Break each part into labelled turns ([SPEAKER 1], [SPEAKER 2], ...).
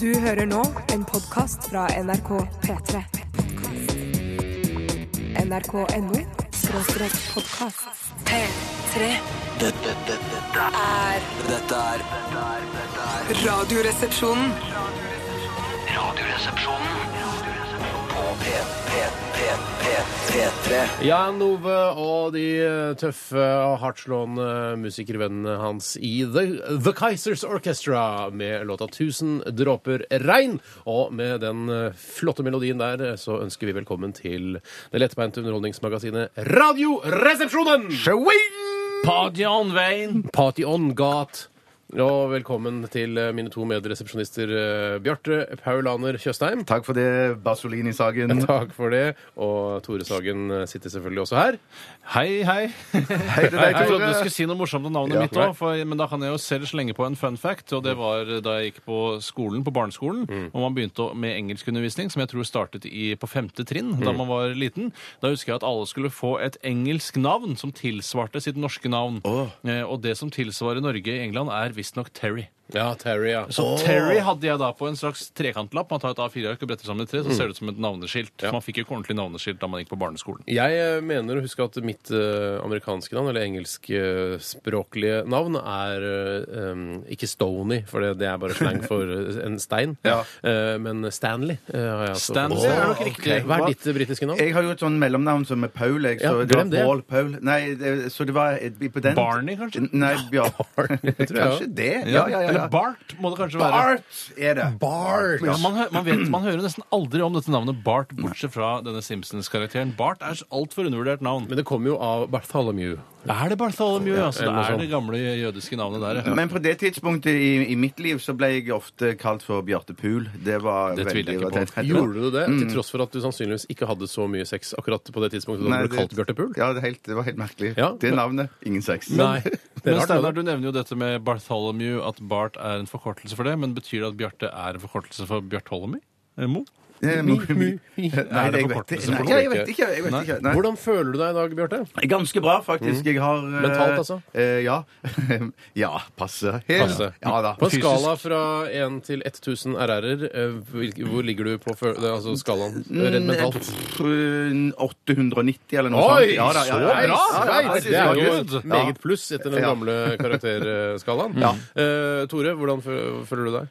[SPEAKER 1] Du hører nå en podkast fra NRK P3. NRK.no skråstrek podkast. P3.
[SPEAKER 2] Dette, dette, dette,
[SPEAKER 1] er
[SPEAKER 2] dette er dette er- dette er
[SPEAKER 1] Radioresepsjonen.
[SPEAKER 2] Radioresepsjonen på P, P, P, P, P3.
[SPEAKER 3] Jan Ove og de eh, tøffe og hardtslående musikervennene hans i The, The Kaisers Orchestra med låta 'Tusen dråper regn'. Og med den eh, flotte melodien der eh, så ønsker vi velkommen til det lettbeinte underholdningsmagasinet Radioresepsjonen! Party on Gate. Og velkommen til eh, mine to medresepsjonister eh, Bjarte Paulaner Tjøstheim.
[SPEAKER 4] Takk for det, Basolini-sagen.
[SPEAKER 3] Takk for det. Og Tore Sagen eh, sitter selvfølgelig også her.
[SPEAKER 5] Hei, hei.
[SPEAKER 4] Hei til deg,
[SPEAKER 5] Jeg trodde du
[SPEAKER 4] Tore.
[SPEAKER 5] skulle si noe morsomt om navnet
[SPEAKER 3] Ja,
[SPEAKER 5] mitt
[SPEAKER 3] nei.
[SPEAKER 5] òg, men da kan jeg jo selv slenge på en fun fact.
[SPEAKER 4] Mm.
[SPEAKER 5] Og det var da jeg gikk på skolen, på barneskolen, og man begynte å- med engelskundervisning, som jeg tror startet i, på femte trinn
[SPEAKER 4] Mm.
[SPEAKER 5] da man var liten. Da husker jeg at alle skulle få et engelsk navn som tilsvarte sitt norske navn. Eh, og det som tilsvarer Norge i England, er visstnok Terry.
[SPEAKER 3] Ja, Terry, ja.
[SPEAKER 5] Så Terry hadde jeg da på en slags trekantlapp. Man tar et A4-ark og bretter sammen i tre,
[SPEAKER 4] Mm.
[SPEAKER 5] så ser det ut som et navneskilt. Så Man fikk jo ikke ordentlig navneskilt da man gikk på barneskolen.
[SPEAKER 3] Jeg eh, mener å huske at mitt eh, amerikanske navn, eller engelskspråklige navn, er eh, em, ikke Stony, for det, det er bare slang for eh, en stein,
[SPEAKER 4] Ja.
[SPEAKER 3] Eh, men Stanley. eh, har jeg altså
[SPEAKER 5] Stanley
[SPEAKER 3] fått.
[SPEAKER 5] er nok riktig.
[SPEAKER 3] Hva er ditt eh, britiske navn?
[SPEAKER 4] Jeg har jo et sånn mellomnavn som er Paul. Jeg, så
[SPEAKER 3] Ja,
[SPEAKER 4] det var
[SPEAKER 3] glem det.
[SPEAKER 4] Paul, Paul. Nei, det, så det var et- på den
[SPEAKER 5] Barney, kanskje?
[SPEAKER 4] Nei, Bjar...
[SPEAKER 3] tror jeg, ja.
[SPEAKER 4] Kanskje det. Ja, ja, ja. ja.
[SPEAKER 5] Eller Bart må det kanskje være.
[SPEAKER 4] Bart er det.
[SPEAKER 3] Bart!
[SPEAKER 5] Ja, man, hø- man, vet, man hører nesten aldri om dette navnet Bart, bortsett fra denne Simpsons-karakteren. Bart er altfor undervurdert navn.
[SPEAKER 3] Men det kommer jo av Bartholomew.
[SPEAKER 5] Er det Bartholomew? Ja, altså, det
[SPEAKER 3] eller noe
[SPEAKER 5] er
[SPEAKER 3] sånt.
[SPEAKER 5] det gamle jødiske navnet der. ja.
[SPEAKER 4] Men på det tidspunktet i, i mitt liv så ble jeg ofte kalt for Bjarte Pool. Det var
[SPEAKER 5] Det tviler jeg ikke
[SPEAKER 4] veldig-
[SPEAKER 5] på.
[SPEAKER 3] Gjorde du det? Til tross for at du sannsynligvis ikke hadde så mye sex akkurat på det tidspunktet da
[SPEAKER 4] Nei,
[SPEAKER 3] du ble kalt Bjarte Pool?
[SPEAKER 4] Ja, det, er helt, det var helt merkelig.
[SPEAKER 3] Ja.
[SPEAKER 4] Det navnet. Ingen sex.
[SPEAKER 3] Nei. Det er
[SPEAKER 5] Men
[SPEAKER 3] rart,
[SPEAKER 5] Steinar,
[SPEAKER 3] det.
[SPEAKER 5] du nevner jo dette med Bartholomew, at Bart er en forkortelse for det. Men betyr det at Bjarte er en forkortelse for Bjartholmy? Eh, Mo?
[SPEAKER 4] Eh, Nei, det, jeg vet
[SPEAKER 5] Er det
[SPEAKER 4] ikke.
[SPEAKER 5] forkortelse for
[SPEAKER 4] Nei,
[SPEAKER 5] noe?
[SPEAKER 4] jeg vet ikke. Jeg vet ikke. Nei.
[SPEAKER 3] Hvordan føler du deg i dag, Bjarte?
[SPEAKER 4] Ganske bra, faktisk. Jeg har eh,
[SPEAKER 3] Mm. Mentalt, altså?
[SPEAKER 4] eh, ja. ja, passe. Helt-
[SPEAKER 3] Passe.
[SPEAKER 4] Ja da.
[SPEAKER 3] På en
[SPEAKER 5] Fysisk.
[SPEAKER 3] skala fra 1 til 1000 RR-er, eh, hvil- hvor ligger du på fø- det- altså skalaen redd mentalt?
[SPEAKER 4] Pff, 890 mm, eller noe sånt.
[SPEAKER 3] Oi,
[SPEAKER 4] Mm, Ja da,
[SPEAKER 3] så
[SPEAKER 4] ja,
[SPEAKER 3] bra!
[SPEAKER 4] ja, ja, ja, ja,
[SPEAKER 3] Sveits! Det er jo
[SPEAKER 5] Good.
[SPEAKER 3] et meget pluss etter den
[SPEAKER 4] Ja.
[SPEAKER 3] gamle karakterskalaen. Eh, Tore, hvordan fø- føler du deg?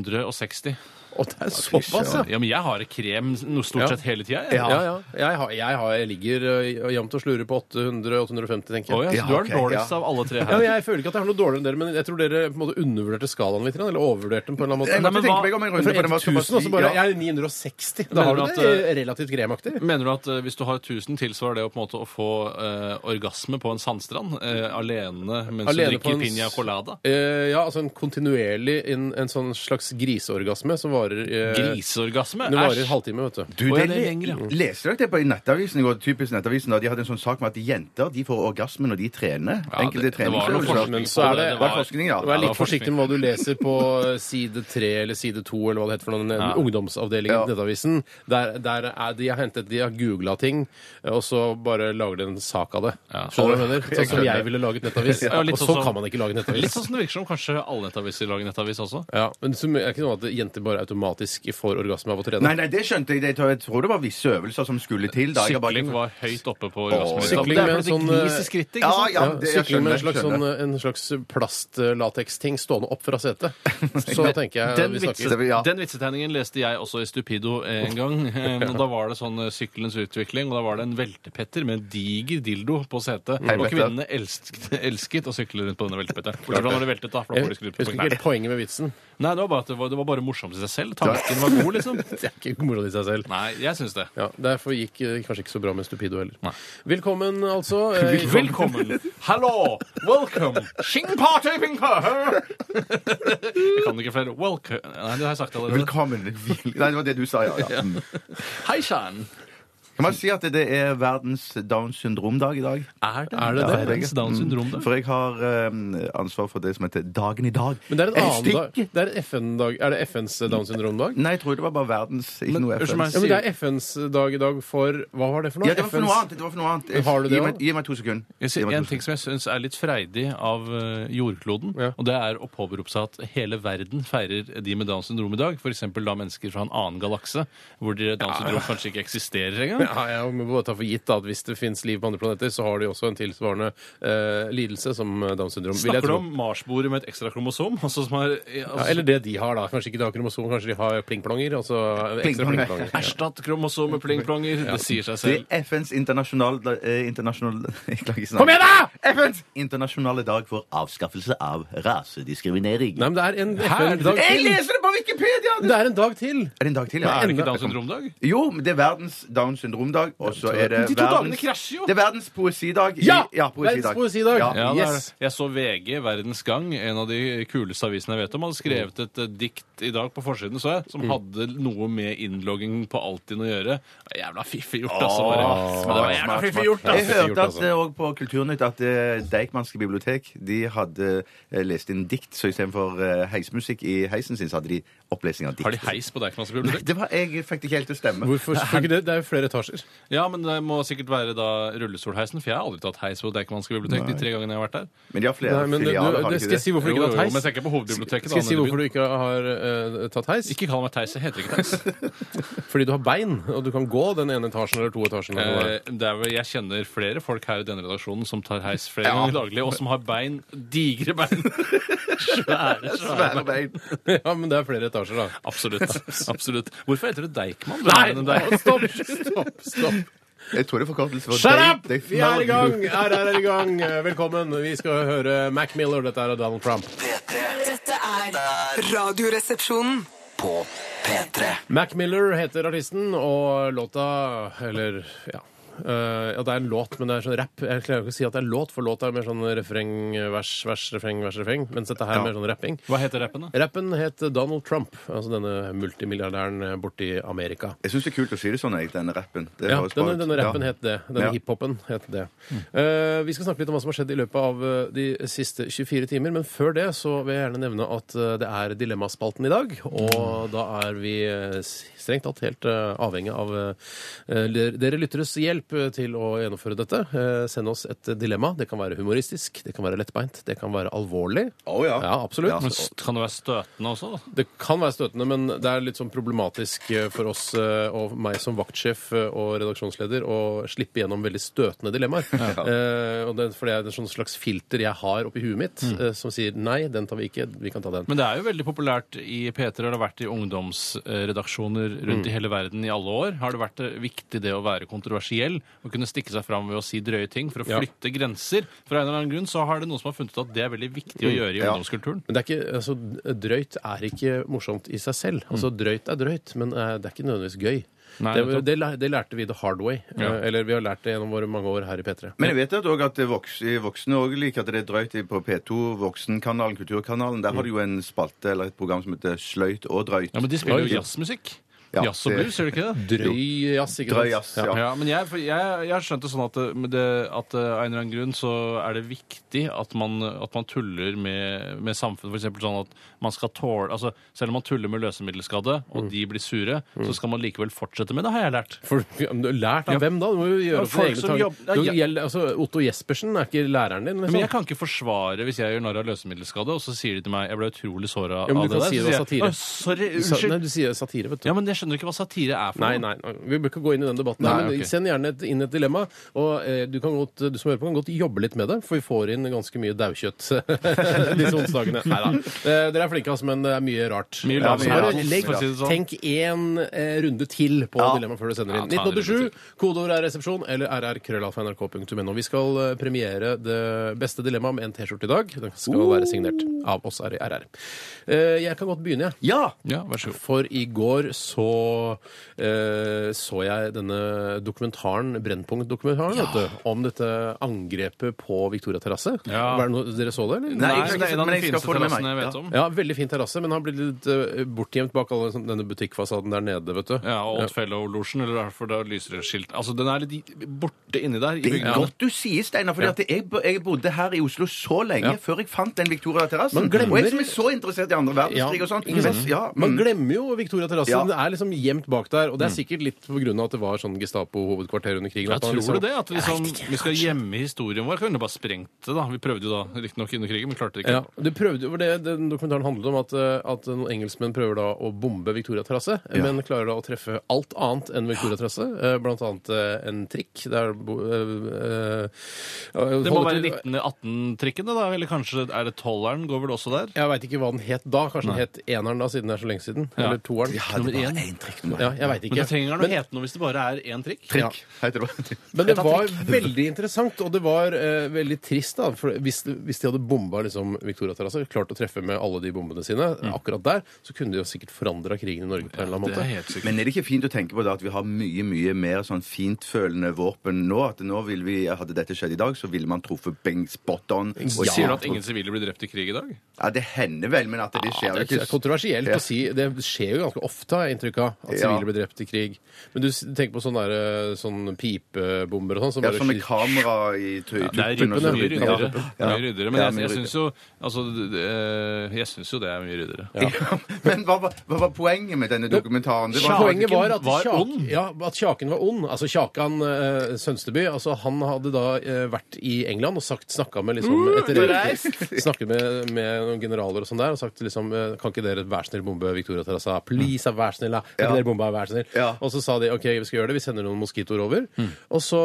[SPEAKER 5] 960.
[SPEAKER 3] Å, det er såpass, ja!
[SPEAKER 5] Ja, men jeg har krem noe
[SPEAKER 3] Ja.
[SPEAKER 5] stort sett hele tida.
[SPEAKER 4] Ja.
[SPEAKER 3] Ja, ja. Jeg, har, jeg, har, jeg ligger eh, jevnt og slurer på 800-850, tenker jeg.
[SPEAKER 5] ja,
[SPEAKER 4] Ja,
[SPEAKER 5] så du er den
[SPEAKER 4] ok,
[SPEAKER 5] dårligste
[SPEAKER 4] ja.
[SPEAKER 5] av alle tre
[SPEAKER 3] Ja,
[SPEAKER 5] her.
[SPEAKER 3] men jeg føler ikke at jeg har noe dårligere enn dere, men jeg tror dere på en måte undervurderte skalaen litt. grann, Eller overvurderte den på en eller
[SPEAKER 4] Jeg
[SPEAKER 3] annen måte.
[SPEAKER 4] måtte
[SPEAKER 5] men
[SPEAKER 4] tenke
[SPEAKER 5] hva-
[SPEAKER 4] meg om en
[SPEAKER 3] Fra
[SPEAKER 4] runde, for den
[SPEAKER 3] 1
[SPEAKER 4] var
[SPEAKER 3] 000, og
[SPEAKER 4] såpass
[SPEAKER 3] så bare
[SPEAKER 4] ja.
[SPEAKER 3] Jeg er 960. Da har du
[SPEAKER 5] Mener du
[SPEAKER 3] det
[SPEAKER 5] at,
[SPEAKER 3] eh, relativt gremaktig.
[SPEAKER 5] Mener du at eh, hvis du har 1000, tilsvarer det å på en måte å få eh, orgasme på en sandstrand eh, alene mens
[SPEAKER 3] Alene
[SPEAKER 5] du
[SPEAKER 3] på en
[SPEAKER 5] drikker piña
[SPEAKER 3] s-
[SPEAKER 5] colada?
[SPEAKER 3] Eh, ja, altså en kontinuerlig en, en sånn slags griseorgasme som varer eh,
[SPEAKER 5] Griseorgasme?
[SPEAKER 3] Den varer
[SPEAKER 5] Æsj!
[SPEAKER 3] en halvtime, vet du.
[SPEAKER 4] Du,
[SPEAKER 5] Å, ja,
[SPEAKER 4] det,
[SPEAKER 5] det er lenger, ja.
[SPEAKER 4] Leste dere det på i Nettavisen i går? Typisk Nettavisen, da de hadde en sånn sak med at jenter de får orgasme når de trener.
[SPEAKER 5] Ja,
[SPEAKER 4] Enkelte
[SPEAKER 5] det- det var noe
[SPEAKER 4] treningsøvelser.
[SPEAKER 3] forskning, men så er det-
[SPEAKER 4] Det var forskning, ja.
[SPEAKER 3] Du er
[SPEAKER 5] det
[SPEAKER 3] litt
[SPEAKER 5] var forskning.
[SPEAKER 3] forsiktig med hva du leser på eh, side 3 eller side 2 eller hva det heter for noen
[SPEAKER 5] Ja.
[SPEAKER 3] ungdomsavdeling
[SPEAKER 4] Ja.
[SPEAKER 3] i Nettavisen. Der, der er de har hentet De har googla ting, eh, og så bare lager de en sak av det.
[SPEAKER 5] Ja.
[SPEAKER 3] Skjønner du hva jeg mener? Sånn som
[SPEAKER 4] skjønner.
[SPEAKER 3] jeg ville laget nettavis.
[SPEAKER 5] Ja, litt
[SPEAKER 3] og
[SPEAKER 5] sånn
[SPEAKER 3] så
[SPEAKER 5] som-
[SPEAKER 3] kan man ikke lage nettavis.
[SPEAKER 5] Litt sånn som det virker som kanskje alle nettaviser lager nettavis også.
[SPEAKER 3] Ja, men så er det ikke noe at jenter bare automatisk får orgasme av å trene.
[SPEAKER 4] Nei, nei, det skjønte jeg. Jeg tror- Jeg tror det var visse øvelser som skulle til. Da. Jeg har bare-
[SPEAKER 5] Sykling var høyt oppe på orgasmen.
[SPEAKER 3] Sykling
[SPEAKER 5] det er
[SPEAKER 3] med
[SPEAKER 5] fordi
[SPEAKER 3] en
[SPEAKER 5] det
[SPEAKER 3] sånn,
[SPEAKER 5] gnis i
[SPEAKER 3] eh,
[SPEAKER 5] skrittet,
[SPEAKER 4] Ja,
[SPEAKER 5] ikke sant?
[SPEAKER 4] ja, det, jeg
[SPEAKER 3] Sykling med
[SPEAKER 4] skjønner.
[SPEAKER 3] en slags,
[SPEAKER 4] skjønner.
[SPEAKER 3] sånn, en slags plastlateksting stående opp fra setet. Så tenker jeg
[SPEAKER 5] Den,
[SPEAKER 3] vi
[SPEAKER 5] vitse,
[SPEAKER 3] snakker
[SPEAKER 4] Ja.
[SPEAKER 5] den vitsetegningen leste jeg også i Stupido en gang. Eh, og Da var det sånn eh, sykkelens utvikling, og da var det en veltepetter med en diger dildo på setet.
[SPEAKER 4] Hei,
[SPEAKER 5] Og
[SPEAKER 4] Petter.
[SPEAKER 5] kvinnene elsket, elsket å sykle rundt på denne veltepetteren. Bortsett fra når det veltet, da. For da
[SPEAKER 3] Jeg
[SPEAKER 5] får de skrudd på
[SPEAKER 3] husker ikke
[SPEAKER 5] knærne.
[SPEAKER 3] helt poenget med vitsen.
[SPEAKER 5] Nei, det var bare, at det var, det var bare morsomt i seg selv. Tanken var god, liksom.
[SPEAKER 3] Det er ikke moro i seg selv.
[SPEAKER 5] Nei, jeg syns det.
[SPEAKER 3] Ja, Derfor gikk det kanskje ikke så bra med Stupido heller.
[SPEAKER 5] Nei.
[SPEAKER 3] Velkommen, altså. Eh,
[SPEAKER 5] Velkommen! Hallo! Welcome! Skingparty, pingpa! Jeg kan ikke flere. Welcome
[SPEAKER 3] sånn-
[SPEAKER 5] Nei, det har jeg sagt allerede.
[SPEAKER 4] Velkommen. Nei, det var det du sa, ja. ja. Mm.
[SPEAKER 5] Hei sann!
[SPEAKER 4] Kan man si at det er verdens Downs syndrom-dag i dag? Mm.
[SPEAKER 5] Er det
[SPEAKER 3] Er det
[SPEAKER 5] Ja,
[SPEAKER 3] det?
[SPEAKER 5] verdens Downs syndrom, da?
[SPEAKER 4] For jeg har eh, ansvar for det som heter Dagen i dag.
[SPEAKER 3] Men det er en
[SPEAKER 4] Et
[SPEAKER 3] annen dag.
[SPEAKER 4] stykke-
[SPEAKER 3] Det er, FN -dag. er det FNs eh, Downs syndrom-dag?
[SPEAKER 4] Nei, jeg tror det var bare verdens, ikke
[SPEAKER 5] Men,
[SPEAKER 4] noe
[SPEAKER 5] unnskyld
[SPEAKER 4] FN.
[SPEAKER 5] meg.
[SPEAKER 3] Ja, men det er FNs eh, dag i dag for Hva var det for noe?
[SPEAKER 4] Ja, det var for noe
[SPEAKER 3] FNs
[SPEAKER 4] annet. Det var for noe annet. Jeg-
[SPEAKER 3] Har du det
[SPEAKER 4] gi, meg,
[SPEAKER 3] også?
[SPEAKER 4] gi meg to sekunder.
[SPEAKER 5] Jeg
[SPEAKER 4] Gi
[SPEAKER 5] sier
[SPEAKER 4] meg
[SPEAKER 5] en
[SPEAKER 4] to
[SPEAKER 5] ting som jeg syns er litt freidig av eh, jordkloden,
[SPEAKER 3] Ja.
[SPEAKER 5] og det er å påberope seg at hele verden feirer de med Downs syndrom i dag. F.eks. da mennesker fra en annen galakse, hvor de Downs syndrom kanskje ikke eksisterer engang.
[SPEAKER 3] Ja, ja, vi må bare ta for gitt da, at Hvis det fins liv på andre planeter, så har de også en tilsvarende eh, lidelse som eh, Downs syndrom. vil jeg
[SPEAKER 5] Snakker du
[SPEAKER 3] tro.
[SPEAKER 5] om marsboere med et ekstra kromosom? Altså som har eh,
[SPEAKER 3] Ja,
[SPEAKER 5] altså,
[SPEAKER 3] eller det de har, da. Kanskje ikke de har kromosom, kanskje de har plingplonger. Altså ekstra
[SPEAKER 4] Plingplonger.
[SPEAKER 3] plingplonger.
[SPEAKER 5] Erstatt kromosom med plingplonger. Det sier seg
[SPEAKER 4] Det
[SPEAKER 5] selv.
[SPEAKER 4] er FNs internasjonale eh, internasjonal, Jeg klarer ikke å snakke.
[SPEAKER 3] Kom igjen, da!
[SPEAKER 4] FNs internasjonale dag for avskaffelse av rasediskriminering.
[SPEAKER 3] Nei, men det er en FN-dag
[SPEAKER 4] Jeg
[SPEAKER 3] til.
[SPEAKER 4] leser det på Wikipedia!
[SPEAKER 3] Det er en dag til.
[SPEAKER 4] Er det en dag til?
[SPEAKER 5] Er det
[SPEAKER 3] enda-
[SPEAKER 5] ikke Downs syndrom-dag?
[SPEAKER 4] Jo, men det er verdens Downs syndrom-dag, og så er det
[SPEAKER 5] Men de to dagene
[SPEAKER 4] verdens
[SPEAKER 5] krasjer jo.
[SPEAKER 4] Det er verdens poesidag. i-
[SPEAKER 3] Ja!
[SPEAKER 4] ja poesidag.
[SPEAKER 3] Verdens poesidag.
[SPEAKER 4] Ja.
[SPEAKER 5] Ja, det er
[SPEAKER 3] Yes.
[SPEAKER 5] det. Jeg så VG, Verdens Gang, en av de kuleste avisene jeg vet om, hadde skrevet et eh, dikt i dag på forsiden, så jeg, som hadde noe med innlogging på Altinn å gjøre. Det var Jævla fiffig gjort, altså. Bare.
[SPEAKER 4] Åh,
[SPEAKER 5] Ja, det var jævla
[SPEAKER 4] smart,
[SPEAKER 5] fiffig
[SPEAKER 4] smart.
[SPEAKER 5] gjort,
[SPEAKER 4] Jeg
[SPEAKER 5] altså.
[SPEAKER 3] Fiffig gjort,
[SPEAKER 4] hørte at
[SPEAKER 3] altså.
[SPEAKER 4] det òg på Kulturnytt at eh, Deichmanske bibliotek de hadde eh, lest inn dikt, så istedenfor eh, heismusikk i heisen sin, så hadde de opplesning av dikt.
[SPEAKER 5] Har de heis på Deichmanske bibliotek?
[SPEAKER 4] Det var, jeg fikk det ikke helt til å stemme.
[SPEAKER 3] Hvorfor skulle ikke det? Det er jo flere etasjer.
[SPEAKER 5] Ja, men det må sikkert være da rullestolheisen, for jeg har aldri tatt heis på Deichmanske bibliotek de tre gangene jeg har vært der.
[SPEAKER 4] Men de har flere
[SPEAKER 3] Nei, men du,
[SPEAKER 4] filialer, har
[SPEAKER 3] det-
[SPEAKER 4] de
[SPEAKER 3] skal jeg
[SPEAKER 4] ikke
[SPEAKER 3] si
[SPEAKER 4] det?
[SPEAKER 3] hvorfor du
[SPEAKER 5] Jo,
[SPEAKER 3] ikke
[SPEAKER 5] jo,
[SPEAKER 3] har
[SPEAKER 5] jo, men
[SPEAKER 3] tatt
[SPEAKER 5] jeg
[SPEAKER 3] heis?
[SPEAKER 5] tenker på hovedbiblioteket.
[SPEAKER 3] Skal jeg
[SPEAKER 5] da,
[SPEAKER 3] si
[SPEAKER 5] nede i
[SPEAKER 3] hvorfor du ikke har eh, tatt heis?
[SPEAKER 5] byen. Ikke kall meg Theis, jeg heter ikke Theis.
[SPEAKER 3] Fordi du har bein, og du kan gå den ene etasjen eller to etasjene. eller hva det er.
[SPEAKER 5] Eh, det er vel, jeg kjenner flere folk her i denne redaksjonen som tar heis flere ganger daglig, og som har bein, digre bein. Svære, svære
[SPEAKER 4] Svære bein.
[SPEAKER 3] Ja, men det er flere etasjer, da.
[SPEAKER 5] Absolutt. absolutt. Hvorfor heter det Deichman?
[SPEAKER 3] stopp! Stopp! stopp.
[SPEAKER 4] Jeg tror det er forkortelse for
[SPEAKER 3] Shut up!
[SPEAKER 4] Dei- Dei-
[SPEAKER 3] Vi er i gang! RR er i gang. Velkommen. Vi skal høre Mac Miller. Dette er Donald Trump.
[SPEAKER 6] Dette er Radioresepsjonen.
[SPEAKER 2] På P3
[SPEAKER 3] Mac Miller heter artisten, og låta Eller, ja. eh, ja, det er en låt, men det er sånn rapp. Jeg klarer ikke å si at det er låt, for låta er mer sånn refreng, vers, vers, refreng, vers, refreng. Mens dette her er mer sånn rapping.
[SPEAKER 5] Hva heter rappen, da?
[SPEAKER 3] Rappen het Donald Trump, altså denne multimilliardæren borti Amerika.
[SPEAKER 4] Jeg syns det er kult å si det sånn, jeg, denne rappen. Det
[SPEAKER 3] Ja,
[SPEAKER 4] høres bra
[SPEAKER 3] denne,
[SPEAKER 4] ut.
[SPEAKER 3] denne rappen
[SPEAKER 4] Ja.
[SPEAKER 3] het det. Denne
[SPEAKER 4] Ja.
[SPEAKER 3] hiphopen het det. Eh, vi skal snakke litt om hva som har skjedd i løpet av eh, de siste 24 timer, men før det så vil jeg gjerne nevne at eh, det er Dilemmaspalten i dag, og da er vi eh, s- strengt tatt helt eh, avhengig av eh, der- dere lytteres hjelp eh, til å gjennomføre dette. Eh, send oss et eh, dilemma. Det kan være humoristisk, det kan være lettbeint, det kan være alvorlig.
[SPEAKER 4] Å, ja.
[SPEAKER 3] ja absolutt.
[SPEAKER 4] Ja.
[SPEAKER 5] Men s- Kan det være støtende også? da?
[SPEAKER 3] Det kan være støtende, men det er litt sånn problematisk eh, for oss eh, og meg som vaktsjef eh, og redaksjonsleder å slippe gjennom veldig støtende dilemmaer. Eh, og det, for det er et sånn slags filter jeg har oppi huet mitt eh, som sier nei, den tar vi ikke, vi kan ta den.
[SPEAKER 5] Men det er jo veldig populært i P3, og det har vært i ungdomsredaksjoner rundt i hele verden i alle år. Har det vært eh, viktig det å være kontroversiell og kunne stikke seg fram ved å si drøye ting for å
[SPEAKER 3] Ja.
[SPEAKER 5] flytte grenser? Fra en eller annen grunn så har det noen som har funnet ut at det er veldig viktig å gjøre i
[SPEAKER 4] Ja.
[SPEAKER 5] ungdomskulturen.
[SPEAKER 3] Men det er ikke, altså, drøyt er ikke morsomt i seg selv. Altså, Drøyt er drøyt, men eh, det er ikke nødvendigvis gøy.
[SPEAKER 5] Nei,
[SPEAKER 3] det,
[SPEAKER 5] nettopp.
[SPEAKER 3] det, lær- det lærte vi the hard way. eh,
[SPEAKER 5] Ja.
[SPEAKER 3] Eller vi har lært det gjennom våre mange år her i P3.
[SPEAKER 4] Men jeg vet at, også at voks, voksne også liker at det er drøyt på P2, Voksenkanalen, Kulturkanalen. Der har de jo en spalte eller et program som heter Sløyt og drøyt.
[SPEAKER 5] Ja, men de spiller
[SPEAKER 3] Oi.
[SPEAKER 5] jo jazzmusikk.
[SPEAKER 4] Ja,
[SPEAKER 5] Jazz og
[SPEAKER 4] det-
[SPEAKER 5] blues, gjør de ikke det?
[SPEAKER 3] Drøy jazz, ikke
[SPEAKER 4] Drøy jazz, ja.
[SPEAKER 5] Ja, men jeg, for jeg, jeg har skjønt det sånn at, det- med det, at eh, av en eller annen grunn så er det viktig at man, at man tuller med, med samfunnet. F.eks. sånn at man skal tåle altså, Selv om man tuller med løsemiddelskadde, og de blir sure, så skal man likevel fortsette med det, har jeg lært.
[SPEAKER 3] For, ja, men du har lært av hvem da? Du må jo
[SPEAKER 5] Ja,
[SPEAKER 3] gjøre opp
[SPEAKER 5] folk
[SPEAKER 3] dine egne
[SPEAKER 5] som
[SPEAKER 3] tanker.
[SPEAKER 5] jobb- Nei,
[SPEAKER 3] Du
[SPEAKER 5] jeg-
[SPEAKER 3] gjeld- altså, Otto Jespersen er ikke læreren din? Liksom.
[SPEAKER 5] Men jeg kan ikke forsvare hvis jeg gjør narr av løsemiddelskade, og så sier de til meg jeg ble utrolig såra
[SPEAKER 3] Ja, men
[SPEAKER 5] av
[SPEAKER 3] du kan
[SPEAKER 5] det der.
[SPEAKER 3] si
[SPEAKER 5] så
[SPEAKER 3] det var
[SPEAKER 5] sier jeg,
[SPEAKER 3] satire.
[SPEAKER 5] «Å, Sorry,
[SPEAKER 3] Sa- Nei,
[SPEAKER 5] unnskyld.
[SPEAKER 3] du sier satire, vet du.
[SPEAKER 5] Ja, men jeg skjønner ikke hva satire er for
[SPEAKER 3] Nei,
[SPEAKER 5] noe.
[SPEAKER 3] nei, nei, vi bør ikke gå inn i den debatten. her,
[SPEAKER 5] Nei,
[SPEAKER 3] men
[SPEAKER 5] ok.
[SPEAKER 3] Send gjerne et, inn et dilemma. Og eh, du, kan godt, du som hører på, kan godt jobbe litt med det, for vi får inn ganske mye daukjøtt disse onsdagene. Nei da. Eh, dere er flinke, altså, men det er mye rart.
[SPEAKER 5] Mye
[SPEAKER 3] Ja,
[SPEAKER 5] lav
[SPEAKER 3] så
[SPEAKER 4] mye
[SPEAKER 3] bare
[SPEAKER 4] rart.
[SPEAKER 3] legg,
[SPEAKER 5] For å si det sånn.
[SPEAKER 3] tenk én eh, runde til på
[SPEAKER 4] Ja.
[SPEAKER 3] dilemmaet før du sender
[SPEAKER 5] Ja,
[SPEAKER 3] inn.
[SPEAKER 5] ta en runde
[SPEAKER 3] 1987,
[SPEAKER 5] til.
[SPEAKER 3] kodeord er resepsjon, eller rrkrøllalfa.nrk.no. Vi skal eh, premiere det beste dilemmaet med en T-skjorte i dag. Den skal være signert. av oss her i RR. Eh, Jeg kan godt begynne, jeg.
[SPEAKER 4] Ja!
[SPEAKER 5] Ja, vær så god.
[SPEAKER 3] For i går så eh, så jeg denne dokumentaren, Brennpunkt-dokumentaren, vet du, om dette angrepet på Victoria terrasse.
[SPEAKER 5] Ja.
[SPEAKER 3] Var det noe dere så det, eller?
[SPEAKER 5] Nei,
[SPEAKER 4] ikke
[SPEAKER 5] det er en av
[SPEAKER 4] men
[SPEAKER 5] de
[SPEAKER 4] jeg skal
[SPEAKER 5] fineste
[SPEAKER 4] få det med meg.
[SPEAKER 5] terrassene jeg vet
[SPEAKER 4] Ja.
[SPEAKER 5] om.
[SPEAKER 3] Ja, veldig fin terrasse, men har blitt litt eh, bortgjemt bak alle sånn- denne butikkfasaden der nede, vet du.
[SPEAKER 5] Ja, og Odd Fellow-losjen, eller derfor det er lysere skilt. Altså, den er litt borte inni der i
[SPEAKER 4] Det er
[SPEAKER 5] bygningen.
[SPEAKER 4] godt du sier, Steinar, for jeg, bo- jeg bodde her i Oslo så lenge
[SPEAKER 3] Ja.
[SPEAKER 4] før jeg fant den Victoria Terrassen.
[SPEAKER 3] Man glemmer-
[SPEAKER 4] Og jeg som er så interessert i andre verdenskrig
[SPEAKER 3] Ja,
[SPEAKER 4] og sånt.
[SPEAKER 3] ikke sant?
[SPEAKER 4] Men- Ja,
[SPEAKER 3] Man
[SPEAKER 4] mm.
[SPEAKER 3] glemmer jo Victoria terrasse.
[SPEAKER 4] Ja.
[SPEAKER 3] Den er liksom gjemt bak der. Og det er sikkert litt på grunn av at det var sånn Gestapo-hovedkvarter under krigen.
[SPEAKER 5] Mm. Ja,
[SPEAKER 3] at man
[SPEAKER 5] tror
[SPEAKER 3] liksom-
[SPEAKER 5] du det? At liksom, vi skal gjemme historien vår? Kunne bare sprengt det, da. Vi prøvde jo da, riktignok under krigen, men klarte det ikke.
[SPEAKER 3] Ja, Eh, det prøvde, for det, den Dokumentaren handlet om at, eh, at noen engelskmenn prøver da å bombe Victoria terrasse, men klarer da å treffe alt annet enn Victoria terrasse. eh, Blant annet eh, en trikk. Der, bo- eh, eh,
[SPEAKER 5] Det må
[SPEAKER 3] holder
[SPEAKER 5] være
[SPEAKER 3] til-
[SPEAKER 5] 1918-trikkene, da? Eller kanskje er det tolveren? Går vel også der?
[SPEAKER 3] Jeg veit ikke hva den het da. Kanskje den het eneren da, siden det er så lenge siden?
[SPEAKER 5] Ja.
[SPEAKER 3] Eller toeren?
[SPEAKER 4] Ja, det var en trikk nå.
[SPEAKER 3] Ja, jeg vet ikke.
[SPEAKER 5] Men det trenger den
[SPEAKER 3] Men-
[SPEAKER 5] å hete noe hvis det bare er én trikk.
[SPEAKER 4] Trikk, heter det bare.
[SPEAKER 3] Men det var veldig interessant, og det var eh, veldig trist. da, for hvis, hvis de hadde bomba liksom, Victoria Terrasse, klart å treffe med alle de bombene sine akkurat der, så kunne de jo sikkert forandra krigen i Norge på en eller annen
[SPEAKER 5] Det
[SPEAKER 3] måte.
[SPEAKER 5] er helt sikkert.
[SPEAKER 4] Men er Mm. det ikke fint å tenke på det at vi har mye mye mer sånn fintfølende våpen nå? At nå vil vi, Hadde dette skjedd i dag, så ville man truffet beng spot on. og ikke
[SPEAKER 5] Sier du at
[SPEAKER 4] truffet-
[SPEAKER 5] ingen sivile blir drept i krig i dag?
[SPEAKER 4] Ja, Det hender vel, men at det skjer
[SPEAKER 3] Det
[SPEAKER 4] jo
[SPEAKER 3] er ikke- det er
[SPEAKER 4] ikke
[SPEAKER 3] kontroversielt
[SPEAKER 4] Ja.
[SPEAKER 3] å si. Det skjer jo ganske ofte, har jeg inntrykk av. At
[SPEAKER 4] Ja.
[SPEAKER 3] sivile blir drept i krig. Men du s- tenker på sånne, der, eh, sånne pipebomber og sånn? som
[SPEAKER 4] ja,
[SPEAKER 3] bare
[SPEAKER 4] sånne
[SPEAKER 3] skyter-
[SPEAKER 4] kamera i tu- tuppen.
[SPEAKER 5] Det er
[SPEAKER 4] og
[SPEAKER 5] mye
[SPEAKER 4] så
[SPEAKER 3] mye
[SPEAKER 4] videre.
[SPEAKER 5] ryddere.
[SPEAKER 4] Ja.
[SPEAKER 5] Mye ryddere, Men
[SPEAKER 4] Ja,
[SPEAKER 5] jeg,
[SPEAKER 4] mye
[SPEAKER 5] jeg
[SPEAKER 4] ryddere.
[SPEAKER 5] syns jo altså, det- eh, Jeg syns jo det er mye ryddere.
[SPEAKER 4] Ja. Men hva, var- hva var poenget med denne dokumentaren? Det var,
[SPEAKER 3] Poenget var at,
[SPEAKER 5] var
[SPEAKER 3] Kjak-
[SPEAKER 5] ond.
[SPEAKER 3] Ja, at Kjaken var ond. Altså Kjakan eh, Sønsteby altså han hadde da eh, vært i England og sagt, snakka med liksom
[SPEAKER 4] Mm,
[SPEAKER 3] etter, Snakket med, med noen generaler og sånn der og sagt liksom eh, Kan ikke dere vær snill bombe Victoria Terrassa? Please, ah, vær snill! da. Kan
[SPEAKER 4] Ja.
[SPEAKER 3] ikke dere bombe, ah, vær snill?
[SPEAKER 4] Ja.
[SPEAKER 3] Og så sa de OK, vi skal gjøre det. Vi sender noen moskitoer over.
[SPEAKER 5] Mm.
[SPEAKER 3] Og så,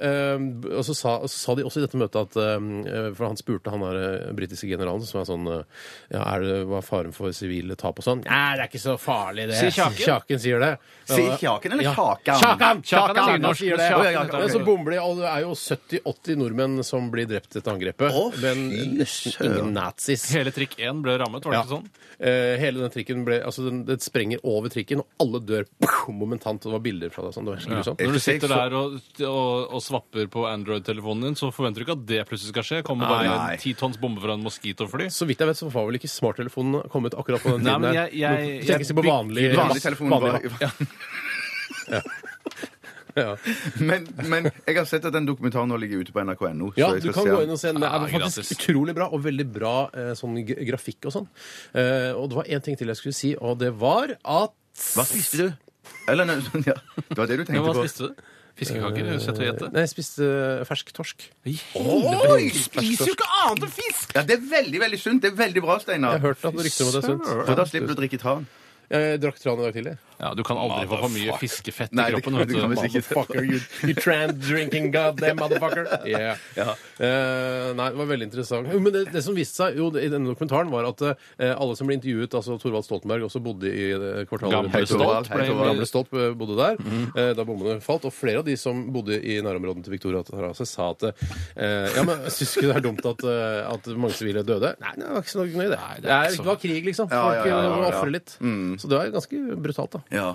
[SPEAKER 3] eh, b- og så sa, og så sa de også i dette møtet at eh, For han spurte han der eh, britiske generalen, som var sånn eh, Ja, er det, hva er faren for sivile tap og sånn? Nei, det er ikke så farlig, det.
[SPEAKER 5] Sier Kjaken.
[SPEAKER 3] Kjaken sier det.
[SPEAKER 4] Sier Kjaken eller
[SPEAKER 3] Ja.
[SPEAKER 4] Kjakan?
[SPEAKER 3] Kjakan!
[SPEAKER 5] Kjakan er
[SPEAKER 3] Kjakan,
[SPEAKER 5] nynorsk,
[SPEAKER 3] sier
[SPEAKER 5] men Kjakan
[SPEAKER 3] det.
[SPEAKER 5] heter det.
[SPEAKER 3] Men så bomber de, og det er jo 70-80 nordmenn som blir drept etter angrepet.
[SPEAKER 4] Å,
[SPEAKER 3] men
[SPEAKER 4] fy
[SPEAKER 3] nesten
[SPEAKER 4] søren.
[SPEAKER 3] ingen nazis.
[SPEAKER 5] Hele trikk én ble rammet, var det
[SPEAKER 3] Ja.
[SPEAKER 5] ikke sånn?
[SPEAKER 3] Eh, Hele den trikken ble Altså, den, det sprenger over trikken, og alle dør pow, momentant. Og det var bilder fra det. og Sånn. Det var helt grusomt.
[SPEAKER 5] Når du sitter
[SPEAKER 4] Jeg så-
[SPEAKER 5] der og, og, og svapper på Android-telefonen din, så forventer du ikke at det plutselig skal skje. Kommer bare
[SPEAKER 4] Nei.
[SPEAKER 5] en ti tonns bombe fra en moskitofly.
[SPEAKER 3] Så vidt jeg vet, så var vel ikke smarttelefonen kommet akkurat på den
[SPEAKER 5] Nei,
[SPEAKER 3] tiden.
[SPEAKER 5] men
[SPEAKER 3] her.
[SPEAKER 5] jeg- jeg-
[SPEAKER 3] Du tenker
[SPEAKER 5] jeg
[SPEAKER 3] ikke på vanlig,
[SPEAKER 4] vanlig telefon.
[SPEAKER 3] vanlig-
[SPEAKER 4] Var, men, men jeg har sett at den dokumentaren nå ligger ute på nrk.no.
[SPEAKER 3] Ja,
[SPEAKER 4] så jeg
[SPEAKER 3] du
[SPEAKER 4] skal
[SPEAKER 3] kan
[SPEAKER 4] se
[SPEAKER 3] gå
[SPEAKER 4] den.
[SPEAKER 3] inn og se den. Det
[SPEAKER 5] Ah,
[SPEAKER 3] er faktisk
[SPEAKER 5] gratis.
[SPEAKER 3] utrolig bra, og veldig bra eh, sånn g- grafikk og sånn. Eh, og det var én ting til jeg skulle si, og det var at
[SPEAKER 4] Hva spiste du? Eller, nei, sånn, ja. Det var det du
[SPEAKER 5] Men
[SPEAKER 4] tenkte
[SPEAKER 5] hva
[SPEAKER 4] på.
[SPEAKER 5] spiste du? Fiskekaker? Sett og gjette.
[SPEAKER 3] Nei, jeg spiste eh, fersk torsk.
[SPEAKER 4] Oi!
[SPEAKER 6] Spiser jo ikke annet enn fisk!
[SPEAKER 4] Ja, det er veldig veldig sunt. Det er veldig bra, Steinar.
[SPEAKER 3] Jeg har hørt at det rykter om at det er sunt.
[SPEAKER 4] For da slipper du å drikke tran.
[SPEAKER 3] Jeg drakk tran i dag tidlig.
[SPEAKER 5] Ja, du kan aldri få for mye fiskefett i
[SPEAKER 4] Nei, det
[SPEAKER 5] kroppen.
[SPEAKER 4] kan-
[SPEAKER 5] vet
[SPEAKER 4] det kan
[SPEAKER 5] du.
[SPEAKER 4] vi sikkert.
[SPEAKER 3] Motherfucker, you, you trans drinking goddamn motherfucker. Yeah. Eh, nei, det var veldig interessant. Jo, Men det, det som viste seg jo, i denne dokumentaren, var at eh, alle som ble intervjuet, altså Thorvald Stoltenberg også bodde i eh, kvartalet
[SPEAKER 5] Gamle
[SPEAKER 3] rundt
[SPEAKER 5] Stolt Mhm.
[SPEAKER 3] Thorvald.
[SPEAKER 4] ble-
[SPEAKER 3] Gamle Gamle Stolt eh, bodde der eh, da bombene falt. Og flere av de som bodde i nærområdene til Victoria Terrasse, sa at eh, ja, men syns ikke det er dumt at, eh, at mange sivile døde? Nei, det var ikke så nøye, det. det,
[SPEAKER 5] det er ikke
[SPEAKER 3] er,
[SPEAKER 5] så-
[SPEAKER 3] det var krig, liksom.
[SPEAKER 4] Ja, ja,
[SPEAKER 3] Folk
[SPEAKER 4] ja, Mm. ja,
[SPEAKER 3] eh, må
[SPEAKER 4] ja.
[SPEAKER 3] ofre litt. Så det var ganske brutalt, da.
[SPEAKER 4] Ja.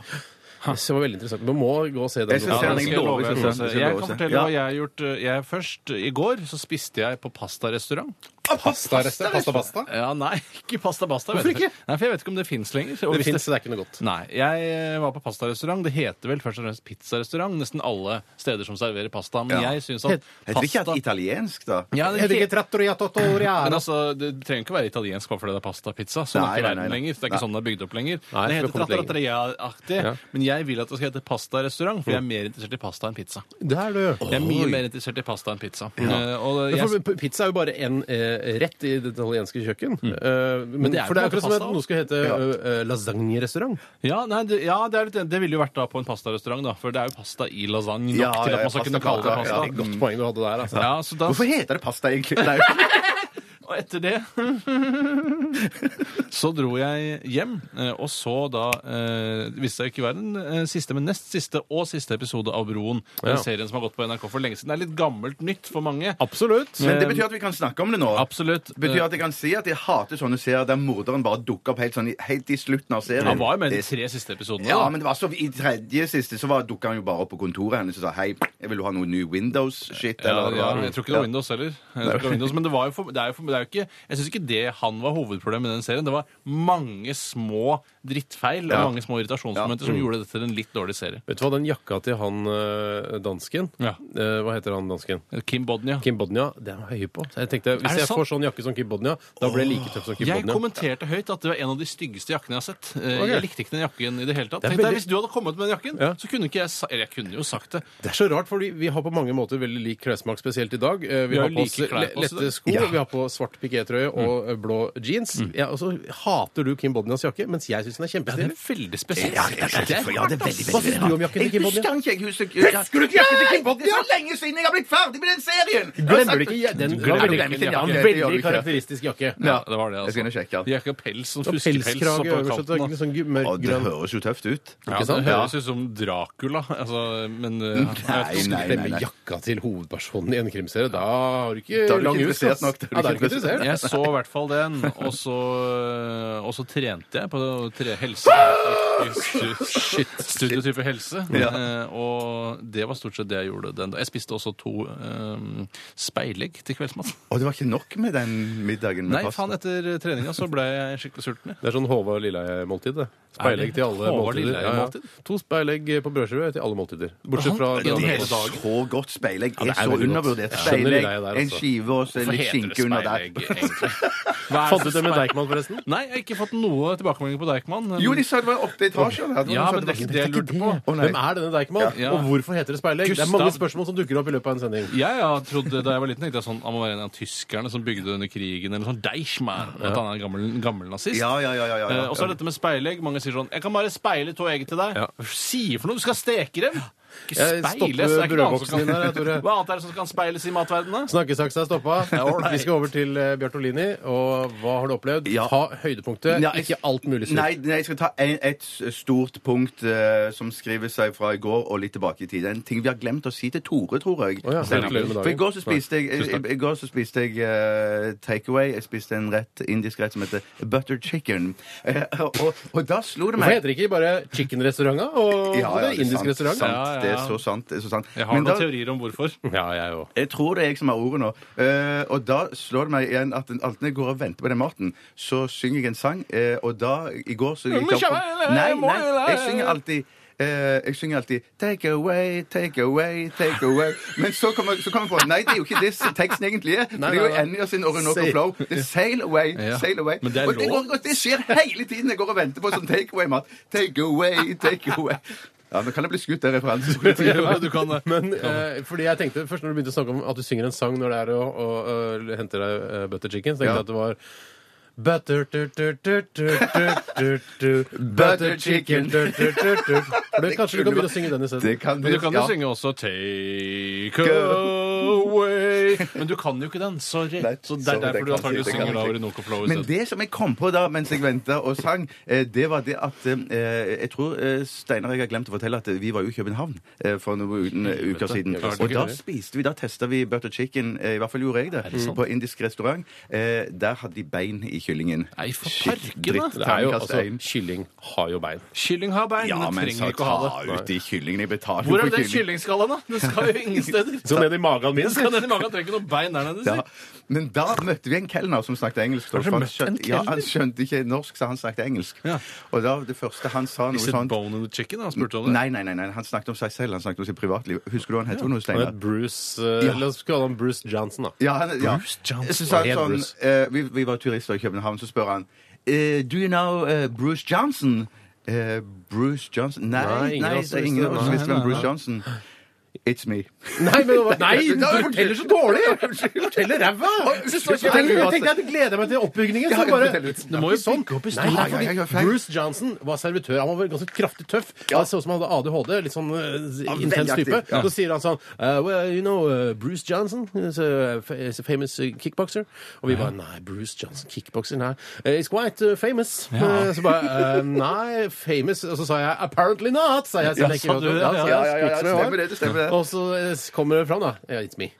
[SPEAKER 3] Så det var veldig interessant. Man må gå og se den.
[SPEAKER 4] Jeg skal
[SPEAKER 5] Ja,
[SPEAKER 4] se
[SPEAKER 5] det
[SPEAKER 4] den.
[SPEAKER 3] dokumentaren.
[SPEAKER 5] skal
[SPEAKER 4] Jeg skal love seg.
[SPEAKER 5] jeg love. Jeg, jeg kan fortelle hva
[SPEAKER 4] Ja.
[SPEAKER 5] jeg har gjort. Jeg først, I går så spiste jeg på pastarestaurant.
[SPEAKER 3] Pastarester. Pasta, pasta.
[SPEAKER 5] Ja, nei, ikke pasta basta.
[SPEAKER 3] Hvorfor
[SPEAKER 5] vet jeg.
[SPEAKER 3] ikke?
[SPEAKER 5] Nei, for Jeg vet ikke om det fins lenger. Og
[SPEAKER 3] Det
[SPEAKER 5] hvis
[SPEAKER 3] fins, det er ikke noe godt.
[SPEAKER 5] Nei. Jeg eh, var på pastarestaurant. Det heter vel først og fremst pizzarestaurant. Nesten alle steder som serverer pasta. Men
[SPEAKER 4] Ja.
[SPEAKER 5] jeg syns at
[SPEAKER 4] Heter det ikke at
[SPEAKER 5] pasta
[SPEAKER 4] italiensk, da?
[SPEAKER 5] ja, det
[SPEAKER 3] Er det
[SPEAKER 5] er
[SPEAKER 3] ikke
[SPEAKER 5] ikke...
[SPEAKER 3] trattoriatottoriano?
[SPEAKER 5] Men altså, Det det trenger ikke være italiensk bare fordi det er pasta-pizza. Sånn
[SPEAKER 4] Nei,
[SPEAKER 5] er ikke
[SPEAKER 4] nei, nei, nei.
[SPEAKER 5] verden lenger. Det er
[SPEAKER 4] Nei.
[SPEAKER 5] ikke sånn det er bygd opp lenger.
[SPEAKER 3] Nei,
[SPEAKER 5] det
[SPEAKER 3] vi har
[SPEAKER 5] heter
[SPEAKER 3] kommet lenger.
[SPEAKER 5] trattatria-aktig,
[SPEAKER 3] Ja.
[SPEAKER 5] men jeg vil at det skal hete pastarestaurant, for jeg er mer interessert i pasta enn pizza.
[SPEAKER 3] Der, du.
[SPEAKER 5] Jeg er mye mer interessert i pasta enn pizza. Eh, og
[SPEAKER 3] Ja,
[SPEAKER 5] jeg
[SPEAKER 3] for p- pizza er jo bare en eh, rett i det italienske kjøkken. Eh, men,
[SPEAKER 5] Mm. det er
[SPEAKER 3] for det er
[SPEAKER 5] jo
[SPEAKER 3] akkurat som at
[SPEAKER 5] pasta også.
[SPEAKER 3] noe skal hete eh, eh, lasagnerestaurant.
[SPEAKER 5] Ja, nei, det, ja det, er litt, det ville jo vært da på en pastarestaurant, da, for det er jo pasta i lasagne nok
[SPEAKER 4] Ja,
[SPEAKER 5] til
[SPEAKER 4] ja,
[SPEAKER 5] at man
[SPEAKER 4] ja,
[SPEAKER 5] skal kunne
[SPEAKER 4] pasta-
[SPEAKER 5] kalle det
[SPEAKER 4] ja,
[SPEAKER 5] pasta.
[SPEAKER 4] ja.
[SPEAKER 3] Godt poeng du hadde der. altså.
[SPEAKER 5] Ja, så da,
[SPEAKER 4] Hvorfor heter det pasta, egentlig? Nei.
[SPEAKER 5] og etter det Så dro jeg hjem, eh, og så da eh, viste jeg ikke være den eh, siste, men nest siste og siste episode av Broen. Den
[SPEAKER 3] Ja.
[SPEAKER 5] serien som har gått på NRK for lenge siden. Det er litt gammelt nytt for mange.
[SPEAKER 3] Absolutt.
[SPEAKER 4] Men det betyr at vi kan snakke om det nå.
[SPEAKER 5] Eh, Absolutt. Eh,
[SPEAKER 4] Det betyr at jeg kan si at jeg hater sånne serier der morderen bare dukker opp helt, sånn, i- helt i slutten av serien.
[SPEAKER 5] Han var jo med i de
[SPEAKER 4] Det-
[SPEAKER 5] tre siste episodene.
[SPEAKER 4] Ja,
[SPEAKER 5] da.
[SPEAKER 4] men det var så, i tredje siste så var- dukka han jo bare opp på kontoret hennes og sa hei, jeg vil du ha noe ny Windows-shit?
[SPEAKER 5] Ja,
[SPEAKER 4] eller
[SPEAKER 5] ja,
[SPEAKER 4] hva?
[SPEAKER 5] jeg tror ikke det var Windows heller. Jeg tror ikke det var Windows, men det var jo for, det er jo for, det er jo ikke, jeg syns ikke det han var hovedproblemet i den serien. Det var mange små drittfeil og
[SPEAKER 4] Ja. Mm.
[SPEAKER 5] mange små irritasjonsmomenter som gjorde dette til en litt dårlig serie.
[SPEAKER 3] Vet du hva, den jakka til han eh, dansken
[SPEAKER 5] Ja.
[SPEAKER 3] eh, Hva heter han dansken?
[SPEAKER 5] Kim Bodnia.
[SPEAKER 3] Kim Bodnia. Det er han høy på. Så jeg tenkte,
[SPEAKER 5] Er
[SPEAKER 3] Hvis
[SPEAKER 5] det
[SPEAKER 3] jeg
[SPEAKER 5] sant?
[SPEAKER 3] får sånn jakke som Kim Bodnia, da blir jeg like tøff som Kim
[SPEAKER 5] Jeg
[SPEAKER 3] Bodnia.
[SPEAKER 5] kommenterte høyt at det var en av de styggeste jakkene jeg har sett. Eh,
[SPEAKER 3] Ok.
[SPEAKER 5] Jeg likte ikke den jakken i det hele tatt.
[SPEAKER 3] Det er
[SPEAKER 5] Tenkte jeg,
[SPEAKER 3] veldig-
[SPEAKER 5] Hvis du hadde kommet med den jakken,
[SPEAKER 3] Ja.
[SPEAKER 5] så kunne ikke jeg sa Eller jeg kunne jo sagt det.
[SPEAKER 3] Det er så rart, fordi vi har på mange måter veldig lik klessmak, spesielt i dag. Eh,
[SPEAKER 5] Vi
[SPEAKER 3] Vi har
[SPEAKER 5] har
[SPEAKER 3] på oss
[SPEAKER 5] like klær på oss i
[SPEAKER 3] lette
[SPEAKER 5] dag.
[SPEAKER 3] sko, vi har på svart pikétrøye og eh, blå jeans. Ja, og så hater du Kim Bodnias jakke, mens jeg syns den er
[SPEAKER 5] Det
[SPEAKER 3] kjempestilig.
[SPEAKER 5] er veldig spesielt.
[SPEAKER 4] Ja, ja, ja,
[SPEAKER 5] Det er
[SPEAKER 4] ja, det er veldig,
[SPEAKER 3] Hva
[SPEAKER 4] veldig,
[SPEAKER 3] syns du om jakken til
[SPEAKER 4] Jeg
[SPEAKER 3] Kim
[SPEAKER 4] husker
[SPEAKER 3] Bodnia?
[SPEAKER 4] den ikke! Jeg husker, jeg,
[SPEAKER 3] Husker du ikke jakken til Kim Bodnia?
[SPEAKER 4] Det er så lenge siden jeg har blitt ferdig med den serien!
[SPEAKER 3] Glemmer du ikke ja, den?
[SPEAKER 5] glemmer
[SPEAKER 3] var veldig-
[SPEAKER 5] ikke den jakken.
[SPEAKER 3] ja, en
[SPEAKER 4] Det gjør du
[SPEAKER 3] Veldig
[SPEAKER 4] ikke.
[SPEAKER 3] karakteristisk jakke.
[SPEAKER 5] Ja, det var det,
[SPEAKER 4] Jeg skal inn og sjekke den.
[SPEAKER 5] altså. De har ikke pels som
[SPEAKER 3] Og
[SPEAKER 5] fuskepels
[SPEAKER 3] pelskrage
[SPEAKER 5] oppå
[SPEAKER 3] øverst.
[SPEAKER 5] kanten.
[SPEAKER 3] og
[SPEAKER 5] da.
[SPEAKER 3] Sånn gu-
[SPEAKER 4] Å, det
[SPEAKER 3] mørkgrønn
[SPEAKER 4] høres jo tøft ut.
[SPEAKER 5] Ja,
[SPEAKER 3] Ikke
[SPEAKER 5] det
[SPEAKER 3] sant?
[SPEAKER 5] høres ut som Dracula, altså, men eh, jeg vet ikke om
[SPEAKER 4] Nei, nei, nei,
[SPEAKER 3] Klemme
[SPEAKER 4] nei.
[SPEAKER 3] jakka til hovedpersonen i en krimserie. Da har du ikke
[SPEAKER 4] Da er du ikke
[SPEAKER 3] lang hus.
[SPEAKER 4] interessert
[SPEAKER 3] ass.
[SPEAKER 4] nok, da er du
[SPEAKER 3] Ja, da er
[SPEAKER 4] ikke
[SPEAKER 3] du ikke interessert.
[SPEAKER 5] Jeg så i hvert fall den, og så, og så trente jeg på tre helse... Shit. Studiotype helse.
[SPEAKER 4] Ja.
[SPEAKER 5] Eh, Og det var stort sett det jeg gjorde den da. Jeg spiste også to eh, speilegg til kveldsmat.
[SPEAKER 4] Og det var ikke nok med den middagen med
[SPEAKER 5] Nei, faen, etter treninga så ble jeg skikkelig sulten. jeg.
[SPEAKER 3] Det er sånn Håvard Lilleheie-måltid. det.
[SPEAKER 5] Er
[SPEAKER 3] Speilegg
[SPEAKER 5] det
[SPEAKER 3] til alle
[SPEAKER 5] Håvard
[SPEAKER 3] måltider. Ja, ja.
[SPEAKER 5] Lilleheie-måltid?
[SPEAKER 3] To speilegg på brødskive til alle måltider. Bortsett
[SPEAKER 5] Han-
[SPEAKER 3] fra
[SPEAKER 5] gjennom
[SPEAKER 4] Det
[SPEAKER 3] den-
[SPEAKER 4] er
[SPEAKER 5] hele dagen.
[SPEAKER 4] så godt speilegg.
[SPEAKER 3] det
[SPEAKER 4] er
[SPEAKER 3] er
[SPEAKER 4] så
[SPEAKER 3] veldig godt.
[SPEAKER 4] undervurdert.
[SPEAKER 3] Jeg skjønner
[SPEAKER 4] Speilegg,
[SPEAKER 3] deg der,
[SPEAKER 4] en
[SPEAKER 3] altså.
[SPEAKER 4] skive og så
[SPEAKER 5] Hvorfor
[SPEAKER 4] litt
[SPEAKER 5] heter det
[SPEAKER 4] skinke under der.
[SPEAKER 5] speilegg, egentlig? Hva er
[SPEAKER 3] Fant du det med Deichman, forresten?
[SPEAKER 5] Nei, jeg har ikke fått noe tilbakemelding på Deichman. men-
[SPEAKER 4] Jo, de sa det var åtte etasjer. der.
[SPEAKER 5] Ja,
[SPEAKER 4] De sa
[SPEAKER 5] men det er
[SPEAKER 4] var-
[SPEAKER 5] ikke det jeg lurte på.
[SPEAKER 4] Å, nei.
[SPEAKER 3] Hvem er denne Deichman,
[SPEAKER 5] Ja.
[SPEAKER 3] og hvorfor heter det speilegg? Det er mange
[SPEAKER 5] Gustav.
[SPEAKER 3] spørsmål som dukker opp i løpet av en sending.
[SPEAKER 5] Jeg ja, trodde da jeg var liten, tenkte jeg sånn Han må være en av tyskerne som bygde det under krigen, eller sånn Deichmann. At han er en gammel, en gammel nazist.
[SPEAKER 4] Ja, ja, ja, ja, ja, ja.
[SPEAKER 5] Eh, og så er dette med speilegg. Mange sier sånn 'Jeg kan bare speile to egg til deg'.
[SPEAKER 3] Ja.
[SPEAKER 5] Hva sier for noe? Du skal steke dem! Ikke
[SPEAKER 3] Jeg
[SPEAKER 5] speiles.
[SPEAKER 3] stopper
[SPEAKER 5] Det er ikke noe annet som
[SPEAKER 3] brødboksen
[SPEAKER 5] kan-
[SPEAKER 3] din der, jeg, Tore.
[SPEAKER 5] Hva annet er det som kan speiles i matverdenen? da?
[SPEAKER 3] Snakkesaksa er stoppa.
[SPEAKER 5] ålreit.
[SPEAKER 3] Vi skal over til eh, Bjartolini. Og hva har du opplevd?
[SPEAKER 4] Ja.
[SPEAKER 3] Ta høydepunktet,
[SPEAKER 4] Ja, jeg-
[SPEAKER 3] ikke alt mulig sur.
[SPEAKER 4] Nei, nei, jeg skal ta en, et s- stort punkt eh, som skriver seg fra i går og litt tilbake i tid. En ting vi har glemt å si til Tore, tror jeg.
[SPEAKER 3] Å ja,
[SPEAKER 4] Steinar.
[SPEAKER 3] gratulerer med dagen.
[SPEAKER 4] For i går så spiste jeg,
[SPEAKER 3] Tusen
[SPEAKER 4] i,
[SPEAKER 3] takk.
[SPEAKER 4] i går så spiste jeg eh, takeaway. Jeg spiste en rett, indisk rett som heter butter chicken. Eh, og, og da slo det
[SPEAKER 3] Hvorfor
[SPEAKER 4] meg
[SPEAKER 3] heter det ikke bare chickenrestauranta og
[SPEAKER 4] Ja, ja,
[SPEAKER 3] og det
[SPEAKER 4] det er
[SPEAKER 3] indisk
[SPEAKER 4] sant,
[SPEAKER 3] restaurant?
[SPEAKER 4] Sant,
[SPEAKER 5] Ja, ja, ja.
[SPEAKER 4] Det er så sant. Det er så sant.
[SPEAKER 5] Jeg har
[SPEAKER 4] Men
[SPEAKER 5] noen
[SPEAKER 4] da-
[SPEAKER 5] teorier om hvorfor.
[SPEAKER 3] Ja, jeg òg.
[SPEAKER 4] Jeg tror det er jeg som har ordet nå. Eh, og da slår det meg igjen at alt når jeg går og venter på den maten, så synger jeg en sang, eh, og da I går så gikk det opp Nei, nei, jeg synger alltid eh, jeg synger alltid 'Take away, take away, take away'. Men så kommer så kommer jeg på Nei, det er jo ikke det teksten egentlig er.
[SPEAKER 3] Nei,
[SPEAKER 4] det er jo
[SPEAKER 3] nei, nei.
[SPEAKER 4] Enja sin Orinoco
[SPEAKER 3] Sail.
[SPEAKER 4] Flow. Det er 'Sail away,
[SPEAKER 5] Ja.
[SPEAKER 4] sail away'.
[SPEAKER 5] Men det er
[SPEAKER 4] og, det
[SPEAKER 5] lov.
[SPEAKER 4] går, og det skjer hele tiden jeg går og venter på sånn take away-mat. Take away, take away. Ja, Nå kan jeg bli skutt av referansepolitiet.
[SPEAKER 5] du kan det.
[SPEAKER 3] Men eh, fordi jeg tenkte først når du begynte å snakke om at du synger en sang når det er å, å, å hente deg eh, butter chicken, så tenkte jeg
[SPEAKER 4] Ja.
[SPEAKER 3] at det var Butter, du, du, du, du, du, du, du, butter chicken du, du, du, du. For det, Kanskje du kan begynne å synge den isteden?
[SPEAKER 4] Det kan
[SPEAKER 5] Men du kan jo
[SPEAKER 4] ja.
[SPEAKER 5] synge også 'Take away'. Men du kan jo ikke den. Sorry.
[SPEAKER 4] Nei,
[SPEAKER 5] så det er
[SPEAKER 4] sorry, det
[SPEAKER 5] derfor du
[SPEAKER 4] kan jeg
[SPEAKER 5] antakelig
[SPEAKER 4] ikke, det kan
[SPEAKER 5] synger da
[SPEAKER 4] jeg ikke.
[SPEAKER 5] Orinoco Flow
[SPEAKER 4] Men
[SPEAKER 5] isteden.
[SPEAKER 4] det som jeg kom på da mens jeg venta og sang, eh, det var det at eh, Jeg tror eh, Steinar og jeg har glemt å fortelle at eh, vi var jo i København eh, for
[SPEAKER 5] Mm.
[SPEAKER 4] noen eh, uker siden.
[SPEAKER 3] klart
[SPEAKER 4] Og
[SPEAKER 3] ikke
[SPEAKER 4] da
[SPEAKER 3] det.
[SPEAKER 4] spiste vi, da testa vi butter chicken, eh, i hvert fall gjorde jeg det, på indisk restaurant. Eh, Der hadde de bein i kyllingen.
[SPEAKER 5] Nei, for
[SPEAKER 4] Shit,
[SPEAKER 5] parken, da.
[SPEAKER 4] dritt,
[SPEAKER 3] Det er jo,
[SPEAKER 4] terningkast
[SPEAKER 3] altså,
[SPEAKER 4] én.
[SPEAKER 3] Kylling har jo bein.
[SPEAKER 5] Kylling har bein,
[SPEAKER 4] Ja,
[SPEAKER 5] men
[SPEAKER 4] men
[SPEAKER 5] trenger
[SPEAKER 4] så
[SPEAKER 5] ikke å ha det.
[SPEAKER 4] ta ut de kyllingene. Jeg betaler
[SPEAKER 5] Hvor er
[SPEAKER 4] for
[SPEAKER 5] den kyllingskallen, da? Den skal jo ingen steder.
[SPEAKER 3] Så ned i magen min.
[SPEAKER 5] Den skal ned i magen, trenger ikke noe bein der nede.
[SPEAKER 4] Ja.
[SPEAKER 5] sier.
[SPEAKER 4] Men da møtte vi en kelner som snakket engelsk. da,
[SPEAKER 5] Har dere
[SPEAKER 4] for han,
[SPEAKER 5] møtt en
[SPEAKER 4] skjønte, ja, han
[SPEAKER 5] kelner?
[SPEAKER 4] skjønte ikke norsk, så han snakket engelsk.
[SPEAKER 5] Ja.
[SPEAKER 4] Og da det første han sa noe
[SPEAKER 5] Is it
[SPEAKER 4] sånn
[SPEAKER 5] bone in the chicken? Han spurte om det.
[SPEAKER 4] Nei, nei, nei, nei, han snakket om seg selv, han snakket om sitt privatliv. Husker du hva han heter for noe,
[SPEAKER 3] Han
[SPEAKER 4] Steinar?
[SPEAKER 3] het Bruce eh,
[SPEAKER 4] Ja.
[SPEAKER 3] La oss kalle han Bruce Johnson, da.
[SPEAKER 4] Ja, han, ja.
[SPEAKER 5] Bruce Johnson.
[SPEAKER 4] Så sa han
[SPEAKER 3] Ja,
[SPEAKER 4] sånn,
[SPEAKER 3] Bruce.
[SPEAKER 4] eh, vi, vi var turister i København, så spør han eh, Do you know eh, Bruce Johnson? Eh, Bruce Johnson?
[SPEAKER 3] Nei,
[SPEAKER 4] Nei, nei,
[SPEAKER 3] ingen av oss
[SPEAKER 4] det er ingen av oss
[SPEAKER 3] visste det,
[SPEAKER 4] visste
[SPEAKER 3] nei.
[SPEAKER 4] hvem Bruce Johnson It's me.
[SPEAKER 3] Nei, men det var- nei,
[SPEAKER 4] Ja,
[SPEAKER 3] du
[SPEAKER 4] unnskyld.
[SPEAKER 3] forteller så dårlig! Du forteller ræva! Så står ikke-
[SPEAKER 4] Unnskyld.
[SPEAKER 3] Jeg tenkte jeg gleder meg til oppbygningen.
[SPEAKER 4] Ja,
[SPEAKER 3] Så
[SPEAKER 4] ja,
[SPEAKER 3] bare,
[SPEAKER 4] fortell litt.
[SPEAKER 3] det må jo sånn. Nei,
[SPEAKER 4] historien.
[SPEAKER 3] nei, fordi
[SPEAKER 4] Ja, ja, ja, feil.
[SPEAKER 3] Bruce Johnson var servitør. Han var ganske kraftig tøff. Han så ut som han hadde ADHD. Litt sånn eh,
[SPEAKER 4] Ja, veldig
[SPEAKER 3] intens type.
[SPEAKER 4] aktiv, ja.
[SPEAKER 3] Så sier han sånn eh, Well, you know, eh, Bruce Johnson is a, fa- is a famous eh, kickboxer. Og vi bare Nei, Bruce Johnson, kickboxer, nei. Eh, He's quite eh, famous. Eh, Så bare eh, Nei, famous. Og så sa jeg Apparently not, sa jeg. Så
[SPEAKER 5] Ja,
[SPEAKER 3] jeg
[SPEAKER 5] sa du det?
[SPEAKER 3] ja,
[SPEAKER 5] Ja,
[SPEAKER 4] Ja, ja, ja,
[SPEAKER 3] spytt som jeg var.
[SPEAKER 4] stemmer det. det stemmer det.
[SPEAKER 3] Og så eh, kommer det fram, da. Ja, It's me.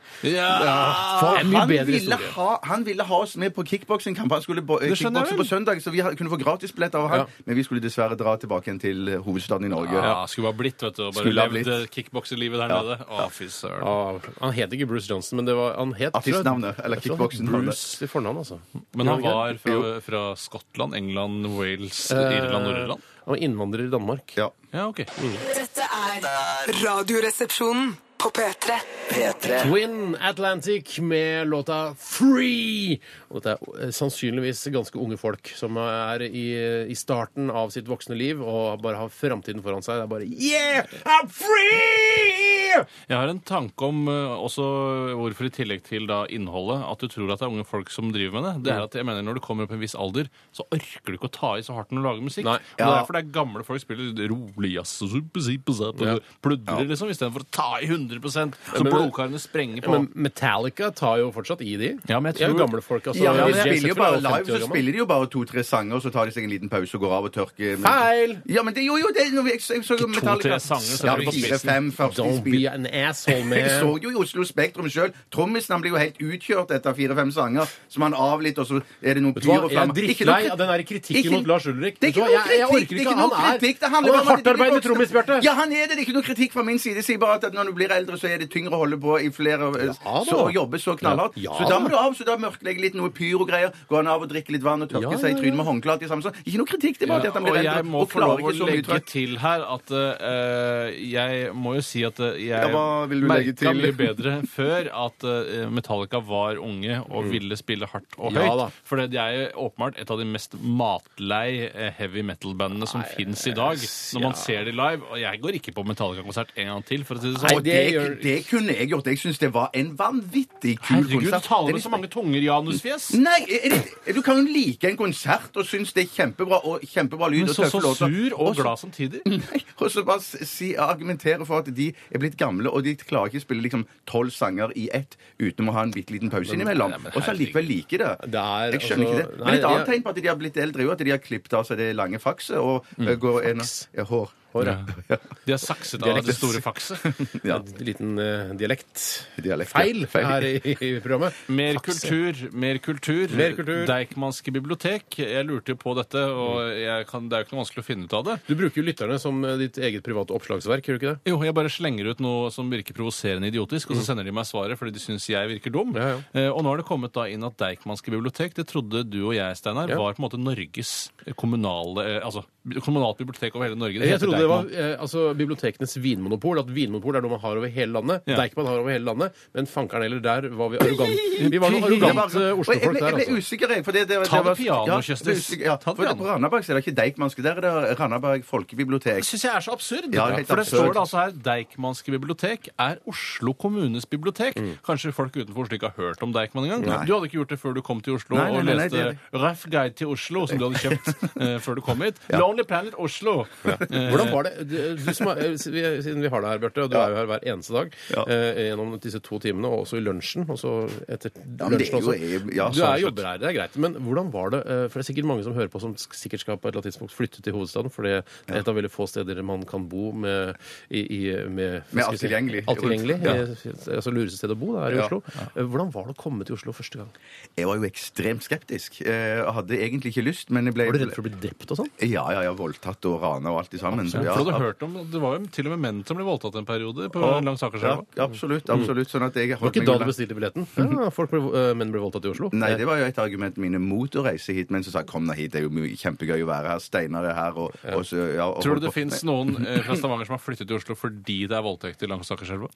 [SPEAKER 5] Ja.
[SPEAKER 3] Faen,
[SPEAKER 5] En
[SPEAKER 3] mye
[SPEAKER 4] Han
[SPEAKER 3] bedre
[SPEAKER 4] ville,
[SPEAKER 3] historie.
[SPEAKER 4] ha, han ville ha oss med på kickboksingkamp. Han skulle bo-
[SPEAKER 5] skjønner
[SPEAKER 4] kickbokse
[SPEAKER 5] jeg
[SPEAKER 4] på
[SPEAKER 5] vel.
[SPEAKER 4] søndag, så vi ha- kunne få gratisbilletter av han.
[SPEAKER 3] Ja.
[SPEAKER 4] Men vi skulle dessverre dra tilbake igjen til eh, hovedstaden i Norge.
[SPEAKER 5] Ja, skulle bare blitt, vet du. Og bare
[SPEAKER 4] Skulle ha
[SPEAKER 5] levd
[SPEAKER 4] blitt.
[SPEAKER 5] eh, kickbokserlivet der nede. Å, fy søren.
[SPEAKER 3] Ja, han het ikke Bruce Johnson, men det var han het
[SPEAKER 4] Artistnavnet, eller
[SPEAKER 3] Jeg tror
[SPEAKER 4] kickboksen.
[SPEAKER 3] han het Bruce til fornavn, altså.
[SPEAKER 5] Men han
[SPEAKER 3] Gjorde han
[SPEAKER 5] var fra, fra Skottland, England, Wales,
[SPEAKER 4] Eh,
[SPEAKER 5] Irland, Nord-Irland?
[SPEAKER 3] Eh, Han var innvandrer i Danmark.
[SPEAKER 4] Ja.
[SPEAKER 5] Ja, OK.
[SPEAKER 7] Dette er
[SPEAKER 2] er
[SPEAKER 7] Radioresepsjonen på P3.
[SPEAKER 2] P3
[SPEAKER 3] Twin Atlantic med låta Free! Og dette er eh, sannsynligvis ganske unge folk som er i, i starten av sitt voksne liv og bare har framtiden foran seg. Det er bare Yeah! I'm free!
[SPEAKER 5] Jeg har en tanke om eh, også hvorfor i tillegg til da innholdet at du tror at det er unge folk som driver med det. Det
[SPEAKER 3] Mm.
[SPEAKER 5] er at jeg mener Når du kommer opp i en viss alder, så orker du ikke å ta i så hardt når du lager musikk.
[SPEAKER 3] Nei.
[SPEAKER 5] Og Det er derfor det er gamle folk spiller rolig jazz og zup, zip, zap,
[SPEAKER 3] Ja.
[SPEAKER 5] og pludrer liksom, istedenfor å ta i 100 så
[SPEAKER 3] men-
[SPEAKER 5] blodkarene sprenger på.
[SPEAKER 3] Men Metallica tar jo fortsatt i, de.
[SPEAKER 5] Ja, men jeg
[SPEAKER 3] De er jo
[SPEAKER 5] tror-
[SPEAKER 3] gamle folk. Altså,
[SPEAKER 4] Ja, men
[SPEAKER 3] James
[SPEAKER 4] de spiller jo
[SPEAKER 3] Hetfield
[SPEAKER 4] bare
[SPEAKER 3] er jo 50
[SPEAKER 4] live,
[SPEAKER 3] år
[SPEAKER 4] så
[SPEAKER 3] gammel.
[SPEAKER 4] spiller de jo bare to-tre sanger, og så tar de seg en liten pause og går av og tørker men-
[SPEAKER 3] Feil!
[SPEAKER 4] Ja, men det, jo, jo, det er noe jeg, jeg, så jo Metallica
[SPEAKER 5] to-tre sanger, så
[SPEAKER 4] Ja,
[SPEAKER 5] er det på
[SPEAKER 4] fire, fem, første
[SPEAKER 3] Don't
[SPEAKER 4] spill.
[SPEAKER 3] be an asshole, man.
[SPEAKER 4] Jeg så jo i Oslo Spektrum sjøl. Trommisen han blir jo helt utkjørt etter fire-fem sanger. Så man av litt, og så er det noe
[SPEAKER 3] Vet du hva?
[SPEAKER 4] pyr og
[SPEAKER 3] Jeg er drittlei av den der kritikken
[SPEAKER 4] Ikke-
[SPEAKER 3] mot Lars Ulrik. Vet
[SPEAKER 4] Det er
[SPEAKER 3] du
[SPEAKER 4] ikke
[SPEAKER 3] hva?
[SPEAKER 4] noe
[SPEAKER 3] Jeg- jeg orker
[SPEAKER 4] kritikk. Det
[SPEAKER 3] ikke.
[SPEAKER 4] er ikke noe
[SPEAKER 3] Han er-
[SPEAKER 4] kritikk. Det
[SPEAKER 3] han er
[SPEAKER 4] handler bare om at det er
[SPEAKER 3] hardtarbeidende
[SPEAKER 4] de voksne-
[SPEAKER 3] trommis, Bjarte.
[SPEAKER 4] Ja, han er det. Det er ikke noe kritikk fra min side. Jeg sier bare at når du blir eldre, så er det tyngre å holde på i flere
[SPEAKER 3] da.
[SPEAKER 4] Så å jobbe så knallhardt.
[SPEAKER 3] Ja,
[SPEAKER 4] Så
[SPEAKER 3] da.
[SPEAKER 4] da må du av. Så da mørklegge litt noe pyr og greier. Går han av og drikker litt vann og
[SPEAKER 3] Ja,
[SPEAKER 4] tørker
[SPEAKER 3] ja,
[SPEAKER 4] seg i trynet
[SPEAKER 3] ja.
[SPEAKER 4] med håndkleet. i samme sånn. Ikke noe kritikk. Det er bare det at han blir
[SPEAKER 5] og jeg
[SPEAKER 4] eldre
[SPEAKER 5] må
[SPEAKER 4] og
[SPEAKER 5] få
[SPEAKER 4] klarer
[SPEAKER 5] lov å
[SPEAKER 4] ikke så mye
[SPEAKER 5] legge
[SPEAKER 4] trøkk.
[SPEAKER 5] til her at eh, jeg må jo si at eh, jeg
[SPEAKER 4] Ja, hva vil du legge
[SPEAKER 5] merka
[SPEAKER 4] til?
[SPEAKER 5] mye bedre før at eh, Metallica var unge
[SPEAKER 4] Mm.
[SPEAKER 5] og ville spille hardt og
[SPEAKER 3] Ja,
[SPEAKER 5] høyt.
[SPEAKER 3] da.
[SPEAKER 5] for de er jo åpenbart et av de mest matlei eh, heavy metal-bandene som fins i dag. Når man ser de live. Og jeg går ikke på Metallica-konsert en gang til, for å si det
[SPEAKER 3] Nei,
[SPEAKER 5] sånn.
[SPEAKER 4] Og
[SPEAKER 3] det
[SPEAKER 4] det,
[SPEAKER 3] gjør-
[SPEAKER 4] det kunne jeg gjort. Jeg syns det var en vanvittig kul
[SPEAKER 5] Herregud, du
[SPEAKER 4] konsert.
[SPEAKER 5] taler
[SPEAKER 4] Det er Mm.
[SPEAKER 5] med så mange tunger, Janusfjes!
[SPEAKER 4] Nei, er det, du kan jo like en konsert og synes det er kjempebra og kjempebra lyd
[SPEAKER 5] Men
[SPEAKER 4] og
[SPEAKER 5] så,
[SPEAKER 4] tøffe
[SPEAKER 5] så
[SPEAKER 4] låter.
[SPEAKER 5] sur og
[SPEAKER 4] så-
[SPEAKER 5] glad samtidig.
[SPEAKER 4] Nei, og så bare si, argumentere for at de er blitt gamle, og de klarer ikke å spille liksom tolv sanger i ett uten å ha en bitte liten pause innimellom.
[SPEAKER 5] nei, men
[SPEAKER 4] Og så allikevel liker det.
[SPEAKER 3] Det er,
[SPEAKER 4] jeg skjønner
[SPEAKER 3] altså,
[SPEAKER 4] ikke det. Men
[SPEAKER 3] nei,
[SPEAKER 4] et annet
[SPEAKER 3] jeg-
[SPEAKER 4] tegn på at de har blitt eldre, er jo at de har klippet av seg det lange fakset og
[SPEAKER 5] Mm.
[SPEAKER 4] eh, går en, ja, hår.
[SPEAKER 3] Hår, ja.
[SPEAKER 5] De er sakset
[SPEAKER 3] er
[SPEAKER 5] av
[SPEAKER 3] riktig.
[SPEAKER 5] det store fakset.
[SPEAKER 4] Ja.
[SPEAKER 3] En liten eh, dialekt.
[SPEAKER 4] Dialekt, ja.
[SPEAKER 3] Feil,
[SPEAKER 4] Feil.
[SPEAKER 3] her i, i programmet.
[SPEAKER 5] Mer
[SPEAKER 3] Faks, ja.
[SPEAKER 5] kultur, mer kultur.
[SPEAKER 3] Mer kultur.
[SPEAKER 5] Deichmanske bibliotek. Jeg lurte jo på dette, og jeg kan, det er jo ikke noe vanskelig å finne ut av det.
[SPEAKER 3] Du bruker jo lytterne som eh, ditt eget private oppslagsverk, gjør du ikke det?
[SPEAKER 5] Jo, jeg bare slenger ut noe som virker provoserende idiotisk, og så sender de meg svaret fordi de syns jeg virker dum.
[SPEAKER 3] Mm. Ja,
[SPEAKER 5] Eh, og nå har det kommet da inn at Deichmanske bibliotek, det trodde du og jeg, Steinar,
[SPEAKER 3] Ja.
[SPEAKER 5] var på en måte Norges kommunale eh, Altså kommunalt bibliotek over hele Norge.
[SPEAKER 3] Jeg
[SPEAKER 5] heter
[SPEAKER 3] trodde det var
[SPEAKER 5] Deichman.
[SPEAKER 3] eh, altså, bibliotekenes vinmonopol, at vinmonopol er noe man har over hele landet.
[SPEAKER 5] Ja.
[SPEAKER 3] Deichman har over hele landet, men fankeren heller der var vi arrogante. Vi var noen
[SPEAKER 4] Jeg var-
[SPEAKER 3] arrogante
[SPEAKER 4] og jeg
[SPEAKER 3] Oslo-folk
[SPEAKER 4] ble-
[SPEAKER 3] der,
[SPEAKER 4] Jeg ble
[SPEAKER 3] altså.
[SPEAKER 4] usikker, jeg. For det, det, var-
[SPEAKER 5] Ta
[SPEAKER 4] det
[SPEAKER 5] det
[SPEAKER 4] var,
[SPEAKER 5] piano,
[SPEAKER 4] ja,
[SPEAKER 5] Kjøstheim.
[SPEAKER 4] ble usikker, Ja,
[SPEAKER 5] Ta det
[SPEAKER 4] for det-
[SPEAKER 5] piano.
[SPEAKER 4] på Randaberg så er det ikke Deichmanske, der er det Randaberg folkebibliotek.
[SPEAKER 5] Det
[SPEAKER 3] Altså-
[SPEAKER 5] syns jeg er så absurd.
[SPEAKER 4] Ja, det er helt
[SPEAKER 5] for det
[SPEAKER 4] absurd.
[SPEAKER 5] står det altså her Deichmanske bibliotek er Oslo kommunes bibliotek.
[SPEAKER 4] Mm.
[SPEAKER 5] Kanskje folk utenfor Oslo ikke har hørt om Deichman engang. Du hadde ikke gjort det før du kom til Oslo
[SPEAKER 4] Nei, nei, nei, nei,
[SPEAKER 5] og leste
[SPEAKER 4] det-
[SPEAKER 5] Rough Guide til Oslo, som du hadde kjøpt eh, før du kom hit. Lonely Planet Oslo. Eh,
[SPEAKER 3] Hvordan var det? Du, du som er, eh, s- vi, siden vi har deg her, Bjarte, og du er jo her hver eneste dag eh, gjennom disse to timene, og også i lunsjen, og så etter
[SPEAKER 4] Ja, men det
[SPEAKER 3] lunsjen
[SPEAKER 4] er jo-
[SPEAKER 3] også.
[SPEAKER 4] jeg- ja,
[SPEAKER 3] Du er
[SPEAKER 4] sånn
[SPEAKER 3] jobber her, det er greit. Men hvordan var det eh, For det er sikkert mange som hører på, som sk- sikkert skal på et eller annet tidspunkt flytte til hovedstaden, for det er et av veldig få steder man kan bo med, i, i, med, hva
[SPEAKER 4] Med
[SPEAKER 3] skal vi si,
[SPEAKER 4] alt tilgjengelig.
[SPEAKER 3] Alt tilgjengelig.
[SPEAKER 4] Ja.
[SPEAKER 3] eh, Altså lureste sted å bo, det er i
[SPEAKER 4] Ja.
[SPEAKER 3] Oslo. Eh, Hvordan var det å komme til Oslo første gang?
[SPEAKER 4] Jeg var jo ekstremt skeptisk. eh, og hadde egentlig ikke lyst, men jeg ble
[SPEAKER 3] Var du redd for å bli drept og sånn?
[SPEAKER 4] Ja, ja, ja. Voldtatt og rana og alt det sammen.
[SPEAKER 5] Ja,
[SPEAKER 4] ja,
[SPEAKER 5] for du hadde hørt om, Det var jo til og med menn som ble voldtatt en periode på langs
[SPEAKER 4] ja,
[SPEAKER 5] Akerselva.
[SPEAKER 4] absolutt. absolutt sånn at jeg
[SPEAKER 3] Mm. Det var ikke da du bestilte billetten? Ja, folk ble, eh, menn ble voldtatt i Oslo.
[SPEAKER 4] Mhm. Nei, det var jo et argument mine mot å reise hit, men så sa jeg, kom deg hit, det er jo mye- kjempegøy å være her. Steinar er her, og, og så ja, og
[SPEAKER 5] Tror
[SPEAKER 4] holdt
[SPEAKER 5] du det
[SPEAKER 4] på-
[SPEAKER 5] fins noen eh, fra Stavanger som har flyttet til Oslo fordi det er voldtekter langs Akerselva?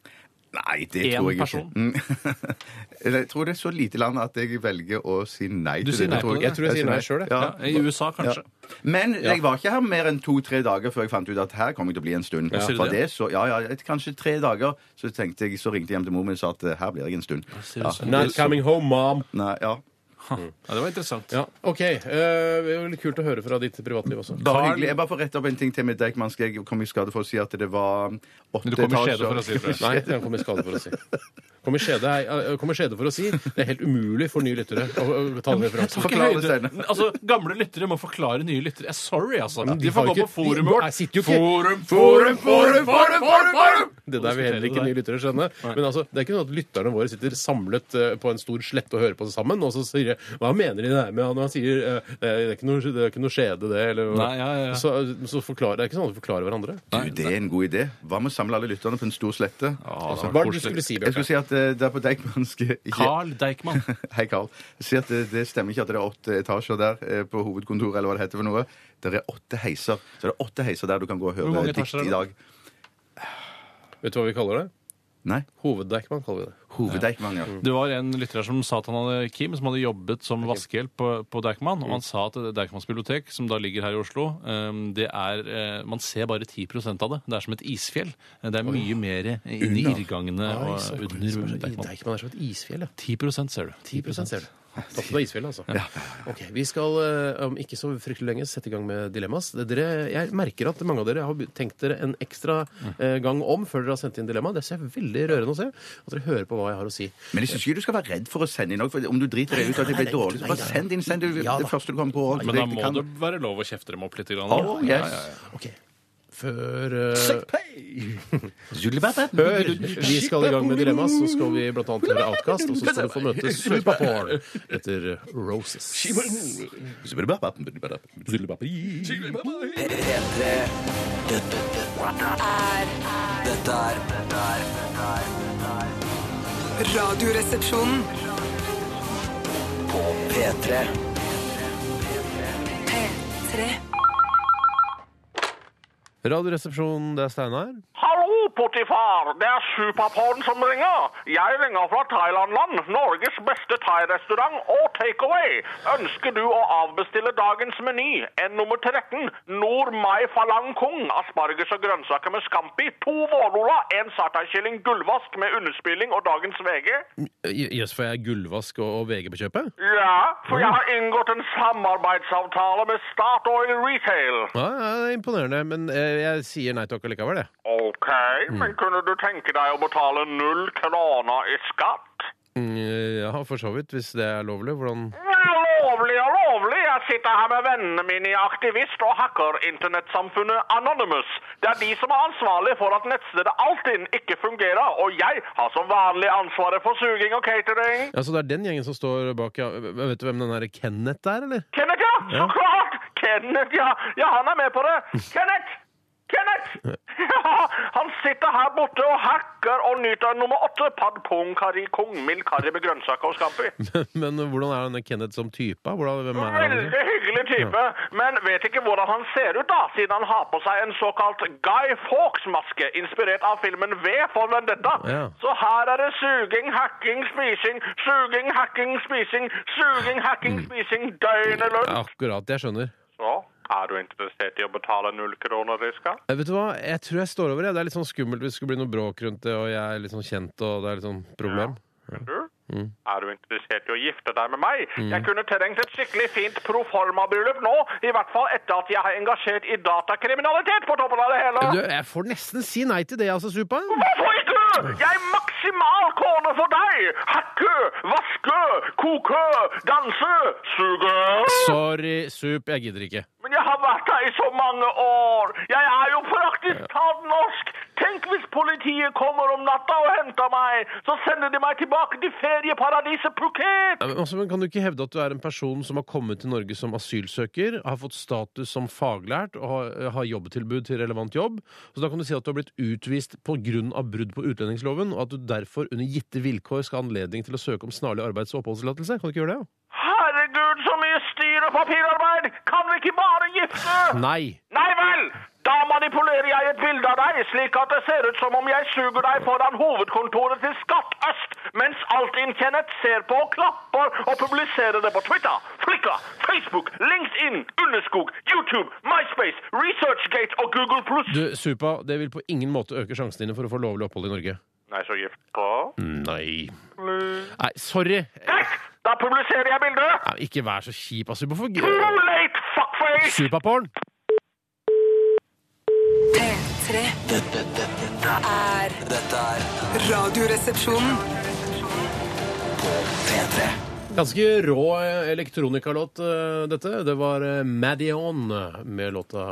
[SPEAKER 4] Nei, det
[SPEAKER 5] Én
[SPEAKER 4] tror jeg
[SPEAKER 5] person?
[SPEAKER 4] ikke. Mm. Eller, Jeg tror det er så lite land at jeg velger å si nei
[SPEAKER 5] Du
[SPEAKER 4] til
[SPEAKER 5] sier
[SPEAKER 4] det.
[SPEAKER 5] nei på det?
[SPEAKER 3] Jeg tror jeg sier nei sjøl, jeg.
[SPEAKER 5] Ja, I USA, kanskje.
[SPEAKER 4] Men jeg var ikke her mer enn to-tre dager før jeg fant ut at her kommer jeg til å bli en stund.
[SPEAKER 5] sier du
[SPEAKER 4] For
[SPEAKER 5] det?
[SPEAKER 4] det så, ja, ja, et- kanskje tre dager, så tenkte jeg, så ringte jeg hjem til mor min og sa at eh, her blir jeg en stund.
[SPEAKER 5] sier du
[SPEAKER 4] Ja.
[SPEAKER 5] sånn?
[SPEAKER 3] Not coming home, mom.
[SPEAKER 4] Nei, ja.
[SPEAKER 5] Ja, det var interessant.
[SPEAKER 3] Ja, OK. eh, det er vel kult å høre fra ditt privatliv også.
[SPEAKER 4] Bare
[SPEAKER 5] Carl-
[SPEAKER 4] hyggelig. Jeg bare får rette opp en ting til med Deichman. Skal jeg komme i skade for å si at det var åtte
[SPEAKER 5] Du kom i skjede for å si det.
[SPEAKER 3] Nei, han kom i skade for å si. Kom i skjede, er- eh, kom i skjede for å si. Det er helt umulig for nye lyttere å, å ta den referansen.
[SPEAKER 5] Ikke
[SPEAKER 4] Forklare
[SPEAKER 5] høyde-
[SPEAKER 4] det, Steinar.
[SPEAKER 5] altså, gamle lyttere må forklare nye lyttere. Jeg er sorry, altså.
[SPEAKER 3] Men
[SPEAKER 5] de får
[SPEAKER 3] har
[SPEAKER 5] gå
[SPEAKER 3] jo
[SPEAKER 5] på
[SPEAKER 3] ikke-
[SPEAKER 5] forumet
[SPEAKER 3] de-
[SPEAKER 5] vårt.
[SPEAKER 3] Nei, sitter jo ikke-
[SPEAKER 5] Forum,
[SPEAKER 3] Forum,
[SPEAKER 5] forum,
[SPEAKER 3] forum,
[SPEAKER 5] forum,
[SPEAKER 3] forum, forum, forum! Det der
[SPEAKER 5] Diskutere
[SPEAKER 3] vil heller ikke
[SPEAKER 5] det der.
[SPEAKER 3] nye lyttere skjønne. Men altså, det er ikke sånn at lytterne våre sitter samlet eh, på en stor slette og hører på sammen, og så sier de Hva mener de der med han?» Og han sier eh, Det er ikke noe, det er ikke noe skjede, det, eller hva?»
[SPEAKER 5] Nei, ja, ja, ja.
[SPEAKER 3] Så, så forklarer, det er ikke sånn at de forklarer hverandre.
[SPEAKER 4] Du, det er en god idé. Hva med å samle alle lytterne på en stor slette?
[SPEAKER 3] Hva var det du skulle si,
[SPEAKER 4] Jeg
[SPEAKER 3] Bjarte?
[SPEAKER 4] skulle si at eh, det er på Deichmanske
[SPEAKER 5] Carl Deichman.
[SPEAKER 4] Hei, Carl. Si at eh, det, det stemmer ikke at det er åtte etasjer der eh, på hovedkontoret, eller hva det heter for noe. Det er åtte heiser. Så det er åtte heiser der du kan gå og
[SPEAKER 5] Hvor mange
[SPEAKER 4] høre dikt
[SPEAKER 5] etasjer er det?
[SPEAKER 4] i dag.
[SPEAKER 3] Vet du hva vi kaller det?
[SPEAKER 4] Nei.
[SPEAKER 3] Hoveddeichman kaller vi det.
[SPEAKER 4] Hoveddeichmann, ja.
[SPEAKER 5] Det var en lytter her som sa at han hadde Kim, som hadde jobbet som vaskehjelp på, på Deichman.
[SPEAKER 3] Mm.
[SPEAKER 5] Og han sa at Deichmans bibliotek, som da ligger her i Oslo, eh, det er eh, Man ser bare 10 av det. Det er som et isfjell. Det er mye mer inni
[SPEAKER 4] Under.
[SPEAKER 5] irrgangene
[SPEAKER 3] Oi,
[SPEAKER 5] og
[SPEAKER 3] så-
[SPEAKER 5] under Deichman.
[SPEAKER 3] Deichman er som et isfjell, ja.
[SPEAKER 5] 10 ser du.
[SPEAKER 3] 10 ser du. Toppen av isfjellet, altså. Ok, Vi skal eh, om ikke så fryktelig lenge sette i gang med dilemmas. Dere, jeg merker at mange av dere har be- tenkt dere en ekstra eh, gang om før dere har sendt inn dilemma. Det ser veldig rørende å se. At dere hører på hva jeg har å si.
[SPEAKER 4] Men jeg syns ikke du skal være redd for å sende inn òg. Om du driter deg ut at det blir dårlig, så bare send inn. Send det,
[SPEAKER 3] Ja, da.
[SPEAKER 4] det første du kommer på.
[SPEAKER 5] Men da må det være lov å kjefte dem opp litt. Grann, da.
[SPEAKER 4] Oh, yes.
[SPEAKER 3] Ok, Før eh, Før vi skal i gang med dilemmas, så skal vi blant annet høre Outcast, og så skal du få møte Superporn etter Roses.
[SPEAKER 2] P3 Dette, dette,
[SPEAKER 7] er
[SPEAKER 2] dette er dette er- dette er
[SPEAKER 7] Radioresepsjonen.
[SPEAKER 2] På P3
[SPEAKER 7] P3.
[SPEAKER 3] Radioresepsjonen, det er Steinar.
[SPEAKER 8] Hallo, Potifar! Det er Superporn som ringer. Jeg ringer fra Thailandland, Norges beste thai-restaurant og takeaway. Ønsker du å avbestille dagens meny? En nummer 13, Nord Mai Falang Kung, asparges og grønnsaker med scampi, to vårruller, en sartaikylling gullvask med underspilling og dagens VG?
[SPEAKER 3] Jøss, får jeg gullvask og og VG på kjøpet?
[SPEAKER 8] Ja, for jeg har inngått en samarbeidsavtale med Statoil Retail.
[SPEAKER 3] Ja, ja, det er imponerende, men eh, jeg sier nei takk allikevel, jeg.
[SPEAKER 8] Ok, men kunne du tenke deg å betale null kroner i skatt?
[SPEAKER 3] Mm, Ja, for så vidt, hvis det er lovlig. Hvordan
[SPEAKER 8] Ja, lovlig og lovlig. Jeg sitter her med vennene mine i Aktivist og hacker internettsamfunnet Anonymous. Det er de som er ansvarlige for at nettstedet Altinn ikke fungerer, og jeg har som vanlig ansvaret for suging og catering.
[SPEAKER 3] Ja, Så det er den gjengen som står bak, ja. Vet du hvem den der Kenneth er, eller?
[SPEAKER 8] Kenneth, ja! Så klart! Kenneth, ja! Ja, han er med på det. Kenneth! Kenneth! Ja, han sitter her borte og hacker og nyter nummer åtte. Pad pung kari kung, mild karri med grønnsaker og scampi.
[SPEAKER 3] Men hvordan er denne Kenneth som type? Hvordan, hvem er han? liksom?
[SPEAKER 8] Veldig hyggelig type, men vet ikke hvordan han ser ut, da, siden han har på seg en såkalt Guy Fawkes-maske, inspirert av filmen V for Vendetta.
[SPEAKER 3] Ja.
[SPEAKER 8] Så her er det suging, hacking, spising, suging, hacking, spising, suging, hacking, spising,
[SPEAKER 3] Mm.
[SPEAKER 8] døgnet
[SPEAKER 3] Ja,
[SPEAKER 8] rundt.
[SPEAKER 3] akkurat, jeg skjønner.
[SPEAKER 8] Så er du interessert i å betale null kroner i skatt?
[SPEAKER 3] Eh, Vet du hva, jeg tror jeg står over, jeg. Det er litt sånn skummelt hvis det skulle bli noe bråk rundt det, og jeg er litt sånn kjent, og det er litt sånn problem.
[SPEAKER 8] Du?
[SPEAKER 3] Mm.
[SPEAKER 8] Er du interessert i å gifte deg med meg? Jeg kunne trengt et skikkelig fint proforma-bryllup nå, i hvert fall etter at jeg har engasjert i datakriminalitet på toppen av det hele.
[SPEAKER 3] Du, jeg får nesten si nei til det, altså, Supa.
[SPEAKER 8] Hvorfor ikke? Jeg er maksimal kone for deg! Hakke, vaske, koke, danse, suge.
[SPEAKER 3] Sorry, Sup, jeg gidder ikke.
[SPEAKER 8] Men jeg har vært her i så mange år. Jeg er jo praktisk talt norsk. Tenk hvis politiet kommer om natta og henter meg. Så sender de meg tilbake til ferieparadiset Phuket.
[SPEAKER 3] Ja, Men, altså, men kan du ikke hevde at du er en person som har kommet til Norge som asylsøker, har fått status som faglært og har, har jobbtilbud til relevant jobb? Så da kan du si at du har blitt utvist pga. brudd på utlendingsloven, og at du derfor under gitte vilkår skal ha anledning til å søke om snarlig arbeids- og oppholdstillatelse? Kan du ikke gjøre det? Ja?
[SPEAKER 8] Herregud, så mye styr og papirarbeid! Kan vi ikke bare gifte?
[SPEAKER 3] Nei!
[SPEAKER 8] Nei vel! Da manipulerer jeg et bilde av deg, slik at det ser ut som om jeg suger deg foran hovedkontoret til Skatt Øst mens Altinn-Kenneth ser på og klapper og publiserer det på Twitter, Flickr, Facebook, LinkedIn, Underskog, YouTube, MySpace, ResearchGate og Google+.
[SPEAKER 3] Du, Supa, det vil på ingen måte øke sjansene dine for å få lovlig opphold i Norge.
[SPEAKER 8] Nei, så gift på.
[SPEAKER 3] Nei. Nei, sorry.
[SPEAKER 8] Greit, da publiserer jeg bildet.
[SPEAKER 3] Nei, ikke vær så kjip, altså. Hvorfor
[SPEAKER 8] Too late, fuckface!
[SPEAKER 3] Supaporn?
[SPEAKER 7] P3
[SPEAKER 2] Dette, dette, dette,
[SPEAKER 7] er
[SPEAKER 2] dette er
[SPEAKER 7] radioresepsjonen.
[SPEAKER 2] P3.
[SPEAKER 3] Ganske rå eh, elektronikalåt, eh, dette. Det var eh, Madion med låta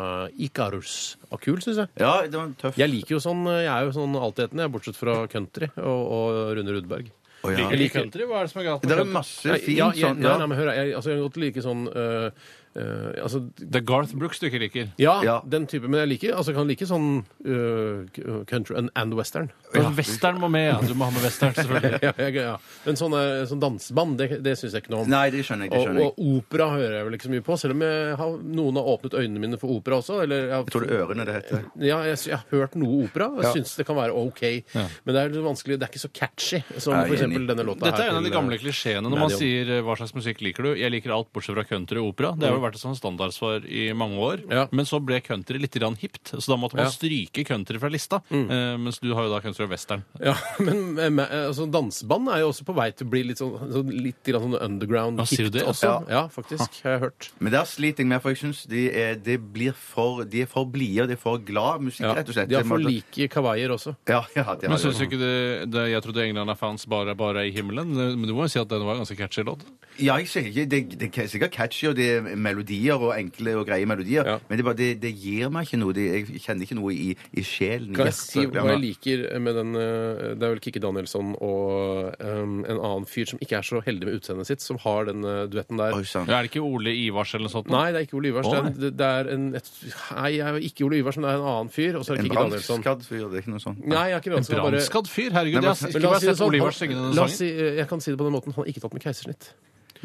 [SPEAKER 3] Icarus. Og kul, syns jeg.
[SPEAKER 4] Ja, det var en tøff
[SPEAKER 3] Jeg liker jo sånn, eh, jeg er jo sånn altetende, jeg, bortsett fra country og, og Rune Rudberg.
[SPEAKER 4] Å, ja.
[SPEAKER 3] Jeg liker
[SPEAKER 5] Country, hva er det som er galt
[SPEAKER 4] Det
[SPEAKER 5] med
[SPEAKER 4] er
[SPEAKER 5] country?
[SPEAKER 4] masse fint
[SPEAKER 3] ja, jeg,
[SPEAKER 4] sånn
[SPEAKER 3] nei,
[SPEAKER 4] ja.
[SPEAKER 3] nei, men hør, jeg, altså, jeg kan godt like sånn eh, eh, altså,
[SPEAKER 5] Det er Garth Brooks du ikke liker.
[SPEAKER 3] ja,
[SPEAKER 4] Ja.
[SPEAKER 3] den type, men jeg liker altså, jeg kan like sånn eh, country and, and western.
[SPEAKER 5] Men Altså, Western må med, ja. Du må ha med western, selvfølgelig.
[SPEAKER 3] ja, jeg, ja. Men sånn, eh, sånn danseband, det, det syns jeg ikke noe om.
[SPEAKER 4] Nei, det skjønner jeg. Det
[SPEAKER 3] Og,
[SPEAKER 4] skjønner jeg.
[SPEAKER 3] og opera hører jeg vel ikke så mye på, selv om jeg har, noen har åpnet øynene mine for opera også. Eller jeg, har-
[SPEAKER 4] Jeg tror det er ørene det heter.
[SPEAKER 3] ja, jeg, sy- jeg har hørt noe opera og
[SPEAKER 4] Ja.
[SPEAKER 3] syns det kan være OK. Men det er litt vanskelig, det er ikke så catchy som
[SPEAKER 4] Nei,
[SPEAKER 3] for eksempel
[SPEAKER 4] enig.
[SPEAKER 3] denne låta
[SPEAKER 5] Dette er
[SPEAKER 3] her
[SPEAKER 5] en av de
[SPEAKER 3] til,
[SPEAKER 5] gamle
[SPEAKER 3] eh,
[SPEAKER 5] klisjeene når
[SPEAKER 3] Nei,
[SPEAKER 5] man
[SPEAKER 3] det-
[SPEAKER 5] sier eh, 'hva slags musikk liker du'? Jeg liker alt bortsett fra country og opera. Det har jo vært et sånn standardsvar i mange år.
[SPEAKER 3] Mm. Ja.
[SPEAKER 5] Men så ble country litt grann hipt, så da måtte man
[SPEAKER 3] Ja. Mm.
[SPEAKER 5] stryke country fra lista. Eh, mens du har jo da country og western.
[SPEAKER 3] Ja, men eh, me- eh, altså, danseband er jo også på vei til å bli litt sånn, sånn, litt grann sånn underground
[SPEAKER 5] Ja, sier du
[SPEAKER 3] hit
[SPEAKER 5] det?
[SPEAKER 3] også. Ja, faktisk, har jeg hørt.
[SPEAKER 4] Men der sliter jeg med, for jeg syns de, er- de, blir for- de er for blide, og de er for glad musikk,
[SPEAKER 3] Ja.
[SPEAKER 4] rett og slett.
[SPEAKER 3] De har for like kawaiier også.
[SPEAKER 4] Ja, ja, de
[SPEAKER 5] Men
[SPEAKER 4] har
[SPEAKER 5] synes
[SPEAKER 4] det.
[SPEAKER 5] du ikke det, det Jeg trodde England er fans bare, bare i himmelen. Eh, Men du må jo si at den var en ganske catchy låt.
[SPEAKER 4] Ja, jeg sier ikke, det, det er sikkert catchy, og det er melodier og enkle og greie melodier,
[SPEAKER 3] Ja.
[SPEAKER 4] men det, er bare, det, det gir meg ikke noe. Det, jeg kjenner ikke noe i, i sjelen. i
[SPEAKER 3] Kan jeg
[SPEAKER 4] hjertet.
[SPEAKER 3] si
[SPEAKER 4] Ja,
[SPEAKER 3] hva jeg liker med den eh, Det er vel Kikki Danielsson og eh, en annen fyr som ikke er så heldig med utseendet sitt, som har den eh, duetten der.
[SPEAKER 4] Oi, sann.
[SPEAKER 5] Er det ikke Ole Ivars eller noe sånt?
[SPEAKER 3] Nei, det er ikke Ole Ivars.
[SPEAKER 5] Å,
[SPEAKER 3] det, er, det- det er en et, Nei, jeg er jo ikke Ole Ivars, men det er en annen fyr. Og så er det
[SPEAKER 4] En
[SPEAKER 3] Kikki Danielsson.
[SPEAKER 4] brannskadd fyr, det er ikke noe sånt.
[SPEAKER 3] Nei, jeg er ikke
[SPEAKER 5] En
[SPEAKER 3] brannskadd. Bare...
[SPEAKER 5] brannskadd fyr? Herregud,
[SPEAKER 4] Nei, men-
[SPEAKER 5] jeg har
[SPEAKER 3] Men
[SPEAKER 5] ikke
[SPEAKER 3] la
[SPEAKER 5] bare
[SPEAKER 3] oss si det
[SPEAKER 5] sett
[SPEAKER 3] sånn,
[SPEAKER 5] Ole Ivars synge
[SPEAKER 3] han-
[SPEAKER 5] denne
[SPEAKER 3] la oss si,
[SPEAKER 5] sangen.
[SPEAKER 3] eh, jeg kan si det på den måten. Han har ikke tatt med keisersnitt.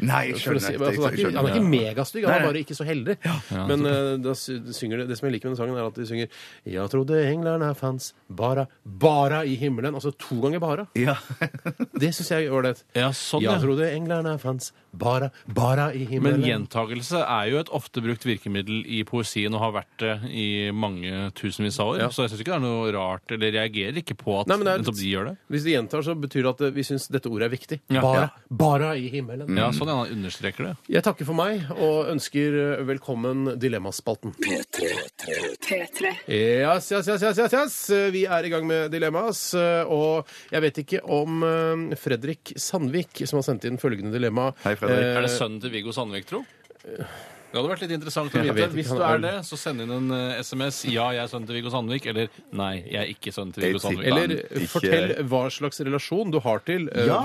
[SPEAKER 4] Nei, jeg
[SPEAKER 3] For å
[SPEAKER 4] skjønner.
[SPEAKER 3] si, altså, han,
[SPEAKER 4] det,
[SPEAKER 3] er
[SPEAKER 4] jeg
[SPEAKER 3] ikke, han er
[SPEAKER 4] skjønner.
[SPEAKER 3] ikke megastygg, han
[SPEAKER 4] Nei,
[SPEAKER 3] er
[SPEAKER 4] nei.
[SPEAKER 3] bare ikke så heldig. Men eh, da sy- synger det, det som jeg liker med den sangen, er at de synger Jeg trodde englerne fantes bara, bara i himmelen. Altså to ganger bara.
[SPEAKER 4] Ja.
[SPEAKER 3] Det syns jeg er ålreit.
[SPEAKER 5] Ja, sånn,
[SPEAKER 3] Jeg
[SPEAKER 5] ja.
[SPEAKER 3] trodde englerne fantes bara, bara i himmelen.
[SPEAKER 5] Men gjentagelse er jo et ofte brukt virkemiddel i poesien og har vært det i mange tusenvis av år.
[SPEAKER 3] Ja.
[SPEAKER 5] Så jeg syns ikke det er noe rart, eller reagerer ikke på at
[SPEAKER 3] Nei, men det er
[SPEAKER 5] nettopp de gjør det.
[SPEAKER 3] Hvis de gjentar, så betyr det at eh, vi syns dette ordet er viktig.
[SPEAKER 5] Ja.
[SPEAKER 3] Bara,
[SPEAKER 5] Ja.
[SPEAKER 3] bara i himmelen.
[SPEAKER 5] Ja, sånn ja, han understreker det.
[SPEAKER 3] Jeg takker for meg og ønsker eh, velkommen Dilemmaspalten.
[SPEAKER 7] P3.
[SPEAKER 3] Yes, yes, yes, yes, yes, yes. Vi er i gang med dilemmas, eh, og jeg vet ikke om eh, Fredrik Sandvik, som har sendt inn følgende dilemma
[SPEAKER 4] Hei, Fredrik.
[SPEAKER 3] Eh,
[SPEAKER 5] Er det sønnen til Viggo Sandvik, tro? Det hadde vært litt interessant å
[SPEAKER 3] Jeg
[SPEAKER 5] vite.
[SPEAKER 3] vet ikke,
[SPEAKER 5] Hvis
[SPEAKER 3] han
[SPEAKER 5] du
[SPEAKER 3] er
[SPEAKER 5] er
[SPEAKER 3] vel-
[SPEAKER 5] det, så send inn en eh, SMS 'Ja, jeg er sønnen til Viggo Sandvik', eller 'Nei, jeg er ikke sønnen til Viggo
[SPEAKER 4] Jeg tipper-
[SPEAKER 5] Sandvik'.
[SPEAKER 3] Eller
[SPEAKER 4] Ikke-
[SPEAKER 3] fortell hva slags relasjon du har til eh,
[SPEAKER 4] Ja.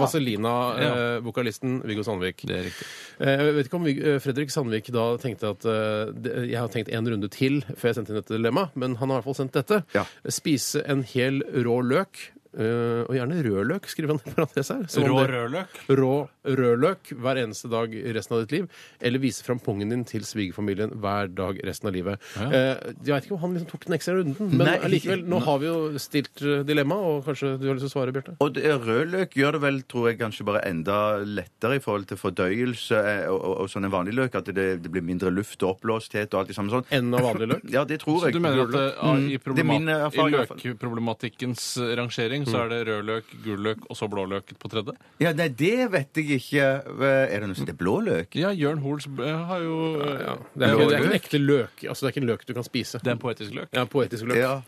[SPEAKER 3] Vazelina-vokalisten Viggo Sandvik.
[SPEAKER 5] Det er riktig.
[SPEAKER 3] Eh, Jeg vet ikke om Vig- eh, Fredrik Sandvik da tenkte at eh, det- jeg har tenkt en runde til før jeg sendte inn dette dilemmaet, men han har i hvert fall sendt dette.
[SPEAKER 4] Ja.
[SPEAKER 3] Spise en hel rå løk, eh, og gjerne rød løk, skriver han i parentes her. som om
[SPEAKER 5] Rå
[SPEAKER 3] det-
[SPEAKER 5] rødløk.
[SPEAKER 3] rå rødløk hver eneste dag resten av ditt liv, eller vise fram pungen din til svigerfamilien hver dag resten av livet. Eh, jeg veit ikke om han liksom tok den ekstra runden, men
[SPEAKER 4] Nei.
[SPEAKER 3] allikevel, nå har vi jo stilt eh, dilemma, og kanskje du har lyst til å svare, Bjarte?
[SPEAKER 4] Og det- rødløk gjør det vel tror jeg, kanskje bare enda lettere i forhold til fordøyelse eh, og, og, og sånne vanlige løk. At det, det blir mindre luft og oppblåsthet og alt det samme sånn.
[SPEAKER 3] Enn av vanlig løk?
[SPEAKER 4] Ja, det tror
[SPEAKER 5] Så
[SPEAKER 4] jeg.
[SPEAKER 5] du mener at eh,
[SPEAKER 4] Rødløk.
[SPEAKER 5] ja,
[SPEAKER 4] Mm,
[SPEAKER 5] i,
[SPEAKER 4] Det er min
[SPEAKER 5] problemat i
[SPEAKER 4] erfaring. i hvert fall.
[SPEAKER 5] løkproblematikens rangering
[SPEAKER 3] Mm.
[SPEAKER 5] så er det rødløk, gulløk og så blåløk på tredje?
[SPEAKER 4] Ja, nei, det vet jeg ikke. Eh, Er det noe som heter blå løk?
[SPEAKER 5] Ja, Jørn Hoels eh, har jo eh,
[SPEAKER 3] Det er, ikke, det er ikke en
[SPEAKER 4] Løk?
[SPEAKER 3] ekte løk. Altså, det er ikke en løk du kan spise.
[SPEAKER 5] Det er en poetisk løk.
[SPEAKER 3] Ja, poetisk løk.
[SPEAKER 4] Ja.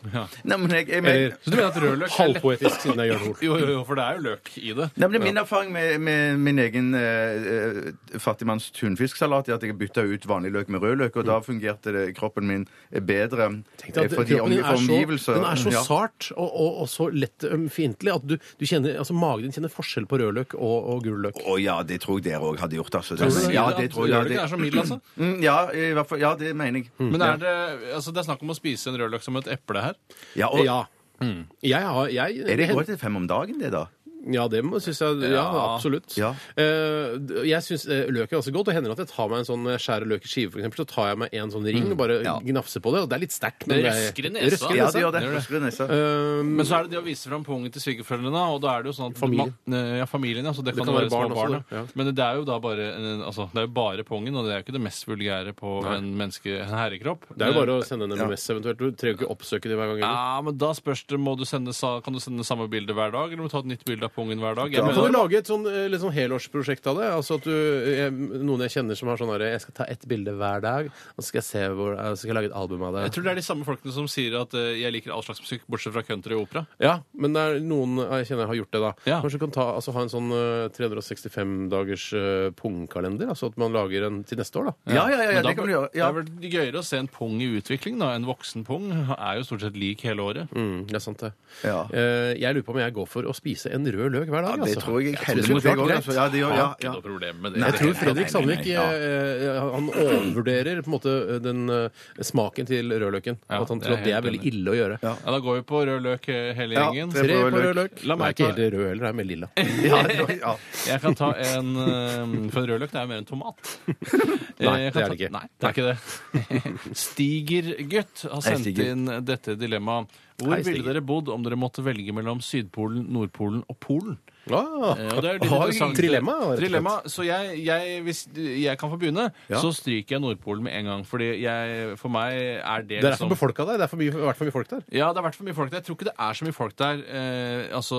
[SPEAKER 4] Nei, men jeg, jeg mener,
[SPEAKER 3] Eller
[SPEAKER 5] Så du mener at rødløk er lett-
[SPEAKER 3] halvpoetisk, siden det er Jørn Hoel.
[SPEAKER 5] Jo, jo, jo, for det er jo løk i det.
[SPEAKER 4] Nei, men det er Min erfaring med, med min egen eh, eh, fattigmanns tunfisksalat er at jeg bytta ut vanlig løk med rødløk, og da fungerte det, kroppen min eh, bedre.
[SPEAKER 3] Tenk deg
[SPEAKER 4] eh,
[SPEAKER 3] at
[SPEAKER 4] fordi
[SPEAKER 3] kroppen din
[SPEAKER 4] omgi-
[SPEAKER 3] er så,
[SPEAKER 4] omgivelser-
[SPEAKER 3] den er så
[SPEAKER 4] ja.
[SPEAKER 3] sart og, og, og så lett ømfintlig at du, du kjenner, altså, magen din kjenner forskjell på rødløk og, og gul løk.
[SPEAKER 4] Å ja, det tror jeg dere òg hadde gjort. Altså.
[SPEAKER 5] Tror du det?
[SPEAKER 4] ja, det tror jeg. Ja,
[SPEAKER 5] Rødløk er så middel, altså.
[SPEAKER 4] Mm, ja, i hvert fall, ja, det mener jeg.
[SPEAKER 5] Men er det, altså, det er snakk om å spise en rødløk som et eple her.
[SPEAKER 4] Ja, og,
[SPEAKER 5] Mm.
[SPEAKER 3] Ja. Jeg har jeg,
[SPEAKER 4] Er det går til fem om dagen, det, da?
[SPEAKER 3] Ja, det syns jeg. Ja,
[SPEAKER 5] Ja.
[SPEAKER 3] absolutt.
[SPEAKER 4] Ja.
[SPEAKER 3] Eh, d- jeg syns løk er også godt. Det hender at jeg tar meg en sånn eh, skjærer løk i skive, for eksempel, så tar jeg meg en sånn ring og bare
[SPEAKER 4] Ja.
[SPEAKER 3] gnafser på det. Og det er litt sterkt. men
[SPEAKER 5] Mm. Det
[SPEAKER 3] jeg-
[SPEAKER 5] røsker i nesa.
[SPEAKER 3] Røsker i
[SPEAKER 4] Ja,
[SPEAKER 3] nesa.
[SPEAKER 4] det gjør det.
[SPEAKER 5] Gjør det.
[SPEAKER 4] Husker du nesa?
[SPEAKER 3] Eh,
[SPEAKER 5] Men så er det det å vise fram pungen til svigerforeldrene, og da er det jo sånn at
[SPEAKER 3] Familien.
[SPEAKER 5] Man, ja, familien, ja, så det, kan, være, små barn.
[SPEAKER 3] også,
[SPEAKER 5] ja.
[SPEAKER 3] ja.
[SPEAKER 5] Men det er jo da bare, en- altså, det er jo bare pungen, og det er jo ikke det mest vulgære på en menneske, en herrekropp.
[SPEAKER 3] det er jo bare å sende en MMS eventuelt. Du trenger jo ikke oppsøke det hver gang. heller.
[SPEAKER 5] Ja, men da spørs det, må du sende, sa- Kan du sende samme bilde hver dag, eller må du ta et nytt bilde av pungen hver dag? Jeg
[SPEAKER 3] Men Kan du
[SPEAKER 5] mener,
[SPEAKER 3] lage et sånn, eh, litt sånn helårsprosjekt av det? Altså at du, jeg, Noen jeg kjenner som har sånn herre Jeg skal ta ett bilde hver dag, og så skal jeg se hvor eh, Så skal jeg lage et album av
[SPEAKER 5] jeg
[SPEAKER 3] det.
[SPEAKER 5] tror det er de samme folkene som sier at eh, jeg liker all slags musikk, bortsett fra country og opera.
[SPEAKER 3] Ja, men det er noen jeg kjenner har gjort det, da.
[SPEAKER 5] Ja.
[SPEAKER 3] Kanskje du kan ta, altså, ha en sånn 365-dagers eh, pungkalender? Altså at man lager en til neste år, da.
[SPEAKER 4] Ja, ja, ja,
[SPEAKER 5] Men
[SPEAKER 4] ja
[SPEAKER 5] da
[SPEAKER 4] det kan
[SPEAKER 5] bør-
[SPEAKER 4] du gjøre.
[SPEAKER 5] Det
[SPEAKER 4] Ja.
[SPEAKER 5] er vel gøyere å se en pung i utvikling, da. En voksen pung er jo stort sett lik hele året.
[SPEAKER 3] Mm, det er sant, det.
[SPEAKER 4] Ja.
[SPEAKER 3] Eh, jeg lurer på om jeg går for å spise en rød løk hver dag.
[SPEAKER 4] Ja, det
[SPEAKER 3] altså.
[SPEAKER 4] tror jeg jeg
[SPEAKER 3] det
[SPEAKER 4] heller
[SPEAKER 3] må
[SPEAKER 4] gjør,
[SPEAKER 3] være
[SPEAKER 4] jeg også,
[SPEAKER 3] greit.
[SPEAKER 4] altså. Ja, det gjør ja,
[SPEAKER 5] Ikke
[SPEAKER 4] ja.
[SPEAKER 5] noe problem med det.
[SPEAKER 3] Jeg tror Fredrik
[SPEAKER 4] Nei, nei, nei,
[SPEAKER 3] Sandvik eh, han overvurderer på en måte den eh, smaken til rødløken.
[SPEAKER 5] Ja,
[SPEAKER 3] at han
[SPEAKER 5] det er
[SPEAKER 3] tror at det
[SPEAKER 5] helt
[SPEAKER 3] er veldig
[SPEAKER 5] enig.
[SPEAKER 3] ille å gjøre.
[SPEAKER 4] Ja.
[SPEAKER 5] Ja, da går vi på rød løk eh, hele
[SPEAKER 4] Ja,
[SPEAKER 5] gjengen.
[SPEAKER 4] tre på rød løk.
[SPEAKER 3] Den
[SPEAKER 5] La
[SPEAKER 3] er
[SPEAKER 5] meg
[SPEAKER 3] ikke
[SPEAKER 5] ta, Eh,
[SPEAKER 3] helt rød heller, den er mer lilla.
[SPEAKER 4] Ja, det var- ja.
[SPEAKER 5] jeg kan ta en eh, For en rødløk det er jo mer en tomat. Eh,
[SPEAKER 3] Nei,
[SPEAKER 5] Jeg
[SPEAKER 3] det er
[SPEAKER 5] kan ta-
[SPEAKER 3] det ikke.
[SPEAKER 5] Nei, det er ikke det. Stigergutt har
[SPEAKER 4] Hei,
[SPEAKER 5] sendt
[SPEAKER 4] Stiger.
[SPEAKER 5] inn dette dilemmaet. Hvor
[SPEAKER 3] Hei, Stiger.
[SPEAKER 5] ville dere bodd om dere måtte velge mellom Sydpolen, Nordpolen og Polen?
[SPEAKER 3] Ah,
[SPEAKER 5] Eh, Og det er jo litt
[SPEAKER 3] Oi,
[SPEAKER 5] interessant. eh,
[SPEAKER 3] trilemma, rett og slett.
[SPEAKER 5] Trilemma. Så jeg, jeg, hvis jeg kan få begynne, så stryker jeg Nordpolen med en gang. Fordi jeg, for meg er det liksom-
[SPEAKER 3] Det er for befolka der. Det er for mye, vært for mye folk der.
[SPEAKER 5] ja, det har vært for mye folk der. Jeg tror ikke det er så mye folk der eh, altså,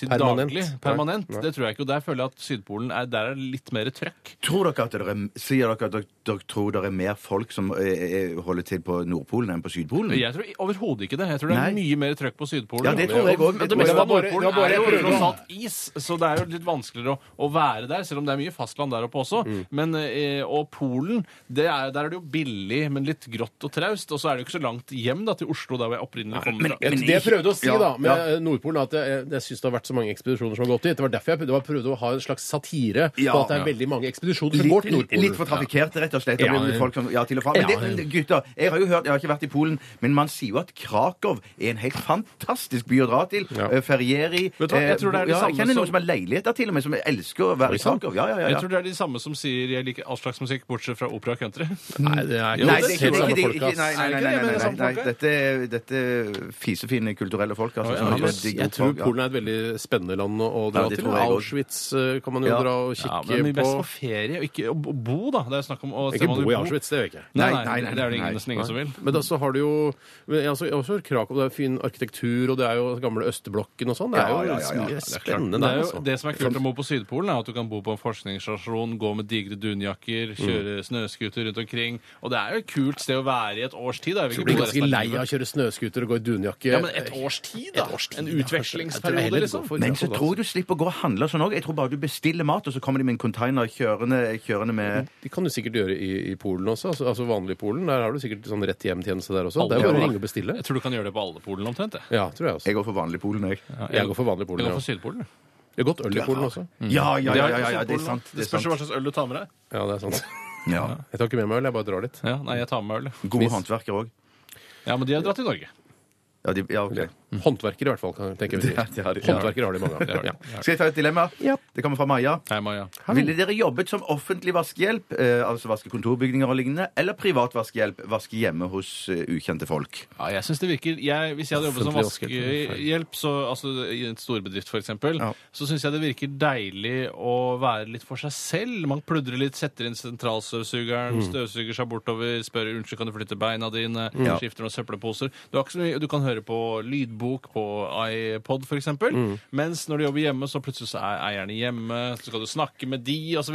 [SPEAKER 5] til
[SPEAKER 3] Permanent.
[SPEAKER 5] daglig.
[SPEAKER 3] Nei.
[SPEAKER 5] Permanent.
[SPEAKER 3] Nei.
[SPEAKER 5] Det tror jeg ikke. Og der føler jeg at Sydpolen er, der er det litt mer trøkk.
[SPEAKER 4] Tror dere at dere, sier dere at dere, dere tror det er mer folk som eh, eh, holder til på Nordpolen enn på Sydpolen?
[SPEAKER 5] Jeg tror i- overhodet ikke det. Jeg tror det er
[SPEAKER 4] Nei.
[SPEAKER 5] mye mer trøkk på Sydpolen.
[SPEAKER 4] Ja, det tror jeg også. Det
[SPEAKER 5] Men det meste
[SPEAKER 4] var
[SPEAKER 5] av
[SPEAKER 3] bare- det
[SPEAKER 5] Nordpolen
[SPEAKER 3] var bare
[SPEAKER 5] er jo
[SPEAKER 3] prøver å-
[SPEAKER 5] tross alt is, så det er jo litt vanskeligere å, å være der, selv om det er mye fastland der oppe også. Men, eh, og Polen, det er, der er det jo billig, men litt grått og traust. Og så er det jo ikke så langt hjem da, til Oslo, der hvor jeg opprinnelig kom fra.
[SPEAKER 3] Jeg, det jeg prøvde å si
[SPEAKER 4] Ja,
[SPEAKER 3] da, med eh, Nordpolen, at jeg, jeg syns det har vært så mange ekspedisjoner som har gått dit. Det var derfor jeg prøvde, det var prøvde å ha en slags satire
[SPEAKER 4] Ja.
[SPEAKER 3] på at det er veldig mange ekspedisjoner som går til
[SPEAKER 4] Litt,
[SPEAKER 3] Nordpolen.
[SPEAKER 4] litt for trafikkerte, rett og slett.
[SPEAKER 3] Ja,
[SPEAKER 4] Ja,
[SPEAKER 3] ja.
[SPEAKER 4] folk som, ja, til og fra. Men
[SPEAKER 3] Ja,
[SPEAKER 4] det, gutter, jeg har jo hørt, jeg har ikke vært i Polen, men man sier jo at Krakow er en helt fantastisk by å dra til.
[SPEAKER 3] Ja.
[SPEAKER 4] Eh, Ferier i
[SPEAKER 5] Vet du hva, jeg tror det er det
[SPEAKER 4] ja,
[SPEAKER 5] samme
[SPEAKER 4] Jeg kjenner
[SPEAKER 5] som-
[SPEAKER 4] noen som har leiligheter til og med, som elsker å være i
[SPEAKER 3] sant?
[SPEAKER 4] Krakow. Ja, ja, ja,
[SPEAKER 5] Jeg
[SPEAKER 4] ja.
[SPEAKER 5] tror det er de samme som sier 'jeg liker all slags musikk', bortsett fra opera og country.
[SPEAKER 3] Nei, det er
[SPEAKER 4] Nei,
[SPEAKER 3] ikke
[SPEAKER 4] det er ikke,
[SPEAKER 3] helt
[SPEAKER 4] det er
[SPEAKER 3] samme
[SPEAKER 4] ikke,
[SPEAKER 3] folk,
[SPEAKER 4] ikke,
[SPEAKER 3] ass.
[SPEAKER 4] nei, nei,
[SPEAKER 5] Er
[SPEAKER 4] nei, nei,
[SPEAKER 5] det ikke det, men
[SPEAKER 4] nei, nei,
[SPEAKER 5] det samme
[SPEAKER 4] nei.
[SPEAKER 5] folk, ja?
[SPEAKER 4] Dette, dette er fisefine kulturelle folk. Altså,
[SPEAKER 5] ja,
[SPEAKER 4] som
[SPEAKER 5] ja,
[SPEAKER 4] gjør
[SPEAKER 3] Men
[SPEAKER 5] Yes,
[SPEAKER 4] digg
[SPEAKER 3] jeg
[SPEAKER 4] oppdrag,
[SPEAKER 3] tror
[SPEAKER 4] ja.
[SPEAKER 3] Polen er et veldig spennende land å dra
[SPEAKER 4] Ja, det
[SPEAKER 3] til.
[SPEAKER 4] tror jeg også.
[SPEAKER 3] Auschwitz eh, kan man jo
[SPEAKER 4] Ja.
[SPEAKER 3] dra og kikke
[SPEAKER 5] Ja,
[SPEAKER 3] på.
[SPEAKER 5] men best på ferie, og ikke å bo, da. Det er snakk om å
[SPEAKER 3] Ikke bo i Auschwitz, det gjør jeg ikke.
[SPEAKER 5] Nei,
[SPEAKER 4] Nei,
[SPEAKER 5] nei,
[SPEAKER 4] nei, nei,
[SPEAKER 5] det er det ingen,
[SPEAKER 4] nei.
[SPEAKER 5] nesten ingen som vil.
[SPEAKER 3] Men da så har du jo men altså, jeg har også- jeg har også hørt Krakow, det er fin arkitektur, og det er jo gamle Østerblokken og sånn. Det er jo
[SPEAKER 4] Ja, ja, ja, ja.
[SPEAKER 3] mye
[SPEAKER 4] Det er
[SPEAKER 3] spennende
[SPEAKER 5] Det,
[SPEAKER 3] der,
[SPEAKER 5] er jo,
[SPEAKER 3] altså.
[SPEAKER 5] det som er kult om å bo på Sydpolen, er at du kan bo på en forskningsstasjon, gå med digre dunjakker, kjøre snøscooter rundt omkring. Og det er jo et kult sted å være i et års tid. Da. Jeg vil
[SPEAKER 3] Du
[SPEAKER 5] ikke
[SPEAKER 3] blir
[SPEAKER 5] bo der
[SPEAKER 3] ganske
[SPEAKER 5] resten av
[SPEAKER 3] lei av å
[SPEAKER 5] livet.
[SPEAKER 3] kjøre snøscooter og gå i dunjakke. eh,
[SPEAKER 5] Ja, men et års tid, da! en utvekslingsperiode, liksom.
[SPEAKER 4] Men så tror jeg du slipper å gå og handle og sånn òg. Jeg tror bare du bestiller mat, og så kommer de med en container kjørende, kjørende med
[SPEAKER 3] Det kan du sikkert gjøre i, i Polen også. Altså, altså vanlig Polen. Der har du sikkert sånn rett hjem-tjeneste der også. Det er jo bare å ringe og bestille.
[SPEAKER 5] Jeg tror du kan gjøre det på alle polene omtrent. Jeg.
[SPEAKER 3] Ja, tror jeg også.
[SPEAKER 4] Jeg går for vanlig Polen, jeg.
[SPEAKER 3] Jeg går for vanlig
[SPEAKER 5] Du
[SPEAKER 3] Polen.
[SPEAKER 5] kan
[SPEAKER 3] Ja.
[SPEAKER 5] få Sydpolen. du.
[SPEAKER 3] Jeg har gått øl i Polen også.
[SPEAKER 4] Ja, ja, ja, ja, ja, Mm. det er sant.
[SPEAKER 5] Det
[SPEAKER 4] Det er
[SPEAKER 5] spørs
[SPEAKER 4] sant.
[SPEAKER 5] jo hva slags øl du tar med deg.
[SPEAKER 3] Ja, det er sant.
[SPEAKER 4] Ja.
[SPEAKER 3] Jeg tar ikke med meg øl, jeg bare drar litt.
[SPEAKER 5] Ja, nei, jeg tar med øl.
[SPEAKER 4] Gode håndverkere òg.
[SPEAKER 5] Ja, men de har dratt til Norge.
[SPEAKER 4] Ja, de, ja, ok.
[SPEAKER 3] Håndverkere i hvert fall, kan jeg tenke vi sier.
[SPEAKER 4] Det- det har de.
[SPEAKER 3] Håndverkere har de mange av. Ja.
[SPEAKER 4] Skal jeg ta et dilemma?
[SPEAKER 1] Ja.
[SPEAKER 4] Det kommer fra Maja.
[SPEAKER 5] Hei, Maja.
[SPEAKER 4] Ville dere jobbet som offentlig vaskehjelp, eh, altså vaske kontorbygninger og lignende, eller privat vaskehjelp, vaske hjemme hos eh, ukjente folk?
[SPEAKER 5] Ja, jeg synes det virker jeg, Hvis jeg hadde jobbet som
[SPEAKER 3] Offentlig vaskehjelp.
[SPEAKER 5] vaskehjelp, så, altså i en storbedrift f.eks.,
[SPEAKER 4] Ja.
[SPEAKER 5] så syns jeg det virker deilig å være litt for seg selv. Man pludrer litt, setter inn
[SPEAKER 4] Mm.
[SPEAKER 5] sentralstøvsugeren, støvsuger seg bortover, spør unnskyld, kan du flytte beina dine,
[SPEAKER 4] Mm. Ja.
[SPEAKER 5] skifter noen søppelposer. Du, har ikke så mye, du kan høre på lydbok på iPod f.eks.,
[SPEAKER 4] Mm.
[SPEAKER 5] mens når du jobber hjemme, så plutselig så er eierne hjemme, så skal du snakke med de osv.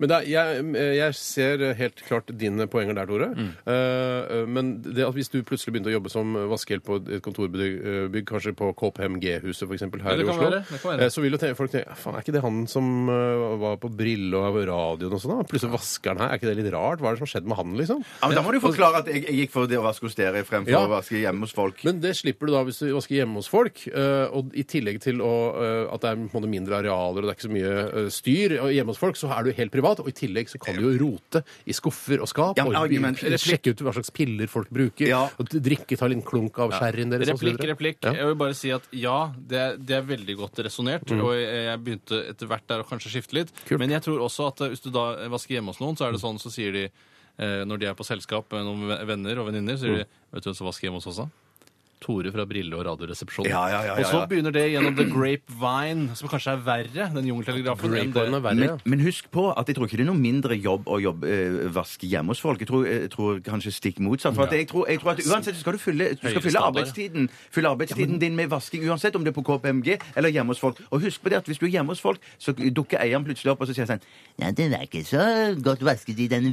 [SPEAKER 3] Men det er, jeg, eh, jeg ser helt klart dine poenger der, Tore.
[SPEAKER 5] Mm.
[SPEAKER 3] Eh, men det at hvis du plutselig begynte å jobbe som vaskehjelp på et kontorbygg, eh, bygg, kanskje på KPM G-huset f.eks. her
[SPEAKER 5] Ja, det
[SPEAKER 3] i
[SPEAKER 5] kan
[SPEAKER 3] Oslo,
[SPEAKER 5] være, det kan være.
[SPEAKER 3] eh, så vil jo te- folk tenke faen, er ikke det han som eh, var på Brille og radioen og sånn? da? Plutselig vasker han her, er ikke det litt rart? Hva er det som har skjedd med han, liksom?
[SPEAKER 4] altså- Ja, men Da må du forklare at jeg, jeg gikk for det å vaske hos dere fremfor
[SPEAKER 3] Ja.
[SPEAKER 4] å vaske hjemme hos folk.
[SPEAKER 3] Men men det slipper du da hvis du vasker hjemme hos folk. eh, og i tillegg til å, eh, at det er på en måte mindre arealer og det er ikke så mye eh, styr og hjemme hos folk, så er du helt privat. Og i tillegg så kan du jo rote i skuffer og skap
[SPEAKER 4] Ja,
[SPEAKER 3] og i-
[SPEAKER 4] argument-
[SPEAKER 3] eller sjekke ut hva slags piller folk bruker.
[SPEAKER 4] Ja.
[SPEAKER 3] Og drikke, ta en liten klunk av sherryen deres. og så
[SPEAKER 5] Replikk,
[SPEAKER 3] videre.
[SPEAKER 5] replikk.
[SPEAKER 3] Ja.
[SPEAKER 5] Jeg vil bare si at ja, det er, det er veldig godt resonnert. Og jeg jeg begynte etter hvert der å kanskje skifte litt.
[SPEAKER 3] Mm. Kult.
[SPEAKER 5] Men jeg tror også at eh, hvis du da vasker hjemme hos noen, så er det sånn så sier de eh, når de er på selskap med noen ve- venner og venninner, sier de
[SPEAKER 3] Mm.
[SPEAKER 5] Vet du hvem som vasker hjemme hos oss, da? Tore fra Brille og Radioresepsjonen.
[SPEAKER 4] Ja, ja, ja, ja,
[SPEAKER 5] Og så
[SPEAKER 4] ja.
[SPEAKER 5] begynner det gjennom The Grapevine, som kanskje er verre, den jungeltelegrafen, enn det.
[SPEAKER 3] Grapevine er verre, ja.
[SPEAKER 4] Men, men husk på at jeg tror ikke det er noe mindre jobb å jobbe, eh, vaske hjemme hos folk. Jeg tror, jeg tror kanskje stikk motsatt. For at jeg, tror, jeg tror at uansett så skal du fylle, du skal
[SPEAKER 5] Høyere
[SPEAKER 4] fylle
[SPEAKER 5] standard.
[SPEAKER 4] arbeidstiden, fylle arbeidstiden din med vasking, uansett om det er på KPMG eller hjemme hos folk. Og husk på det at hvis du er hjemme hos folk, så dukker eieren plutselig opp og så sier han sånn Ja, den er ikke så godt vasket i den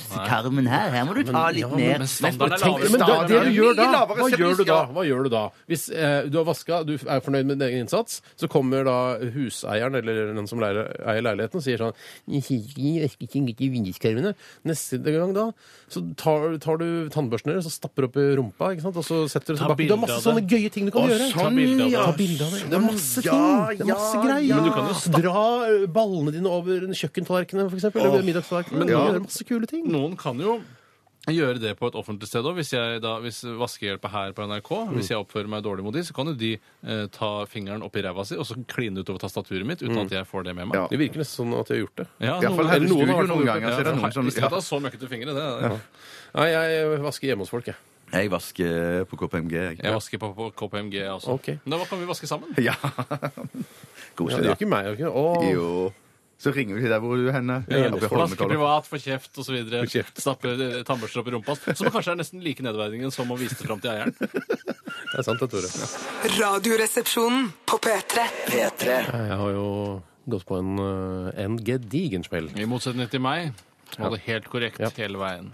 [SPEAKER 4] vinduskarmen her. Her må du ta litt
[SPEAKER 3] ja, men-
[SPEAKER 4] ned.
[SPEAKER 5] men standarden er
[SPEAKER 4] Tenk-
[SPEAKER 5] lavere.
[SPEAKER 3] Men da, det du
[SPEAKER 4] Mye
[SPEAKER 3] gjør da,
[SPEAKER 4] lavere
[SPEAKER 3] hva gjør du da?
[SPEAKER 4] service,
[SPEAKER 3] Hva gjør du da? Hvis eh, du har vaska, du er fornøyd med din egen innsats, så kommer da huseieren eller den som leier, eier leiligheten og sier sånn «Jeg sier ikke, jeg vasker ikke litt i vinduskarmene. Neste gang da, så tar, tar du tannbørsten deres og stapper opp i rumpa, ikke sant? og så setter du
[SPEAKER 5] Ta
[SPEAKER 3] tilbake. Du har
[SPEAKER 5] bilde
[SPEAKER 3] masse
[SPEAKER 5] av
[SPEAKER 3] sånne
[SPEAKER 5] det.
[SPEAKER 3] gøye ting du kan
[SPEAKER 4] Å,
[SPEAKER 3] gjøre.
[SPEAKER 4] sånn,
[SPEAKER 5] ja.
[SPEAKER 3] Ta bilde av det. Det er masse
[SPEAKER 4] Ja,
[SPEAKER 3] ting. Det er masse
[SPEAKER 4] ja,
[SPEAKER 3] greier.
[SPEAKER 4] ja. Men du kan jo
[SPEAKER 3] dra eh, ballene dine over kjøkkentallerkenene, for eksempel, eller middagstallerkenene. Du
[SPEAKER 4] ja.
[SPEAKER 3] kan gjøre masse kule ting.
[SPEAKER 5] Noen kan jo gjøre det på et offentlig sted òg. Hvis, jeg da- hvis vaskehjelpa her på NRK Hvis jeg oppfører meg dårlig mot de, så kan jo de eh, ta fingeren opp i ræva si og så kline utover tastaturet mitt uten at jeg får det med meg.
[SPEAKER 4] Mm. Ja.
[SPEAKER 3] Det virker nesten sånn at jeg har gjort det.
[SPEAKER 5] Ja,
[SPEAKER 4] I hvert fall
[SPEAKER 5] noen-
[SPEAKER 4] her i
[SPEAKER 5] eller noen
[SPEAKER 4] studio
[SPEAKER 5] har i hvert fall
[SPEAKER 4] noen
[SPEAKER 5] gjort
[SPEAKER 4] ganger, så er det
[SPEAKER 5] det.
[SPEAKER 4] noen som-
[SPEAKER 5] Hvis jeg
[SPEAKER 4] ja.
[SPEAKER 5] tar så møkkete fingre, det er
[SPEAKER 3] Nei, jeg vasker hjemme hos folk, jeg.
[SPEAKER 4] Jeg vasker på KPMG. jeg.
[SPEAKER 5] Jeg vasker på, på KPMG også.
[SPEAKER 3] Ok.
[SPEAKER 5] Men da kan vi vaske sammen.
[SPEAKER 4] Ja. God
[SPEAKER 3] Ja, det
[SPEAKER 4] sted.
[SPEAKER 3] gjør ikke meg. gjør Ikke? Åh.
[SPEAKER 4] Jo. Så ringer vi til der hvor er du er henne. Oppe i
[SPEAKER 5] Vaske
[SPEAKER 4] Holmenkollen.
[SPEAKER 5] privat, få kjeft osv.
[SPEAKER 3] Få kjeft.
[SPEAKER 5] Stappe eh, tannbørster opp i rumpa. Som kanskje er nesten like nedverdigende som å vise det fram til eieren.
[SPEAKER 3] Det er sant, det, Tore.
[SPEAKER 7] Radioresepsjonen på P3.
[SPEAKER 2] P3.
[SPEAKER 3] Jeg har jo gått på en, eh, en gedigen smell.
[SPEAKER 5] I motsetning til meg, som hadde helt korrekt
[SPEAKER 3] Ja.
[SPEAKER 5] hele veien.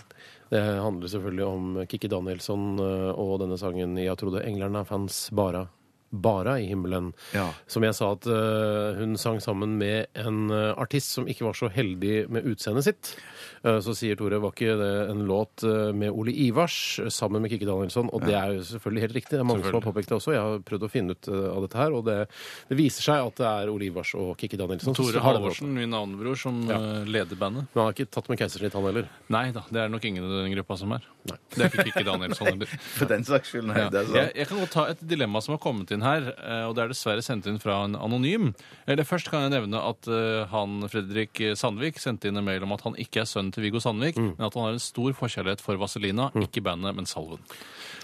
[SPEAKER 3] Det handler selvfølgelig om Kikki Danielsson eh, og denne sangen 'Jeg trodde englerne fanns bara'. Bara i himmelen.
[SPEAKER 4] Ja.
[SPEAKER 3] Som jeg sa at eh, hun sang sammen med en eh, artist som ikke var så heldig med utseendet sitt. Eh, så sier Tore, var ikke det en låt eh, med Ole Ivars eh, sammen med Kikki Danielsson? Og det er jo selvfølgelig helt riktig. Det er mange som har påpekt det også. Jeg har prøvd å finne ut eh, av dette her, og det, det viser seg at det er Ole Ivars og Kikki Danielsson. som
[SPEAKER 5] Tore
[SPEAKER 3] har den låten.
[SPEAKER 5] Halvorsen, min navnebror, som eh, leder bandet.
[SPEAKER 3] Men han har ikke tatt med keisersnitt, han heller.
[SPEAKER 5] Nei da, det er nok ingen i den gruppa som er. Det er ikke Kikki Danielsson heller.
[SPEAKER 4] For den saks skyld. Nei,
[SPEAKER 5] Ja.
[SPEAKER 4] det er
[SPEAKER 5] Jeg,
[SPEAKER 4] sant.
[SPEAKER 5] jeg kan godt ta et dilemma som har kommet inn her, eh, og det er dessverre sendt inn fra en anonym. Eller først kan jeg nevne at eh, han Fredrik Sandvik sendte inn en mail om at han ikke er sønnen til Viggo Sandvik,
[SPEAKER 4] Mm.
[SPEAKER 5] men at han har en stor forkjærlighet for Vaselina, ikke bandet, men salven.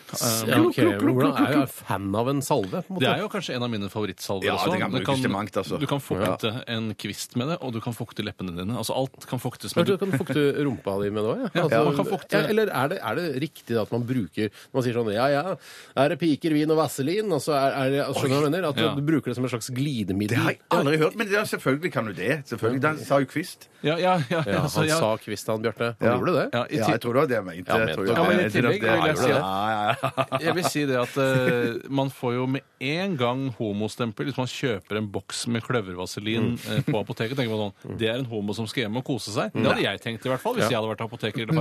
[SPEAKER 3] Ja, ok, men Hvordan er jeg fan av en salve? på en måte?
[SPEAKER 5] Det er jo kanskje en av mine favorittsalver
[SPEAKER 4] Ja,
[SPEAKER 5] også.
[SPEAKER 4] den kan
[SPEAKER 5] Du
[SPEAKER 4] brukes til mangt, altså.
[SPEAKER 5] Du kan fukte en kvist med det, og du kan fukte leppene dine. Altså alt kan fuktes
[SPEAKER 3] Kanskje
[SPEAKER 5] med
[SPEAKER 3] du kan fukte rumpa di med det òg? Ja. Altså,
[SPEAKER 5] man kan fukte-
[SPEAKER 3] ja, eller er det, er det riktig da at man bruker når Man sier sånn ja ja, er det piker, vin og vaselin? Og så er, er det, altså, skjønner du hva jeg mener? At
[SPEAKER 5] Ja.
[SPEAKER 3] du bruker det som en slags glidemiddel.
[SPEAKER 4] Det har jeg aldri hørt, men ja, selvfølgelig kan du det. Selvfølgelig. Den sa jo Kvist.
[SPEAKER 5] Ja, ja, ja,
[SPEAKER 3] Ja,
[SPEAKER 5] altså,
[SPEAKER 3] han
[SPEAKER 5] ja.
[SPEAKER 3] sa kvist, han Bjarte. Han
[SPEAKER 4] Ja.
[SPEAKER 3] gjorde det?
[SPEAKER 5] Ja, i
[SPEAKER 4] Ja,
[SPEAKER 5] ti-
[SPEAKER 4] jeg tror det var det jeg mente.
[SPEAKER 3] Ja, men-
[SPEAKER 4] Jeg tror det
[SPEAKER 5] Ja,
[SPEAKER 4] var
[SPEAKER 5] men
[SPEAKER 4] det.
[SPEAKER 5] i
[SPEAKER 4] Jeg tror
[SPEAKER 5] tillegg
[SPEAKER 4] det-
[SPEAKER 5] vil jeg si at-
[SPEAKER 4] Ja, ja, ja.
[SPEAKER 5] Jeg vil si det at eh, man får jo med en gang homostempel hvis man kjøper en boks med kløvervaselin eh, på apoteket. tenker man sånn, Det er en homo som skal hjem og kose seg. Det hadde jeg tenkt i hvert fall hvis jeg hadde vært apoteker eller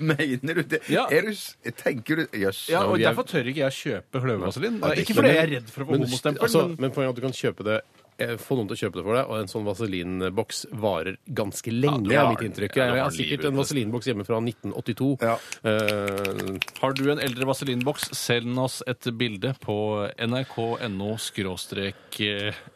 [SPEAKER 4] Mener du det?
[SPEAKER 5] Ja.
[SPEAKER 4] Er du, s- tenker du Jøss.
[SPEAKER 5] Ja, og
[SPEAKER 4] vi er-
[SPEAKER 5] Derfor tør ikke jeg kjøpe kløvervaselin.
[SPEAKER 4] Ja, det er
[SPEAKER 5] Ikke
[SPEAKER 4] ikke
[SPEAKER 5] fordi
[SPEAKER 4] det.
[SPEAKER 5] jeg er redd for å få
[SPEAKER 3] Men,
[SPEAKER 5] homostempel,
[SPEAKER 3] altså,
[SPEAKER 5] men
[SPEAKER 3] men poenget er at du kan kjøpe det eh, få noen til å kjøpe det for deg, og en sånn vaselinboks varer ganske lenge.
[SPEAKER 4] Ja,
[SPEAKER 3] er
[SPEAKER 4] du har-
[SPEAKER 3] mitt inntrykk. Jeg, jeg har sikkert en vaselinboks hjemme fra 1982.
[SPEAKER 4] Ja.
[SPEAKER 3] Eh,
[SPEAKER 5] har du en eldre vaselinboks, send oss et bilde på nrk.no skråstrek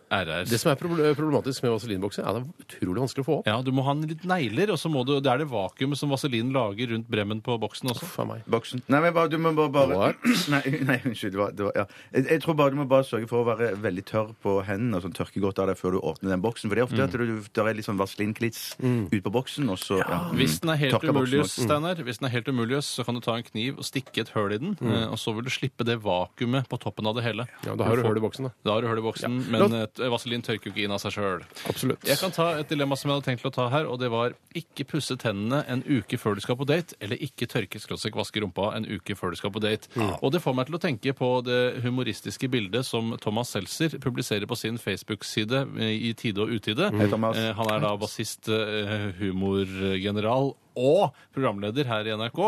[SPEAKER 5] rr.
[SPEAKER 3] det som er proble- problematisk med vaselinbokser, er at det er utrolig vanskelig å få opp.
[SPEAKER 5] Ja, du må ha en litt negler, og så må du, det er det vakuumet som vaselin lager rundt bremmen på boksen også.
[SPEAKER 3] Faen meg.
[SPEAKER 4] Boksen. Nei, men bare, du må bare, bare
[SPEAKER 3] What?
[SPEAKER 4] nei, nei, unnskyld. Det var, det var, ja. jeg, jeg tror bare du må bare sørge for å være veldig tørr på hendene og sånn tørke godt av deg før du åpner den boksen. For det er
[SPEAKER 3] Mm.
[SPEAKER 4] ofte at du, der er litt sånn vaselinklits ut på boksen, og så ja. mm,
[SPEAKER 5] Hvis den er helt
[SPEAKER 4] tørker boksen
[SPEAKER 5] umulig,
[SPEAKER 3] Mm.
[SPEAKER 4] også.
[SPEAKER 5] Steinar, hvis den er helt umulig, så kan du ta en kniv og stikke et høl i den, eh, og så vil du slippe det vakuumet på toppen av det hele.
[SPEAKER 3] Mm. Ja, da har du hull i boksen, da.
[SPEAKER 5] Da har du høl i boksen, men eh, vaselin tørker jo ikke inn av seg sjøl.
[SPEAKER 3] Absolutt.
[SPEAKER 5] Jeg kan ta et dilemma som jeg hadde tenkt å ta her, og det var ikke pusse tennene en uke før du skal på date, eller ikke tørke skråstrek vaske rumpa en uke før du skal på date. Og det får meg til å tenke på det humoristiske bildet som Thomas Seltzer publiserer på sin Facebook-side
[SPEAKER 3] Mm.
[SPEAKER 5] eh, i tide og utide.
[SPEAKER 4] Hei, Thomas.
[SPEAKER 5] Eh, Han er da bassist, eh, humorgeneral og programleder her i NRK.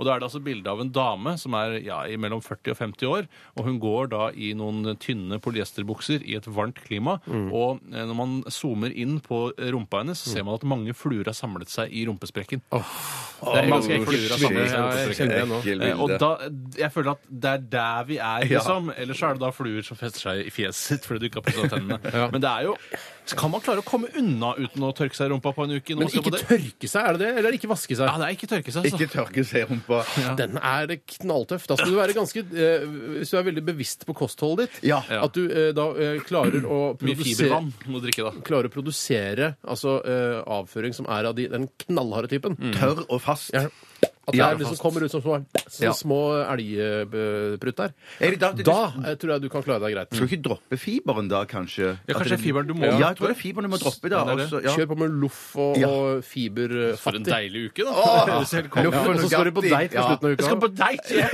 [SPEAKER 5] Og da er det altså bilde av en dame som er ja, i mellom 40 og 50 år, og hun går da i noen tynne polyesterbukser i et varmt klima, og eh, når man zoomer inn på rumpa hennes, så ser man at mange fluer har samlet seg i rumpesprekken. Det er ganske ekkelt.
[SPEAKER 3] fluer har samlet seg i rumpesprekken. Ja, jeg kjenner det nå.
[SPEAKER 4] Ekkel
[SPEAKER 5] Eh, Og
[SPEAKER 4] bilde.
[SPEAKER 5] da, jeg føler at det er der vi er, liksom. Ellers så er det da fluer som fester seg i fjeset sitt fordi du ikke har pusset tennene. Men det er jo så Kan man klare å komme unna uten å tørke seg i rumpa på en uke? når man
[SPEAKER 3] Men
[SPEAKER 5] skal
[SPEAKER 3] ikke
[SPEAKER 5] på det?
[SPEAKER 3] tørke seg, er det det? Eller ikke vaske seg?
[SPEAKER 5] Ja, det er ikke tørke seg,
[SPEAKER 4] Ikke
[SPEAKER 5] altså.
[SPEAKER 4] tørke seg i rumpa.
[SPEAKER 3] Den er knalltøff. Da skal du være ganske eh, Hvis du er veldig bevisst på kostholdet ditt,
[SPEAKER 4] Ja.
[SPEAKER 3] at du eh, da eh, klarer å
[SPEAKER 5] Mye
[SPEAKER 3] produsere
[SPEAKER 5] fibervann må du drikke, da.
[SPEAKER 3] Klarer å produsere altså, eh, avføring som er av de, den knallharde typen.
[SPEAKER 5] Mm.
[SPEAKER 4] Tørr og fast.
[SPEAKER 3] Ja. At det
[SPEAKER 4] Ja,
[SPEAKER 3] er liksom
[SPEAKER 4] fast.
[SPEAKER 3] kommer ut som små, som
[SPEAKER 4] Ja.
[SPEAKER 3] små elgprutt der.
[SPEAKER 4] Er det da at du-
[SPEAKER 3] Da eh, tror jeg du kan klare deg greit.
[SPEAKER 4] Skal du ikke droppe fiberen da, kanskje?
[SPEAKER 5] Ja,
[SPEAKER 4] At
[SPEAKER 5] kanskje fiberen du må
[SPEAKER 4] Ja, jeg
[SPEAKER 5] droppe.
[SPEAKER 4] tror det er fiberen du må droppe da.
[SPEAKER 5] Ja, det er det.
[SPEAKER 4] også, ja.
[SPEAKER 3] Kjør på med loff og,
[SPEAKER 4] Ja.
[SPEAKER 3] og
[SPEAKER 5] For en
[SPEAKER 3] fiberfattig.
[SPEAKER 5] deilig uke, da. Det ser helt konge
[SPEAKER 4] Loffen
[SPEAKER 5] ut.
[SPEAKER 3] Og så skal du på
[SPEAKER 4] Gatti.
[SPEAKER 3] date på
[SPEAKER 4] Ja.
[SPEAKER 3] slutten av
[SPEAKER 5] Jeg skal
[SPEAKER 3] uka.
[SPEAKER 5] på date! jeg.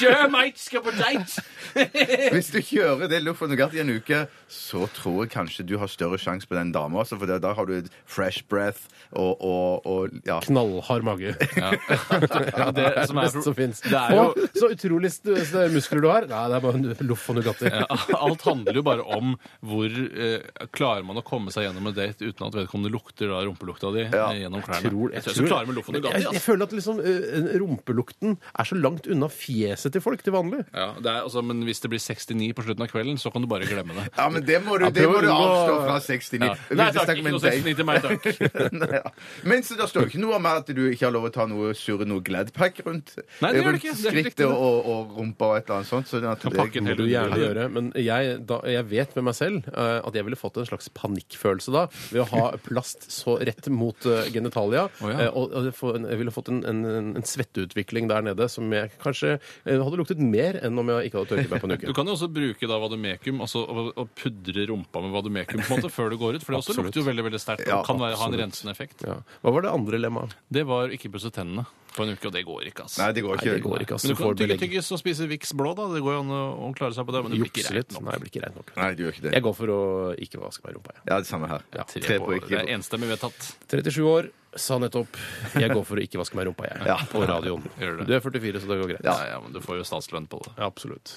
[SPEAKER 5] Kjør, mate! Skal på date!
[SPEAKER 4] Hvis du kjører det Loff og Nougat i en uke, så tror jeg kanskje du har større sjanse på den dama, altså, for da- da har du et fresh breath og, og, og ja.
[SPEAKER 3] Knallhard mage.
[SPEAKER 5] Det som er
[SPEAKER 3] beste som fins.
[SPEAKER 5] Det er jo
[SPEAKER 3] Så utrolig st- st- muskler du har. Nei, det er bare en loff og Nugatti.
[SPEAKER 5] Ja, Alt handler jo bare om hvor eh, klarer man å komme seg gjennom en date uten at vedkommende lukter da rumpelukta di
[SPEAKER 4] Ja.
[SPEAKER 5] eh, gjennom klærne.
[SPEAKER 3] Jeg tror,
[SPEAKER 5] jeg tror jeg skal klare med Loffen og
[SPEAKER 3] jeg,
[SPEAKER 5] Gatti.
[SPEAKER 3] jeg
[SPEAKER 5] Altså.
[SPEAKER 3] føler at liksom, eh, rumpelukten er så langt unna fjeset til folk til vanlig.
[SPEAKER 5] Ja, det er, altså, men hvis det blir 69 på slutten av kvelden, så kan du bare glemme det.
[SPEAKER 4] ja, men det må du,
[SPEAKER 3] Ja,
[SPEAKER 4] det må
[SPEAKER 3] prøv
[SPEAKER 4] du
[SPEAKER 3] å unngå-
[SPEAKER 4] avstå fra 69.
[SPEAKER 5] Ja.
[SPEAKER 4] Vi
[SPEAKER 5] Nei
[SPEAKER 4] vil
[SPEAKER 5] takk,
[SPEAKER 4] snakke om
[SPEAKER 5] ikke
[SPEAKER 4] en
[SPEAKER 5] noe
[SPEAKER 4] date.
[SPEAKER 5] 69 til meg, takk.
[SPEAKER 4] Nei, ja. Men så da står det ikke noe om at du ikke har lov å ta noe surre noe Gladpack rundt, eh,
[SPEAKER 5] Nei, det gjør
[SPEAKER 4] rundt
[SPEAKER 5] det ikke. Det er helt
[SPEAKER 4] skrittet
[SPEAKER 5] riktig, det.
[SPEAKER 4] og, og rumpa og et eller annet sånt. Så det,
[SPEAKER 5] Kan pakke en
[SPEAKER 3] Det
[SPEAKER 5] hel
[SPEAKER 3] vil du gjerne
[SPEAKER 5] underdel.
[SPEAKER 3] gjøre, men jeg, da, jeg vet med meg selv eh, at jeg ville fått en slags panikkfølelse da ved å ha plast så rett mot eh, genitalia.
[SPEAKER 5] Å, ja.
[SPEAKER 3] eh, og, og få en- jeg ville fått en, en, en svetteutvikling der nede som jeg kanskje eh, hadde luktet mer enn om jeg ikke hadde tørket meg på en
[SPEAKER 5] Du
[SPEAKER 3] uke.
[SPEAKER 5] kan jo også bruke da vademekum altså, og, og pudre rumpa med vademekum på en måte, før du går ut, for det også
[SPEAKER 3] Absolutt.
[SPEAKER 5] lukter jo veldig veldig sterkt
[SPEAKER 4] Ja,
[SPEAKER 5] og kan være, ha en rensende effekt.
[SPEAKER 3] Ja. Hva var det andre lemmaet?
[SPEAKER 5] Det var ikke pusse tennene på en uke, og det går ikke, altså.
[SPEAKER 4] Nei, det går
[SPEAKER 3] Nei,
[SPEAKER 4] ikke.
[SPEAKER 3] det går ikke, altså.
[SPEAKER 5] men du kan
[SPEAKER 3] Får
[SPEAKER 5] tygge
[SPEAKER 3] belegg.
[SPEAKER 5] tyggis og spise Vix blå, da. Det går jo an å å klare seg på det. Men det blir ikke
[SPEAKER 3] Jukse litt?
[SPEAKER 5] rett nok.
[SPEAKER 3] Nei, det blir ikke reit nok.
[SPEAKER 5] altså.
[SPEAKER 4] Nei, det gjør ikke det.
[SPEAKER 3] Jeg går for å ikke vaske meg i rumpa. jeg.
[SPEAKER 4] Ja, det samme her.
[SPEAKER 5] Tre
[SPEAKER 4] Tre på
[SPEAKER 5] på, det
[SPEAKER 4] ikke.
[SPEAKER 5] er enstemmig vedtatt.
[SPEAKER 3] 37 år, sa nettopp 'jeg går for å ikke vaske meg i rumpa', jeg.
[SPEAKER 4] Ja.
[SPEAKER 3] På radioen.
[SPEAKER 5] Gjør det.
[SPEAKER 3] Du er 44, så det går greit.
[SPEAKER 5] Ja. ja, men du får jo statslønn på det.
[SPEAKER 3] Ja, absolutt.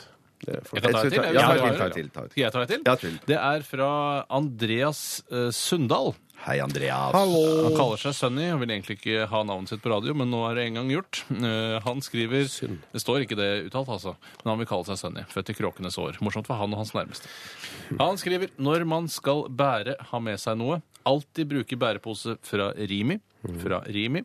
[SPEAKER 3] Det er for-
[SPEAKER 5] Jeg kan ta
[SPEAKER 4] Jeg
[SPEAKER 5] et til.
[SPEAKER 4] skal ta-
[SPEAKER 5] jeg.
[SPEAKER 4] ja,
[SPEAKER 5] Hvis
[SPEAKER 4] ta
[SPEAKER 5] jeg
[SPEAKER 4] et
[SPEAKER 5] har-
[SPEAKER 4] til, ta et til, ta et til.
[SPEAKER 5] Skal jeg ta et til?
[SPEAKER 4] Ja, til.
[SPEAKER 5] Det er fra Andreas eh, Sundal.
[SPEAKER 4] Hei, Andreas.
[SPEAKER 5] Han kaller seg Sunny og vil egentlig ikke ha navnet sitt på radio, men nå er det en gang gjort. Eh, han skriver Det står ikke det uttalt, altså, men han vil kalle seg Sunny. Født i kråkenes år. Morsomt for han og hans nærmeste. Han skriver når man skal bære, ha med seg noe, alltid bruke bærepose fra Rimi. Fra Rimi.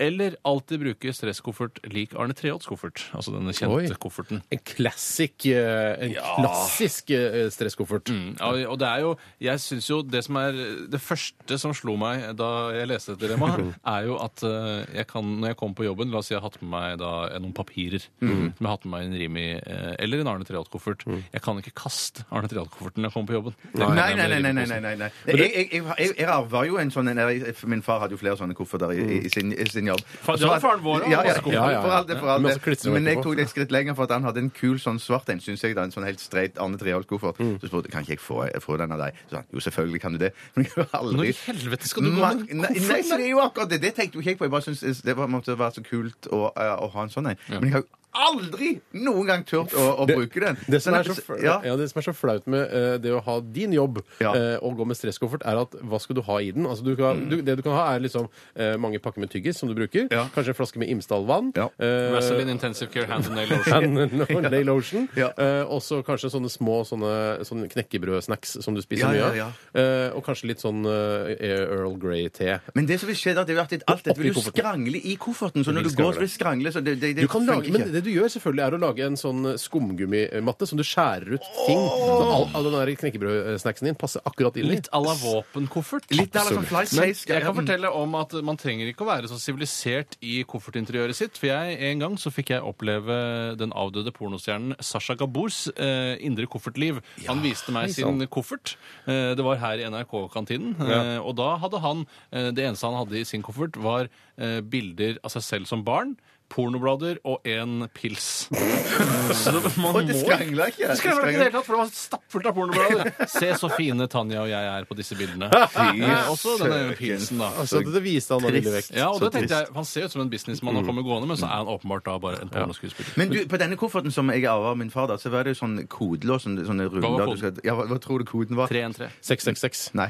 [SPEAKER 5] Eller alltid bruke stresskoffert lik Arne Treholts koffert. Altså denne
[SPEAKER 3] Oi.
[SPEAKER 5] kjente kofferten.
[SPEAKER 3] En, klassik, eh, en klassisk eh, stresskoffert.
[SPEAKER 5] Ja, og det er jo, jeg synes jo Det som er det første som slo meg da jeg leste dette
[SPEAKER 4] Mm.
[SPEAKER 5] dilemmaet, er jo at eh, jeg kan, når jeg kommer på jobben La oss si jeg har hatt med meg da eh, noen papirer.
[SPEAKER 4] Mm.
[SPEAKER 5] Som jeg har hatt med meg i en Rimi eh, eller en Arne Treholt-koffert. Jeg kan ikke kaste Arne Treholt-kofferten når jeg kommer på jobben. Det kan
[SPEAKER 4] Nei,
[SPEAKER 5] jeg
[SPEAKER 4] nei, nei. nei, nei,
[SPEAKER 5] med Rimi-posen.
[SPEAKER 4] nei, nei, nei. Jeg, jeg, jeg, jeg, jeg arva jo en sånn en, jeg- Min far hadde jo flere sånne kofferter i, i, sin, i sin jobb.
[SPEAKER 5] Fa- det hadde faren vår også,
[SPEAKER 4] Ja, ja,
[SPEAKER 5] masse
[SPEAKER 4] for
[SPEAKER 5] kofferter.
[SPEAKER 4] all det, for
[SPEAKER 3] Med
[SPEAKER 4] all det.
[SPEAKER 3] masse klistremerker
[SPEAKER 4] Men jeg
[SPEAKER 3] på.
[SPEAKER 4] tok det et skritt lenger, for at han hadde en kul sånn svart en, syns jeg. da, En sånn helt streit Arne Treholt-koffert. Så spurte jeg kan ikke jeg få, få den av deg. Så sa han jo, selvfølgelig kan du det. Men jeg har
[SPEAKER 5] Når
[SPEAKER 4] aldri
[SPEAKER 5] i helvete skal du gå
[SPEAKER 4] Ma-
[SPEAKER 5] med den
[SPEAKER 4] Nei, nei, så det er jo akkurat det. Det tenkte jo ikke jeg på. Jeg bare synes det var, måtte være så kult å, eh, å ha en sånn en. Men jeg har jo aldri noen gang turt å, å bruke den.
[SPEAKER 3] Det som,
[SPEAKER 4] Men
[SPEAKER 3] er så,
[SPEAKER 4] jeg-
[SPEAKER 3] fl-
[SPEAKER 4] ja.
[SPEAKER 3] ja, det som er så flaut med eh, det å ha din jobb
[SPEAKER 4] Ja.
[SPEAKER 3] eh, og gå med stresskoffert, er at hva skal du ha i den? Altså, du kan, du, det du kan ha, er liksom eh, mange pakker med tyggis som du bruker.
[SPEAKER 4] Ja.
[SPEAKER 3] Kanskje en flaske med Imsdal-vann.
[SPEAKER 4] Ja.
[SPEAKER 3] eh,
[SPEAKER 5] Vaseline Intensive Care Hand and Nail Lotion.
[SPEAKER 3] and nail lotion.
[SPEAKER 4] Ja.
[SPEAKER 3] Eh, og så kanskje sånne små sånne, sånne knekkebrødsnacks som du spiser
[SPEAKER 4] Ja,
[SPEAKER 3] mye
[SPEAKER 4] ja,
[SPEAKER 3] av. Eh, og kanskje litt sånn eh, Earl Grey-te.
[SPEAKER 4] Men det som vil skje da, det er jo at alt dette
[SPEAKER 3] Oppi
[SPEAKER 4] vil jo
[SPEAKER 3] kofferten.
[SPEAKER 4] skrangle i kofferten. Så når du
[SPEAKER 3] vil
[SPEAKER 4] går,
[SPEAKER 3] skrangle.
[SPEAKER 4] så vil det skrangle. Så det, det, det
[SPEAKER 3] Du kan lage,
[SPEAKER 4] funker
[SPEAKER 3] men
[SPEAKER 4] ikke.
[SPEAKER 3] det du gjør selvfølgelig er å lage en sånn skumgummimatte som du skjærer ut ting. Så all, all den der knekkebrødsnacksen din passer akkurat inn i.
[SPEAKER 5] Litt à la våpenkoffert.
[SPEAKER 4] Litt der, sånn fly
[SPEAKER 5] Men
[SPEAKER 4] case.
[SPEAKER 5] jeg kan fortelle om at man trenger ikke å være så sivilisert i koffertinteriøret sitt. For jeg, en gang så fikk jeg oppleve den avdøde pornostjernen Sasha Gabors eh, indre koffertliv. Han viste meg sin koffert. Eh, det var her i NRK-kantinen. Eh, og da hadde han eh, Det eneste han hadde i sin koffert, var eh, eh, bilder av seg selv som barn, pornoblader og en pils. Så det- man
[SPEAKER 4] Og de skrangla ikke.
[SPEAKER 5] Det skrangla ikke i det hele tatt, for det var stappfullt av pornoblader. Se så fine Tanja og jeg er på disse bildene. Eh, også denne
[SPEAKER 4] søken.
[SPEAKER 5] pilsen, da.
[SPEAKER 3] Altså, det viste han da ville vekk.
[SPEAKER 5] Ja, og
[SPEAKER 4] Så
[SPEAKER 5] det tenkte
[SPEAKER 4] trist.
[SPEAKER 5] jeg, Han ser ut som en businessmann og kommer gående, men så er han åpenbart da bare en pornoskuespiller.
[SPEAKER 4] Men du, på denne kofferten som jeg arva av min far, da, så var det jo sånn kodelås. Sånne, sånne runder.
[SPEAKER 5] koden?
[SPEAKER 4] du skal- Ja, hva, hva tror du koden var?
[SPEAKER 5] 313.
[SPEAKER 3] 666.
[SPEAKER 4] Nei.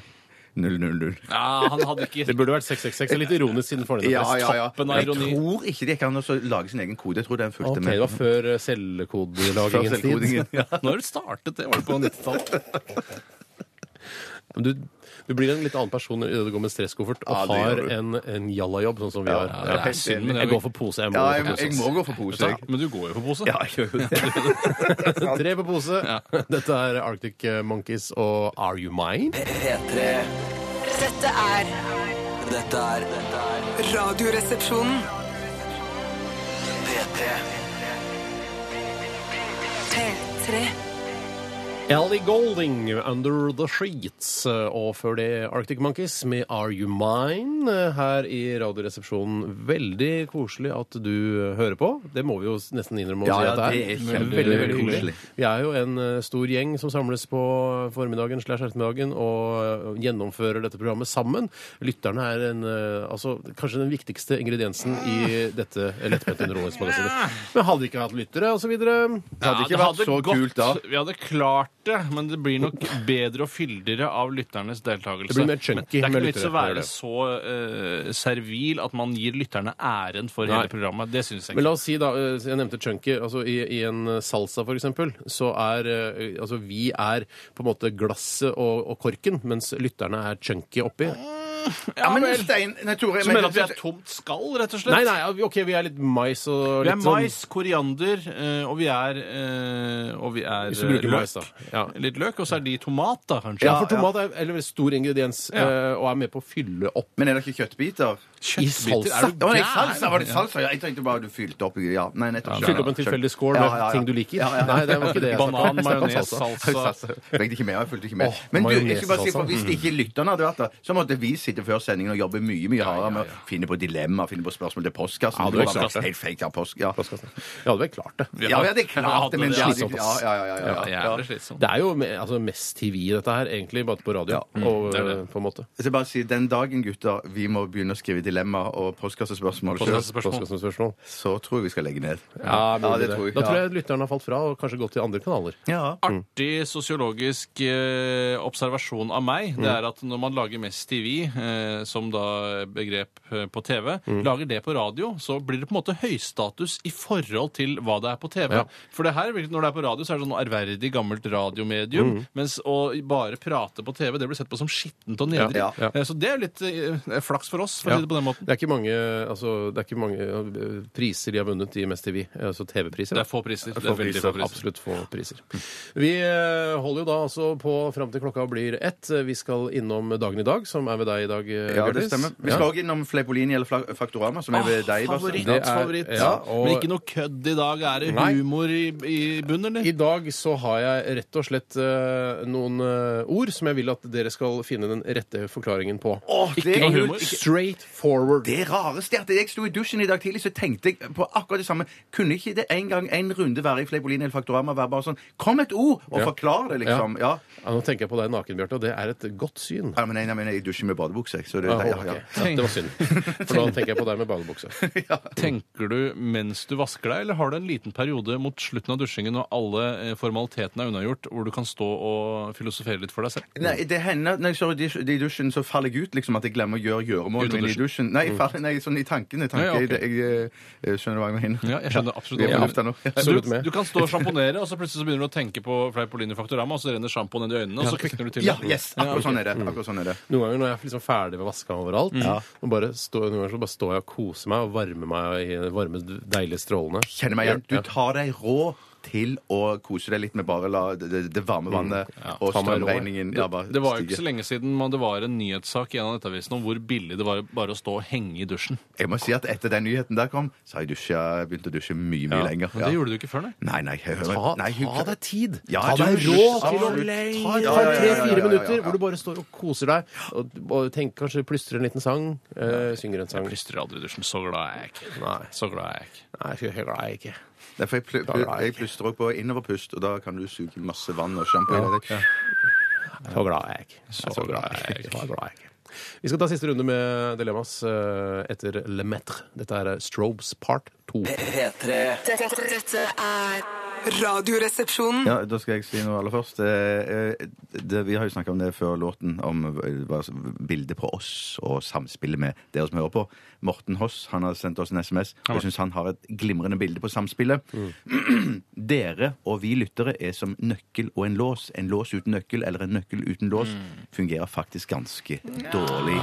[SPEAKER 4] 000.
[SPEAKER 5] Ja, han hadde ikke
[SPEAKER 3] Det burde vært 666. Det er litt ironisk siden fornavnet
[SPEAKER 4] Ja, ja, ja.
[SPEAKER 5] Toppen av
[SPEAKER 4] Jeg
[SPEAKER 5] ironi.
[SPEAKER 4] tror ikke de kan også lage sin egen kode. Jeg tror den fulgte
[SPEAKER 3] Ok,
[SPEAKER 4] med.
[SPEAKER 3] det var før eh, selvkodelagingens tid.
[SPEAKER 4] Ja.
[SPEAKER 5] Når startet det? Var det på 90-tallet?
[SPEAKER 3] Men Du, du blir en litt annen person når du går med stresskoffert og
[SPEAKER 4] Ja, det
[SPEAKER 3] har
[SPEAKER 4] gjør du.
[SPEAKER 3] en, en jallajobb, sånn som vi
[SPEAKER 4] Ja,
[SPEAKER 3] har.
[SPEAKER 4] ja,
[SPEAKER 5] det er synd, men det er
[SPEAKER 3] jeg
[SPEAKER 5] jo-
[SPEAKER 3] går for pose. Jeg må
[SPEAKER 4] Ja,
[SPEAKER 3] gå
[SPEAKER 4] jeg,
[SPEAKER 3] for pose.
[SPEAKER 4] jeg må gå for pose, jeg.
[SPEAKER 5] Men du går sånn. jo på pose.
[SPEAKER 4] Ja, jeg gjør jo det.
[SPEAKER 3] Tre på pose. Dette er Arctic Monkeys og Are You Mine?
[SPEAKER 2] P3.
[SPEAKER 7] Dette er
[SPEAKER 2] Dette er dette er
[SPEAKER 7] Radioresepsjonen.
[SPEAKER 2] P3.
[SPEAKER 7] P3.
[SPEAKER 3] Ellie Golding, 'Under The Sheets'. Og før det Arctic Monkeys med 'Are You Mine'. Her i Radioresepsjonen. Veldig koselig at du hører på. Det må vi jo nesten innrømme. å
[SPEAKER 4] Ja,
[SPEAKER 3] si
[SPEAKER 4] ja,
[SPEAKER 3] at det
[SPEAKER 4] det
[SPEAKER 3] er.
[SPEAKER 4] er kjempe-
[SPEAKER 3] veldig, veldig
[SPEAKER 4] koselig.
[SPEAKER 3] hyggelig. Vi er jo en eh, stor gjeng som samles på formiddagen slash ettermiddagen og eh, gjennomfører dette programmet sammen. Lytterne er en, eh, altså, kanskje den viktigste ingrediensen i dette lettbente underholdningsmagasinet. Men hadde vi ikke hatt lyttere osv.
[SPEAKER 4] Det hadde ikke vært så kult da.
[SPEAKER 5] Vi hadde klart det, men det blir nok bedre og fyldigere av lytternes deltakelse.
[SPEAKER 3] Det blir mer chunky
[SPEAKER 5] Men det er
[SPEAKER 3] med
[SPEAKER 5] ikke vits å
[SPEAKER 3] lyttere, det er
[SPEAKER 5] være
[SPEAKER 3] det.
[SPEAKER 5] så eh, servil at man gir lytterne æren for
[SPEAKER 3] Nei.
[SPEAKER 5] hele programmet. Det syns jeg
[SPEAKER 3] Men
[SPEAKER 5] ikke.
[SPEAKER 3] la oss si, da, eh, jeg nevnte chunky. altså I, i en salsa, for eksempel, så er eh, altså vi er på en måte glasset og, og korken, mens lytterne er chunky oppi.
[SPEAKER 5] Ja,
[SPEAKER 4] Men
[SPEAKER 5] vel.
[SPEAKER 4] Stein, nei, Tore,
[SPEAKER 5] Så mener at vi er et tomt skall, rett og slett?
[SPEAKER 3] Nei, nei, ja, vi- OK, vi er litt mais og
[SPEAKER 5] Vi
[SPEAKER 3] litt sånn-
[SPEAKER 5] er mais, koriander, eh, og vi er, eh, og vi er
[SPEAKER 3] Hvis du bruker
[SPEAKER 5] eh,
[SPEAKER 3] mais, da. Ja.
[SPEAKER 5] Litt løk, og så er de tomat, da, kanskje.
[SPEAKER 3] Ja, for tomat er en veldig stor ingrediens
[SPEAKER 5] Ja.
[SPEAKER 3] eh, og er med på å fylle opp
[SPEAKER 4] Men er det ikke kjøttbiter?
[SPEAKER 3] i
[SPEAKER 5] Kjøttbiter,
[SPEAKER 3] salsa.
[SPEAKER 5] er du
[SPEAKER 4] Å, nei,
[SPEAKER 5] gæren?
[SPEAKER 4] salsa, var det salsa? Ja, jeg tenkte bare du fylte opp. Ja, nei, nettopp.
[SPEAKER 3] Fylle opp en tilfeldig skål med
[SPEAKER 4] Ja, ja, ja.
[SPEAKER 3] ting du liker.
[SPEAKER 4] Ja, ja.
[SPEAKER 3] Nei, det var ikke det jeg snakket om.
[SPEAKER 5] Banan,
[SPEAKER 3] Jeg snakket om
[SPEAKER 5] majones,
[SPEAKER 3] salsa.
[SPEAKER 5] salsa
[SPEAKER 4] Salsa. Jeg vet ikke mer, jeg fulgte ikke med.
[SPEAKER 3] Åh,
[SPEAKER 4] Men du, jeg skal bare si,
[SPEAKER 3] majones-salsa.
[SPEAKER 4] for Hvis ikke lytterne hadde vært der, så måtte vi sitte før sendingen og jobbe mye mye hardere med å finne på dilemmaer, finne på spørsmål til
[SPEAKER 3] Ja,
[SPEAKER 4] postkassen.
[SPEAKER 3] det
[SPEAKER 4] Det
[SPEAKER 3] var
[SPEAKER 4] var
[SPEAKER 3] klart det.
[SPEAKER 4] helt fake, ja, post, ja.
[SPEAKER 3] Jeg hadde vel klart det.
[SPEAKER 4] Ja, ja, det er klart det, men det
[SPEAKER 5] Ja,
[SPEAKER 4] hadde-
[SPEAKER 5] det er
[SPEAKER 4] ja, ja, ja, ja, ja.
[SPEAKER 5] Ja, jævlig slitsomt.
[SPEAKER 3] Det er jo me- altså, mest TV i dette her, egentlig, bare på radio.
[SPEAKER 4] Mm.
[SPEAKER 3] og, eh, på en måte.
[SPEAKER 4] Jeg skal bare si, Den dagen, gutter, vi må begynne å skrive dilemmaer og postkassespørsmål selv,
[SPEAKER 5] Spørsmål.
[SPEAKER 3] Postkassespørsmål.
[SPEAKER 4] så tror jeg vi skal legge ned.
[SPEAKER 3] Ja,
[SPEAKER 4] Ja,
[SPEAKER 3] mulig
[SPEAKER 4] det
[SPEAKER 3] det.
[SPEAKER 4] tror jeg,
[SPEAKER 3] Da tror
[SPEAKER 4] ja.
[SPEAKER 3] jeg lytteren har falt fra og kanskje gått til andre kanaler.
[SPEAKER 4] Ja.
[SPEAKER 5] artig sosiologisk eh, observasjon av meg, det er at når man lager mest TV, eh, som da begrep eh, på TV,
[SPEAKER 3] Mm.
[SPEAKER 5] lager det på radio, så blir det på en måte høystatus i forhold til hva det er på TV.
[SPEAKER 3] Ja.
[SPEAKER 5] For det her, når det er på radio, så er det sånn ærverdig gammelt radiomedium,
[SPEAKER 3] Mm.
[SPEAKER 5] mens å bare prate på TV, det blir sett på som skittent og nedrig.
[SPEAKER 4] Ja,
[SPEAKER 3] ja.
[SPEAKER 5] Eh, Så det er jo litt eh, flaks for oss, for
[SPEAKER 3] Ja.
[SPEAKER 5] å si det på den måten.
[SPEAKER 3] Det er ikke mange, altså, det er ikke mange eh, priser de har vunnet i Mest TV. Altså TV-priser.
[SPEAKER 5] Det
[SPEAKER 3] da.
[SPEAKER 5] er få priser. Det
[SPEAKER 4] Få
[SPEAKER 5] er veldig
[SPEAKER 4] priser,
[SPEAKER 5] få priser. Mm.
[SPEAKER 3] Absolutt få priser. Vi eh, holder jo da altså på fram til klokka blir ett. Vi skal innom dagen i dag, som er ved deg i dag, eh,
[SPEAKER 4] Ja, det
[SPEAKER 3] Bjørtis.
[SPEAKER 4] stemmer. Vi
[SPEAKER 3] Ja.
[SPEAKER 4] skal også innom Fleipolini eller Fla- Faktorama, som er ved deg. Basse.
[SPEAKER 5] favoritt,
[SPEAKER 3] Det er-
[SPEAKER 5] favoritt.
[SPEAKER 3] ja, og-
[SPEAKER 5] Men ikke noe kødd i dag. Er det
[SPEAKER 3] Nei.
[SPEAKER 5] humor i, i bunnen, eller?
[SPEAKER 3] I dag så har jeg rett og slett eh, noen eh, ord som jeg vil at dere skal finne den rette forklaringen på.
[SPEAKER 4] Åh, det
[SPEAKER 3] ikke
[SPEAKER 4] er
[SPEAKER 3] noe
[SPEAKER 4] jo-
[SPEAKER 3] humor. Straight forward.
[SPEAKER 4] Det rareste er at jeg sto i dusjen i dag tidlig, så tenkte jeg på akkurat det samme. Kunne ikke det en gang en runde være i Fleipolini eller Faktorama være bare sånn Kom et ord og
[SPEAKER 3] Ja.
[SPEAKER 4] forklar det, liksom. Ja.
[SPEAKER 3] Ja, nå tenker jeg på deg naken, Bjarte, og det er et godt syn.
[SPEAKER 4] Ja, men nei, nei, men jeg dusjer med badebukse, jeg, så det
[SPEAKER 3] Ah,
[SPEAKER 4] ja,
[SPEAKER 3] ok.
[SPEAKER 4] ja.
[SPEAKER 3] ja, det var synd. For nå tenker jeg på deg med badebukse.
[SPEAKER 5] Tenker du mens du vasker deg, eller har du en liten periode mot slutten av dusjingen når alle eh, formalitetene er unnagjort, hvor du kan stå og filosofere litt for deg selv?
[SPEAKER 4] Nei, det hender når jeg står i dus- i dusjen, så faller jeg ut, liksom, at jeg glemmer å gjøre
[SPEAKER 5] Ut av
[SPEAKER 4] gjøremålet mine i dusjen. Nei, jeg faller, nei, sånn i tankene. Tanke,
[SPEAKER 5] Ja, ja, ok.
[SPEAKER 4] jeg, jeg, eh, skjønner du hva jeg mener?
[SPEAKER 5] Ja, jeg skjønner absolutt
[SPEAKER 4] Vi er på
[SPEAKER 5] hva du
[SPEAKER 4] lufta nå.
[SPEAKER 5] Så
[SPEAKER 3] Absolutt
[SPEAKER 5] du,
[SPEAKER 3] med.
[SPEAKER 5] du kan stå og sjamponere, og så plutselig så begynner du å tenke på Fleipolini Faktorama, og så renner sjampo ned i øynene, og så kvikner du til.
[SPEAKER 4] Ja, yes, akkurat sånn er det. Akkurat sånn er det.
[SPEAKER 3] Noen ganger når jeg er liksom ferdig med å vaske meg overalt,
[SPEAKER 4] Mm.
[SPEAKER 3] og bare stå, noen ganger så bare står jeg og koser meg og varmer meg i det varme, deilige strålene.
[SPEAKER 4] Kjenner meg igjen. Du tar deg rå til å kose deg litt med bare la det, det- det
[SPEAKER 5] Mm.
[SPEAKER 4] varme vannet og
[SPEAKER 3] Ta meg råd.
[SPEAKER 4] strømregningen ja, bare
[SPEAKER 5] Det var jo ikke
[SPEAKER 4] stige.
[SPEAKER 5] så lenge siden man, det var en nyhetssak i en av nettavisen om hvor billig det var bare å stå og henge i dusjen.
[SPEAKER 4] Jeg må si at etter den nyheten der kom, så har jeg dusja, begynt å dusje mye, mye lenger.
[SPEAKER 5] Men det gjorde du ikke før, nei.
[SPEAKER 4] Nei, nei, jeg hører
[SPEAKER 3] Ta,
[SPEAKER 4] nei,
[SPEAKER 3] ta deg tid.
[SPEAKER 4] Ja,
[SPEAKER 3] ta deg
[SPEAKER 4] absolutt,
[SPEAKER 3] råd til å
[SPEAKER 4] absolutt.
[SPEAKER 3] ta et
[SPEAKER 4] Ja,
[SPEAKER 3] par
[SPEAKER 4] ja, ja, ja, ja, ja,
[SPEAKER 3] tre-fire
[SPEAKER 4] ja.
[SPEAKER 3] minutter hvor du bare står og koser deg og, og tenker kanskje plystrer en liten sang. eh, synger en sang. Nei,
[SPEAKER 5] Plystrer aldri i dusjen. Så glad er jeg ikke.
[SPEAKER 3] Nei.
[SPEAKER 5] Så glad er jeg ikke.
[SPEAKER 3] jeg er ikke glad jeg ikke.
[SPEAKER 4] Nei, for jeg, pl pl jeg plystrer også på innoverpust, og da kan du suge masse vann og sjampo. i deg.
[SPEAKER 3] Så glad er jeg ikke. Så glad er jeg ikke. Så glad er jeg ikke. Vi skal ta siste runde med Dilemmas eh, etter Lemaitre. Dette er eh, Strobes part 2.
[SPEAKER 2] P3
[SPEAKER 7] Dette, dette er Radioresepsjonen.
[SPEAKER 4] Ja, da skal jeg si noe aller først. Eh, eh, Det, vi har jo snakka om det før låten, om eh, hva som- bildet på oss og samspillet med dere som hører på. Morten Hoss han har sendt oss en SMS, og jeg syns han har et glimrende bilde på samspillet. Dere og vi lyttere er som nøkkel og en lås. En lås uten nøkkel eller en nøkkel uten lås fungerer faktisk ganske dårlig.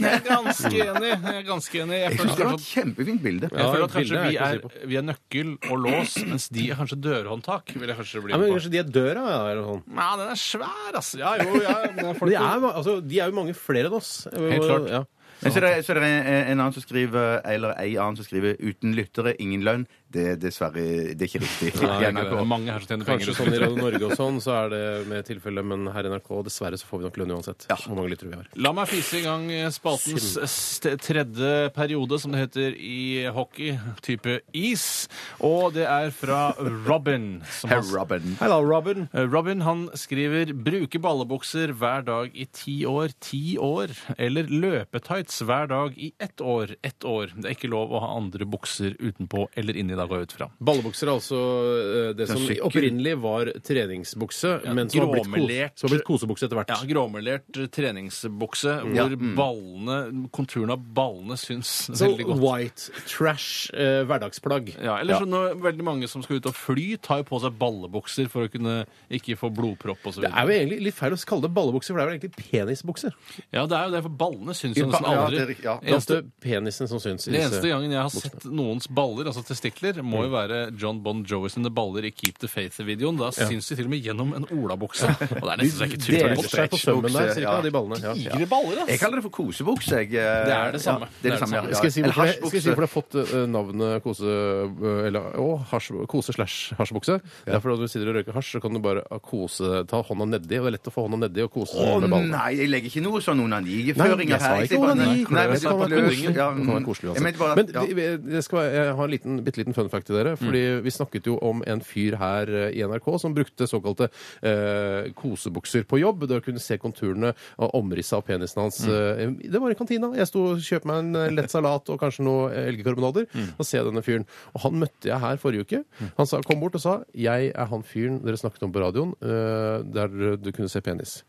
[SPEAKER 5] Jeg er ganske enig. Jeg er ganske enig. Jeg
[SPEAKER 4] Jeg syns
[SPEAKER 5] føler
[SPEAKER 4] det var et
[SPEAKER 5] kanskje,
[SPEAKER 4] kjempefint bilde.
[SPEAKER 5] jeg føler
[SPEAKER 3] Ja,
[SPEAKER 5] at
[SPEAKER 3] bildet
[SPEAKER 5] kanskje
[SPEAKER 3] er
[SPEAKER 5] vi
[SPEAKER 3] ikke å si
[SPEAKER 5] er, vi er nøkkel og lås, mens de er kanskje dørhåndtak. Vil jeg kanskje bli
[SPEAKER 3] Ja, men
[SPEAKER 5] med på.
[SPEAKER 3] kanskje de er døra, ja, eller noe sånt.
[SPEAKER 5] Nei, den er svær, altså. Ja, jo, ja. men
[SPEAKER 3] Men
[SPEAKER 5] folk-
[SPEAKER 3] De er, ma- altså, de er jo mange flere enn oss.
[SPEAKER 5] Helt klart.
[SPEAKER 3] Ja.
[SPEAKER 4] Men så er det, så er det en, en annen som skriver Eller ei annen som skriver 'uten lyttere, ingen lønn'. Det er dessverre det er ikke riktig.
[SPEAKER 5] Nei, det er ikke
[SPEAKER 4] NRK.
[SPEAKER 5] det. Mange her som tjener penger.
[SPEAKER 3] altså. Kanskje sånn i Radio Norge og sånn, så er det med tilfelle, men her i NRK dessverre så får vi nok lønn uansett. Hvor mange lyttere vi har.
[SPEAKER 5] La meg fise i gang eh, spaltens st- tredje periode, som det heter i hockey, type is. Og det er fra Robin. Som
[SPEAKER 4] Herr
[SPEAKER 5] har-
[SPEAKER 4] Robin.
[SPEAKER 3] Hei da, Robin.
[SPEAKER 5] Eh, Robin han skriver 'bruke ballebukser hver dag i ti år, ti år', eller 'løpetights hver dag i ett år, ett år'. Det er ikke lov å ha andre bukser utenpå eller inni, da går jeg ut fra.
[SPEAKER 3] Ballebukser er altså eh, det som
[SPEAKER 4] sykkel.
[SPEAKER 3] opprinnelig var treningsbukse, men som har blitt, kos
[SPEAKER 5] gråmelert.
[SPEAKER 3] som har blitt kosebukse etter hvert.
[SPEAKER 5] Ja, Gråmelert eh, treningsbukse hvor
[SPEAKER 4] Ja, mm.
[SPEAKER 5] ballene, konturen av ballene syns
[SPEAKER 3] Så
[SPEAKER 5] veldig godt.
[SPEAKER 3] white trash eh, hverdagsplagg.
[SPEAKER 5] Ja, eller så nå, veldig mange som skal ut og fly, tar jo på seg ballebukser for å kunne ikke få blodpropp osv.
[SPEAKER 3] Det er jo egentlig litt feil å kalle det ballebukser, for det er vel egentlig penisbukser.
[SPEAKER 5] Ja, det er jo det, for ballene syns
[SPEAKER 4] Ja,
[SPEAKER 5] jo nesten
[SPEAKER 4] ja,
[SPEAKER 5] aldri.
[SPEAKER 4] det er riktig, ja.
[SPEAKER 3] Det er
[SPEAKER 5] eneste,
[SPEAKER 3] ofte penisen som syns. i
[SPEAKER 5] det
[SPEAKER 3] disse-
[SPEAKER 5] eneste gangen jeg har sett noens baller, altså testikler,
[SPEAKER 3] Mm.
[SPEAKER 5] må jo være John Bon Jovi sine baller i Keep the Faith-videoen. Da syns de til og med gjennom en olabukse. Og det er nesten så jeg ikke tror
[SPEAKER 3] Deler
[SPEAKER 5] på
[SPEAKER 3] seg på sømmen der,
[SPEAKER 4] stretchbukse,
[SPEAKER 3] cirka,
[SPEAKER 4] ja.
[SPEAKER 3] de ballene. Ja.
[SPEAKER 5] Digre baller,
[SPEAKER 4] Jeg
[SPEAKER 5] ass!
[SPEAKER 4] kaller det for kosebukse. Jeg. Det
[SPEAKER 5] er det samme.
[SPEAKER 4] Ja, det er det samme. ja, ja.
[SPEAKER 3] Skal jeg si
[SPEAKER 4] Eller
[SPEAKER 3] hvorfor det- skal jeg si
[SPEAKER 4] hasjbukse.
[SPEAKER 3] hvorfor det har fått eh, navnet kose... eh, Eller, å, hasj, kose slash hasjbukse? Det er fordi når du sitter og røyker hasj, så kan du bare ah, kose, ta hånda nedi. Og det er lett å få hånda nedi og kose
[SPEAKER 4] Å
[SPEAKER 3] med ballene.
[SPEAKER 4] nei, jeg legger ikke noe sånn
[SPEAKER 3] Nei,
[SPEAKER 4] onaniføringer
[SPEAKER 3] jeg sa
[SPEAKER 4] her.
[SPEAKER 3] ikke
[SPEAKER 4] sier bare-
[SPEAKER 3] onani.
[SPEAKER 4] Nei,
[SPEAKER 3] Det
[SPEAKER 4] men det
[SPEAKER 3] kan
[SPEAKER 4] var
[SPEAKER 3] være koselig.
[SPEAKER 4] ja, mm.
[SPEAKER 3] Det kan være koselig
[SPEAKER 4] jeg mente bare-
[SPEAKER 3] uansett. Men
[SPEAKER 4] ja.
[SPEAKER 3] vi- vi- det skal, være- jeg har en liten, bitte liten fun fact til dere. Fordi vi snakket jo om en fyr her eh, i NRK som brukte såkalte eh, kosebukser på jobb. Der kunne se konturene og omrisset av penisen hans. eh, det var i kantina. Jeg sto og kjøpte meg en eh, lett salat og kanskje noe eh, elgkarbonader. Og ser jeg denne fyren. Og han møtte jeg her forrige uke. Han sa, kom bort og sa jeg er han fyren dere snakket om på radioen eh, der du kunne se penis.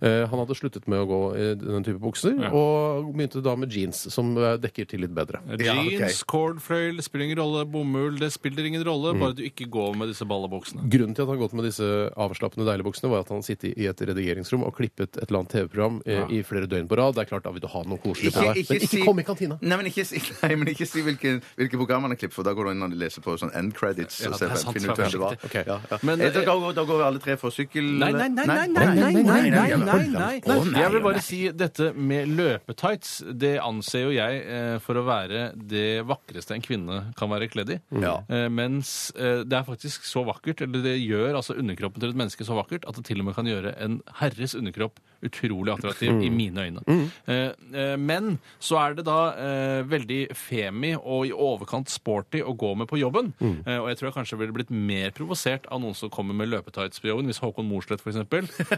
[SPEAKER 3] Eh, han hadde sluttet med å gå i den type bukser, og begynte da med jeans, som eh, dekker til litt bedre.
[SPEAKER 4] Ja, ok.
[SPEAKER 5] Jeans, cordfløyel, spiller ingen rolle. Bomull, det spiller ingen rolle,
[SPEAKER 3] Mm.
[SPEAKER 5] bare du ikke går med disse ballebuksene.
[SPEAKER 3] Grunnen til at han gått med disse avslappende deilige buksene, var at han sittet i et redigeringsrom og klippet et eller annet TV-program eh, i flere døgn på rad. Det er klart, da vil du ha noe koselig på deg. Men ikke
[SPEAKER 4] si-
[SPEAKER 3] kom i kantina.
[SPEAKER 4] Nei, men ikke si, nei, men ikke si hvilke, hvilke program man har klippet, for da går du inn og leser på sånn end credits.
[SPEAKER 5] Ja,
[SPEAKER 4] og
[SPEAKER 5] det
[SPEAKER 4] ser
[SPEAKER 5] er
[SPEAKER 4] hvem-
[SPEAKER 5] sant,
[SPEAKER 4] finner ut hvem det var.
[SPEAKER 3] Ok.
[SPEAKER 4] Ja, ja.
[SPEAKER 5] Men-
[SPEAKER 4] Eh, da, går, da går alle tre for sykkel...
[SPEAKER 5] Nei, nei, nei, nei, nei, nei, nei, nei, nei, nei, nei. Jeg vil bare si dette med løpetights. Det anser jo jeg eh, for å være det vakreste en kvinne kan være kledd i.
[SPEAKER 4] Ja.
[SPEAKER 5] Eh, Mens eh, det er faktisk så vakkert, eller det gjør altså underkroppen til et menneske så vakkert, at det til og med kan gjøre en herres underkropp utrolig attraktiv i mine øyne.
[SPEAKER 3] Mm.
[SPEAKER 5] Eh, eh, Men så er det da eh, veldig femi og i overkant sporty å gå med på jobben.
[SPEAKER 3] Mm.
[SPEAKER 5] Eh, Og jeg tror jeg kanskje ville blitt mer provosert av noen som kommer med løpetights på jobben, hvis Håkon Morsleth f.eks.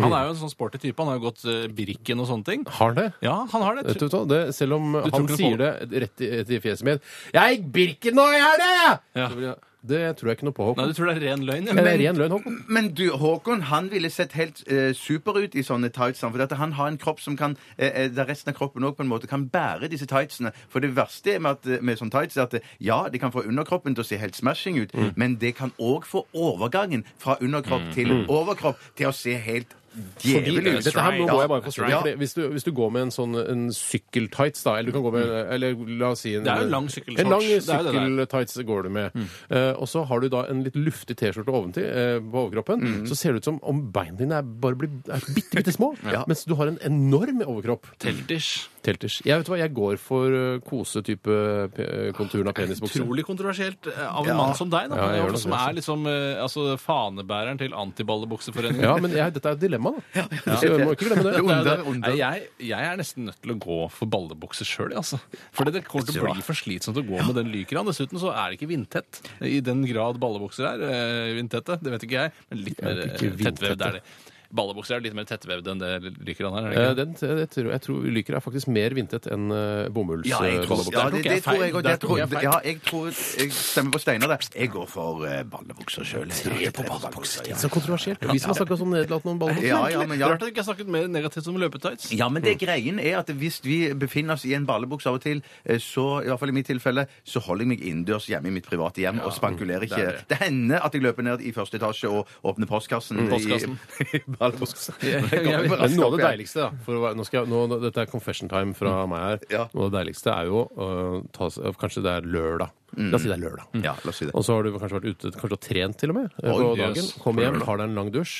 [SPEAKER 5] Han er jo en sånn sporty type. Han har jo gått eh, Birken og sånne ting.
[SPEAKER 3] Har det?
[SPEAKER 5] Ja, han har det.
[SPEAKER 3] Vet du hva, det, selv om han
[SPEAKER 5] ikke noe
[SPEAKER 3] sier det rett i, rett i fjeset mitt 'Jeg gikk Birken nå i helga!'
[SPEAKER 5] Ja.
[SPEAKER 3] Så vil jeg- Det tror jeg ikke noe på,
[SPEAKER 5] Nei,
[SPEAKER 3] Håkon.
[SPEAKER 5] du tror det er ren løgn? ja.
[SPEAKER 3] Det er ren løgn, Håkon.
[SPEAKER 4] Men du, Håkon han ville sett helt eh, super ut i sånne tights. For at han har en kropp som kan eh, eh, der resten av kroppen også på en måte kan bære disse tightsene. For det verste med, at, med sånne tights er at eh, ja, de kan få underkroppen til å se helt smashing
[SPEAKER 3] Mm.
[SPEAKER 4] ut, men det kan òg få overgangen fra underkropp til overkropp til å se helt
[SPEAKER 5] eh,
[SPEAKER 3] Fordi,
[SPEAKER 4] djevel ut.
[SPEAKER 3] Mm. dette her nå
[SPEAKER 5] right.
[SPEAKER 3] går jeg bare på
[SPEAKER 5] That's
[SPEAKER 3] strøm.
[SPEAKER 5] right.
[SPEAKER 3] fordi Hvis, du- hvis du går med en sånn en sykkeltights, da, eller du kan gå med eller la oss si en,
[SPEAKER 5] Det er jo en lang sykkelshorts.
[SPEAKER 3] En lang
[SPEAKER 5] Det er jo det der.
[SPEAKER 3] sykkeltights går du med. Eh, og så har du da en litt luftig T-skjorte oventil eh, på overkroppen. Så ser det ut som om beina dine er bare blir er bitte, bitte små, mens du har en enorm overkropp.
[SPEAKER 5] Teltish.
[SPEAKER 3] Telters. Jeg vet hva, jeg går for eh, kose type pe- konturen av penisbukser.
[SPEAKER 5] Utrolig kontroversielt eh, av en mann som deg, da,
[SPEAKER 3] Ja, jeg gjør nok
[SPEAKER 5] som
[SPEAKER 3] det, altså.
[SPEAKER 5] er liksom eh, altså, fanebæreren til antiballebukseforeningen.
[SPEAKER 3] Ja, men jeg, dette er et dilemma, da. Så jeg må ikke glemme det.
[SPEAKER 5] Det er jo
[SPEAKER 4] Under,
[SPEAKER 5] det.
[SPEAKER 4] under.
[SPEAKER 5] Nei, jeg, jeg er nesten nødt til å gå for ballebukse sjøl, altså. For det kommer til å bli for slitsomt å gå med den lykra. Dessuten så er det ikke vindtett. I den grad ballebukser er eh, vindtette, det vet ikke jeg, men litt mer
[SPEAKER 3] vet
[SPEAKER 5] eh,
[SPEAKER 3] ikke vindtette.
[SPEAKER 5] tettvevd er det. Ballebukser er litt mer tettvevd enn det lykraen her, er det
[SPEAKER 3] Eh,
[SPEAKER 5] ikke?
[SPEAKER 3] Den, jeg, tror, jeg tror lyker er faktisk mer vindtett enn eh,
[SPEAKER 4] Ja, jeg tror,
[SPEAKER 3] bomullsballebukser.
[SPEAKER 4] ja, det, det tror jeg, og
[SPEAKER 5] Der
[SPEAKER 4] det tror,
[SPEAKER 5] tok jeg feil.
[SPEAKER 4] ja, jeg tror jeg stemmer på Steinar der. Jeg går for eh, ballebukser sjøl. Tre på ballebukser.
[SPEAKER 3] Det er så kontroversielt. Vi som har snakka så nedlatende om ballebukser.
[SPEAKER 4] Ja, ja, men ja.
[SPEAKER 5] Rart at jeg ikke har snakket mer negativt om løpetights.
[SPEAKER 4] Ja, men det greien er at hvis vi befinner oss i en ballebukse av og til, eh, så i hvert fall i mitt tilfelle, så holder jeg meg innendørs hjemme i mitt private hjem og spankulerer ikke.
[SPEAKER 5] det er
[SPEAKER 4] Det,
[SPEAKER 5] det.
[SPEAKER 4] hender at jeg løper ned i første etasje og åpner Mm, postkassen.
[SPEAKER 5] Postkassen.
[SPEAKER 4] I, i ballebuksen.
[SPEAKER 5] jeg vet.
[SPEAKER 3] Men Noe av det deiligste, da for å være, nå skal jeg, nå, nå- Dette er confession time fra meg her.
[SPEAKER 4] Mm. Ja.
[SPEAKER 3] Noe av det deiligste er jo øh, ta, s- Kanskje det er lørdag.
[SPEAKER 4] Mm.
[SPEAKER 3] La oss si det er lørdag.
[SPEAKER 4] Ja, la oss si det.
[SPEAKER 3] Og så har du kanskje vært ute Kanskje du har trent til og med øh, på
[SPEAKER 5] Oi,
[SPEAKER 3] dagen.
[SPEAKER 5] yes.
[SPEAKER 3] Kommer hjem, tar deg en lang dusj,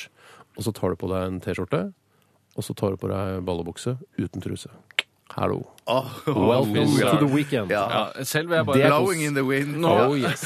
[SPEAKER 3] og så tar du på deg en T-skjorte. Og så tar du på deg ballebukse uten truse. Hallo.
[SPEAKER 4] Åh,
[SPEAKER 3] Welcome
[SPEAKER 5] sir.
[SPEAKER 3] to the weekend.
[SPEAKER 4] Ja.
[SPEAKER 5] Ja, selv vil jeg
[SPEAKER 3] Det er
[SPEAKER 5] bare
[SPEAKER 4] Blowing in the wind.
[SPEAKER 3] Oh yes.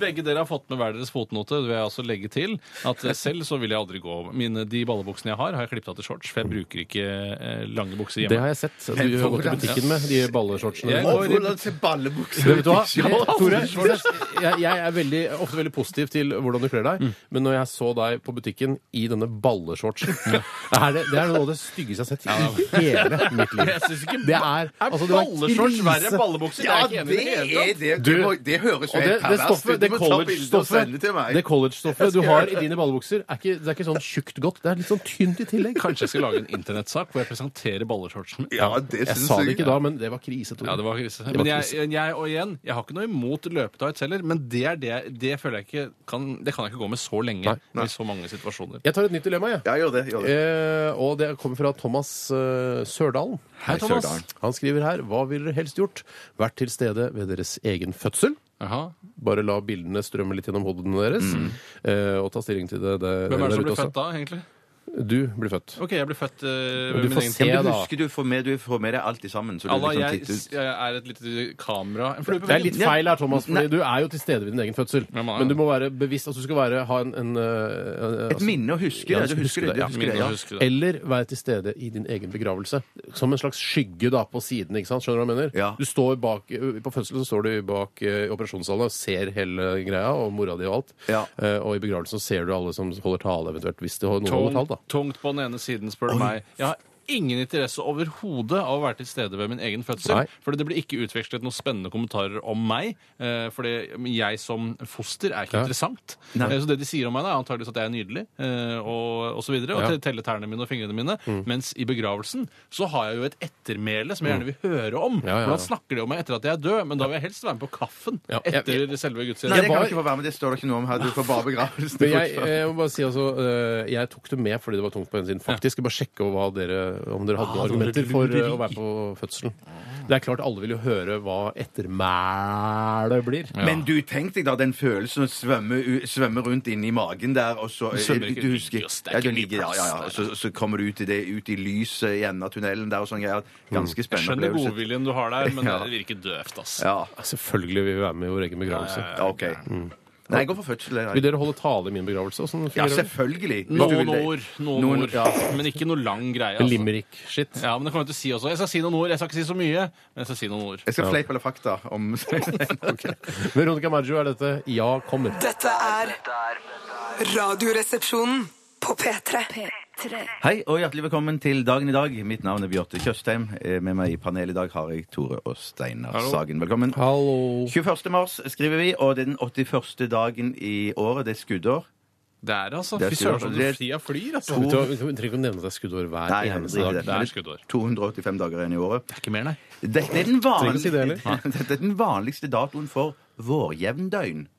[SPEAKER 5] Begge dere har fått med hver deres fotnote. Det vil jeg også legge til at eh, selv så vil jeg aldri gå mine, De ballebuksene jeg har, har jeg klippet av til shorts, for jeg bruker ikke eh, lange bukser
[SPEAKER 3] Det
[SPEAKER 5] hjemme.
[SPEAKER 3] har jeg sett. Du har gått i butikken med de balleshortsene.
[SPEAKER 5] Jeg
[SPEAKER 4] Åh,
[SPEAKER 5] går i-
[SPEAKER 4] Hvordan ser ballebukser
[SPEAKER 3] Men Vet du hva?
[SPEAKER 4] Ja,
[SPEAKER 3] Jeg- Tore, jeg, jeg er veldig, ofte veldig positiv til hvordan du kler deg, men når jeg så deg på butikken i denne balleshortsen er det, det er noe av det styggeste jeg har sett i hele mitt liv.
[SPEAKER 5] Jeg synes ikke
[SPEAKER 3] Det er, altså, det var
[SPEAKER 5] balleshorts verre enn
[SPEAKER 3] krise.
[SPEAKER 5] ballebukser.
[SPEAKER 4] Ja,
[SPEAKER 5] jeg er
[SPEAKER 4] det
[SPEAKER 5] ikke enig i det. hele
[SPEAKER 4] er
[SPEAKER 5] tatt.
[SPEAKER 4] det.
[SPEAKER 3] Du-
[SPEAKER 4] Det, må, det høres jo
[SPEAKER 3] Og det,
[SPEAKER 4] helt
[SPEAKER 3] det
[SPEAKER 4] perverst
[SPEAKER 3] stoffet,
[SPEAKER 4] ut.
[SPEAKER 3] det
[SPEAKER 4] Du må ta bilde og
[SPEAKER 3] college-stoffet
[SPEAKER 4] sende til meg.
[SPEAKER 3] det college-stoffet du har i dine ballebukser, er ikke, det er ikke sånn tjukt godt. Det er litt sånn tynt i tillegg.
[SPEAKER 5] Kanskje jeg skal lage en internettsak hvor jeg presenterer balleshortsen.
[SPEAKER 4] Ja, det
[SPEAKER 3] Jeg
[SPEAKER 4] syns
[SPEAKER 3] sa det ikke da, men det var krise, Tore.
[SPEAKER 5] Ja, det var krise.
[SPEAKER 3] Det var
[SPEAKER 5] Men jeg,
[SPEAKER 3] krise.
[SPEAKER 5] jeg, og igjen, jeg har ikke noe imot løpetights heller, men det er det, det føler jeg ikke kan, Det kan jeg ikke gå med så lenge
[SPEAKER 3] Nei,
[SPEAKER 5] i så mange situasjoner.
[SPEAKER 3] Jeg tar et nytt dilemma, jeg.
[SPEAKER 4] Ja, gjør det. Gjør det.
[SPEAKER 3] Eh, og det kommer fra Thomas eh, Sørdalen.
[SPEAKER 5] Hei, Thomas. Sørdalen.
[SPEAKER 3] Han skriver her Hva ville dere helst gjort? Vært til stede ved deres egen fødsel?
[SPEAKER 5] Jaha.
[SPEAKER 3] Bare la bildene strømme litt gjennom hodene deres.
[SPEAKER 5] Mm.
[SPEAKER 3] eh, og ta stilling til det. det
[SPEAKER 5] Hvem er
[SPEAKER 3] der
[SPEAKER 5] det som
[SPEAKER 3] ute
[SPEAKER 5] blir
[SPEAKER 3] også.
[SPEAKER 5] født da, egentlig?
[SPEAKER 3] Du blir født.
[SPEAKER 5] OK, jeg blir født
[SPEAKER 3] Men
[SPEAKER 5] eh, ved
[SPEAKER 3] du
[SPEAKER 5] min
[SPEAKER 3] får
[SPEAKER 5] egen
[SPEAKER 3] se,
[SPEAKER 5] tid.
[SPEAKER 4] Ja,
[SPEAKER 3] da.
[SPEAKER 4] men du husker du får med, du får med deg alt i sammen. Så du
[SPEAKER 5] Alla,
[SPEAKER 4] liksom
[SPEAKER 5] jeg,
[SPEAKER 4] titter ut.
[SPEAKER 5] jeg er et lite kamera En flue på
[SPEAKER 3] Det er
[SPEAKER 5] veggen.
[SPEAKER 3] litt feil her, Thomas, fordi du er jo til stede ved din egen fødsel.
[SPEAKER 5] Ja, man er
[SPEAKER 3] Men du
[SPEAKER 5] det.
[SPEAKER 3] må være bevisst at du skal være, ha en, en eh,
[SPEAKER 4] Et
[SPEAKER 3] altså-
[SPEAKER 4] minne å huske.
[SPEAKER 3] Ja,
[SPEAKER 4] Ja,
[SPEAKER 3] du skal huske
[SPEAKER 4] du husker det.
[SPEAKER 3] det, ja.
[SPEAKER 4] Du husker det,
[SPEAKER 5] Minne å
[SPEAKER 4] ja.
[SPEAKER 5] huske. det.
[SPEAKER 3] Eller være til stede i din egen begravelse. Som en slags skygge da på siden. ikke sant? Skjønner du hva jeg mener?
[SPEAKER 4] Ja.
[SPEAKER 3] Du står bak, eh, På fødselen så står du bak eh, i operasjonssalen og ser hele greia, og mora di og alt.
[SPEAKER 4] Ja.
[SPEAKER 3] Eh, og i begravelsen så ser du alle som holder tale, eventuelt. Hvis det holder noen holder
[SPEAKER 5] tungt,
[SPEAKER 3] tale, da.
[SPEAKER 5] tungt på den ene siden, spør du meg. Jeg har ingen interesse overhodet av å være til stede ved min egen fødsel.
[SPEAKER 3] Nei.
[SPEAKER 5] Fordi det blir ikke utvekslet noen spennende kommentarer om meg. eh, Fordi jeg som foster er ikke
[SPEAKER 3] Ja.
[SPEAKER 5] interessant.
[SPEAKER 4] Nei.
[SPEAKER 5] Eh, Så det de sier om meg, da, er antakeligvis at jeg er nydelig, eh, og, og så videre. Og
[SPEAKER 3] Ja. Mm.
[SPEAKER 5] te- telle tærne mine og fingrene mine. Mens i begravelsen så har jeg jo et ettermæle som jeg gjerne vil høre om.
[SPEAKER 3] Ja, ja, ja.
[SPEAKER 5] Hvordan snakker de om meg etter at jeg er død? Men da vil jeg helst være med på kaffen
[SPEAKER 3] Ja.
[SPEAKER 5] etter selve
[SPEAKER 4] Nei, det
[SPEAKER 5] gudstjenesten.
[SPEAKER 4] kan
[SPEAKER 3] var-
[SPEAKER 4] du ikke få være med. Det står det ikke noe om her. Du får bare begravelsen.
[SPEAKER 3] Men jeg, eh, jeg må bare si altså, eh, jeg tok det med fordi det var tungt på den siden. Faktisk, jeg bare sjekke hva dere, om dere
[SPEAKER 4] Ah,
[SPEAKER 3] hadde noen argumenter for eh, å være på fødselen. Det er klart alle vil jo høre hva ettermælet blir.
[SPEAKER 4] Men du tenk deg da den følelsen å svømme, u- svømme rundt inni magen der, og så eh,
[SPEAKER 5] svømmer ikke,
[SPEAKER 4] du husker,
[SPEAKER 5] ligger og steker
[SPEAKER 4] ja, du
[SPEAKER 5] i
[SPEAKER 4] ligger, ja,
[SPEAKER 5] plass
[SPEAKER 4] ja, ja.
[SPEAKER 5] der.
[SPEAKER 4] Og Så, så kommer du ut i det ut i lyset i enden av tunnelen der og sånn greier. Ganske
[SPEAKER 5] Mm. Jeg
[SPEAKER 4] spennende
[SPEAKER 5] skjønner
[SPEAKER 4] opplevelse.
[SPEAKER 5] godviljen du har der, men
[SPEAKER 4] Ja.
[SPEAKER 5] det virker døvt, ass.
[SPEAKER 4] Ja,
[SPEAKER 3] Selvfølgelig vil vi være med i vår egen begravelse.
[SPEAKER 4] ja, OK. Nei, jeg går for fødsel. jeg,
[SPEAKER 3] Vil
[SPEAKER 4] Nei.
[SPEAKER 3] dere holde tale i min begravelse? Sånn,
[SPEAKER 4] Ja, selvfølgelig. hvis du vil
[SPEAKER 5] Noen
[SPEAKER 4] det.
[SPEAKER 5] ord, noen
[SPEAKER 4] Noen-
[SPEAKER 5] ord.
[SPEAKER 4] ja.
[SPEAKER 5] Men ikke noe lang greie. Altså.
[SPEAKER 3] Limerick-shit.
[SPEAKER 5] Ja, men det kommer jeg til å si også. Jeg skal si noen ord. Jeg skal ikke si så mye, men jeg skal si noen ord.
[SPEAKER 4] Jeg skal fleipe eller fakta om
[SPEAKER 3] Veronica Maggio er dette. Ja, kommer.
[SPEAKER 7] Dette er
[SPEAKER 2] Der.
[SPEAKER 7] Radioresepsjonen på P3.
[SPEAKER 4] Hei og hjertelig velkommen til dagen i dag. Mitt navn er Bjarte Tjøstheim. Eh, Med meg i panelet i dag har jeg Tore og Steinar Sagen. Velkommen.
[SPEAKER 3] Hallo.
[SPEAKER 4] 21. mars skriver vi, og det er den 81. dagen i året. Det er skuddår.
[SPEAKER 5] Det er altså
[SPEAKER 4] Det er
[SPEAKER 5] Fy søren, så
[SPEAKER 4] skuddår.
[SPEAKER 5] tida flyr, altså.
[SPEAKER 3] Vet du hva, Vi trenger ikke å nevne at det er skuddår hver
[SPEAKER 4] Nei, jeg
[SPEAKER 3] eneste
[SPEAKER 4] driter i
[SPEAKER 3] dag.
[SPEAKER 4] det.
[SPEAKER 5] Det er skuddår.
[SPEAKER 4] 285 dager igjen i året.
[SPEAKER 5] Det er ikke mer, nei.
[SPEAKER 4] Dette er den,
[SPEAKER 3] Trenger ikke si det heller.
[SPEAKER 4] vanlig... Dette er den vanligste datoen for vårjevndøgn.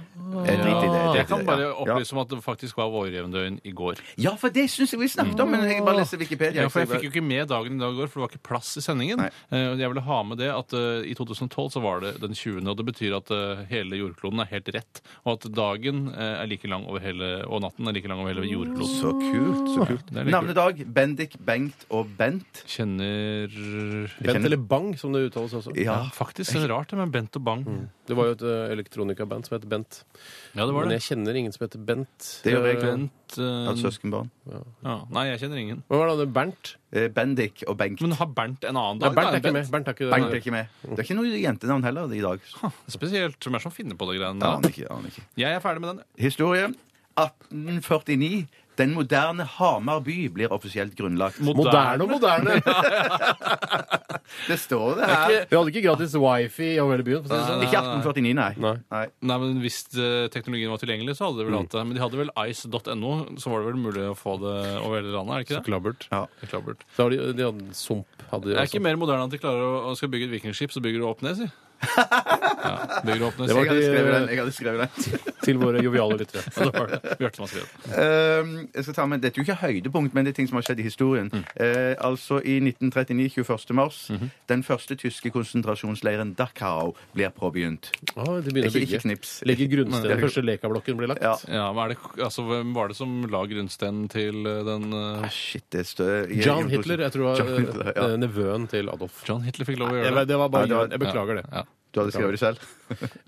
[SPEAKER 4] Eh, Drit i det.
[SPEAKER 5] Jeg
[SPEAKER 4] drit i
[SPEAKER 5] kan
[SPEAKER 4] det,
[SPEAKER 5] bare
[SPEAKER 4] ja.
[SPEAKER 5] opplyse om at det faktisk var vårjevndøgn i går.
[SPEAKER 4] Ja, for det syns jeg vi snakket om, men jeg bare leser Wikipedia.
[SPEAKER 5] Ja, for Jeg fikk jo ikke med dagen i dag i går, for det var ikke plass i sendingen.
[SPEAKER 4] Nei.
[SPEAKER 5] Eh, og Jeg ville ha med det at eh, i 2012 så var det den 20., og det betyr at eh, hele jordkloden er helt rett, og at dagen eh, er like lang over hele, og natten er like lang over hele jordkloden.
[SPEAKER 4] Så kult. så kult.
[SPEAKER 5] det er litt
[SPEAKER 4] Navnedag Bendik, Bengt og Bent.
[SPEAKER 5] Kjenner
[SPEAKER 3] Bent eller Bang, som det uttales også.
[SPEAKER 4] Ja.
[SPEAKER 5] Ja, faktisk. Det er rart det med Bent og Bang.
[SPEAKER 3] Det var jo et eh, elektronikaband som het Bent.
[SPEAKER 5] Ja, det var
[SPEAKER 3] Men
[SPEAKER 5] det.
[SPEAKER 3] jeg kjenner ingen som heter Bent.
[SPEAKER 4] Det gjør jeg
[SPEAKER 3] Eh,
[SPEAKER 4] ikke.
[SPEAKER 5] Bent eh,
[SPEAKER 4] Av søskenbarn.
[SPEAKER 5] ja. Nei, jeg kjenner ingen.
[SPEAKER 3] Hva var det? Bernt?
[SPEAKER 4] Eh, Bendik og Bengt.
[SPEAKER 5] Men har Bernt en annen
[SPEAKER 3] Nei,
[SPEAKER 5] dag?
[SPEAKER 3] Bernt
[SPEAKER 5] da,
[SPEAKER 3] er ikke
[SPEAKER 5] enn
[SPEAKER 3] med. Bernt er ikke
[SPEAKER 4] Bengt er ikke med. Det er ikke noe jentenavn heller i dag.
[SPEAKER 5] Spesielt. Hvem er det som finner på de greiene
[SPEAKER 4] Aner
[SPEAKER 5] der?
[SPEAKER 4] ikke, aner ikke.
[SPEAKER 5] Jeg er ferdig med den.
[SPEAKER 4] Historie. 1849. Den moderne Hamar by blir offisielt grunnlagt.
[SPEAKER 3] Moderne og moderne!
[SPEAKER 4] Det står det her.
[SPEAKER 3] Vi hadde ikke gratis wifi over hele byen. for å si det sånn.
[SPEAKER 4] Ikke 1849, nei.
[SPEAKER 3] Nei.
[SPEAKER 4] nei.
[SPEAKER 5] Nei, men Hvis eh, teknologien var tilgjengelig, så
[SPEAKER 3] Mm.
[SPEAKER 5] hadde de vel hatt det. Men de hadde vel ice.no, så var det vel mulig å få det over hele landet? er det ikke det?
[SPEAKER 3] Klabbert.
[SPEAKER 4] Ja.
[SPEAKER 5] Det er klabbert.
[SPEAKER 3] Da har de, de hadde sump. Hadde de
[SPEAKER 5] Det er
[SPEAKER 3] også.
[SPEAKER 5] ikke mer moderne at de klarer å, å skal bygge et vikingskip, så bygger du opp ned, si. Ja, bygger du opp ned,
[SPEAKER 3] Det var
[SPEAKER 4] Jeg
[SPEAKER 5] si.
[SPEAKER 4] hadde skrevet den. jeg hadde skrevet den.
[SPEAKER 3] Til våre joviale lyttere.
[SPEAKER 5] Ja, det var det. Bjarte som har skrevet.
[SPEAKER 4] Ehm, jeg skal ta med, Dette er jo ikke høydepunkt, men det er ting som har skjedd i historien. Eh, altså I 1939, 21. mars, den første tyske konsentrasjonsleiren Dachau blir påbegynt.
[SPEAKER 3] Ah, de begynner å
[SPEAKER 4] Ikke-
[SPEAKER 3] bygge.
[SPEAKER 4] ikke knips.
[SPEAKER 3] Legge grunnsteinen. Den første lekablokken blir lagt.
[SPEAKER 4] Ja.
[SPEAKER 5] Ja, hva er det, altså, Hvem var det som la grunnsteinen til eh, den eh,
[SPEAKER 4] Ah, shit, det er stø... jeg-
[SPEAKER 3] John Hitler, jeg tror var
[SPEAKER 4] John Hitler, ja.
[SPEAKER 3] eh, nevøen til Adolf.
[SPEAKER 5] John Hitler fikk lov å
[SPEAKER 3] Jeg
[SPEAKER 5] gjøre
[SPEAKER 3] vet,
[SPEAKER 5] det?
[SPEAKER 3] det var bare
[SPEAKER 4] Nei, det var-
[SPEAKER 3] Jeg beklager det.
[SPEAKER 5] Ja.
[SPEAKER 4] Du hadde skrevet det selv?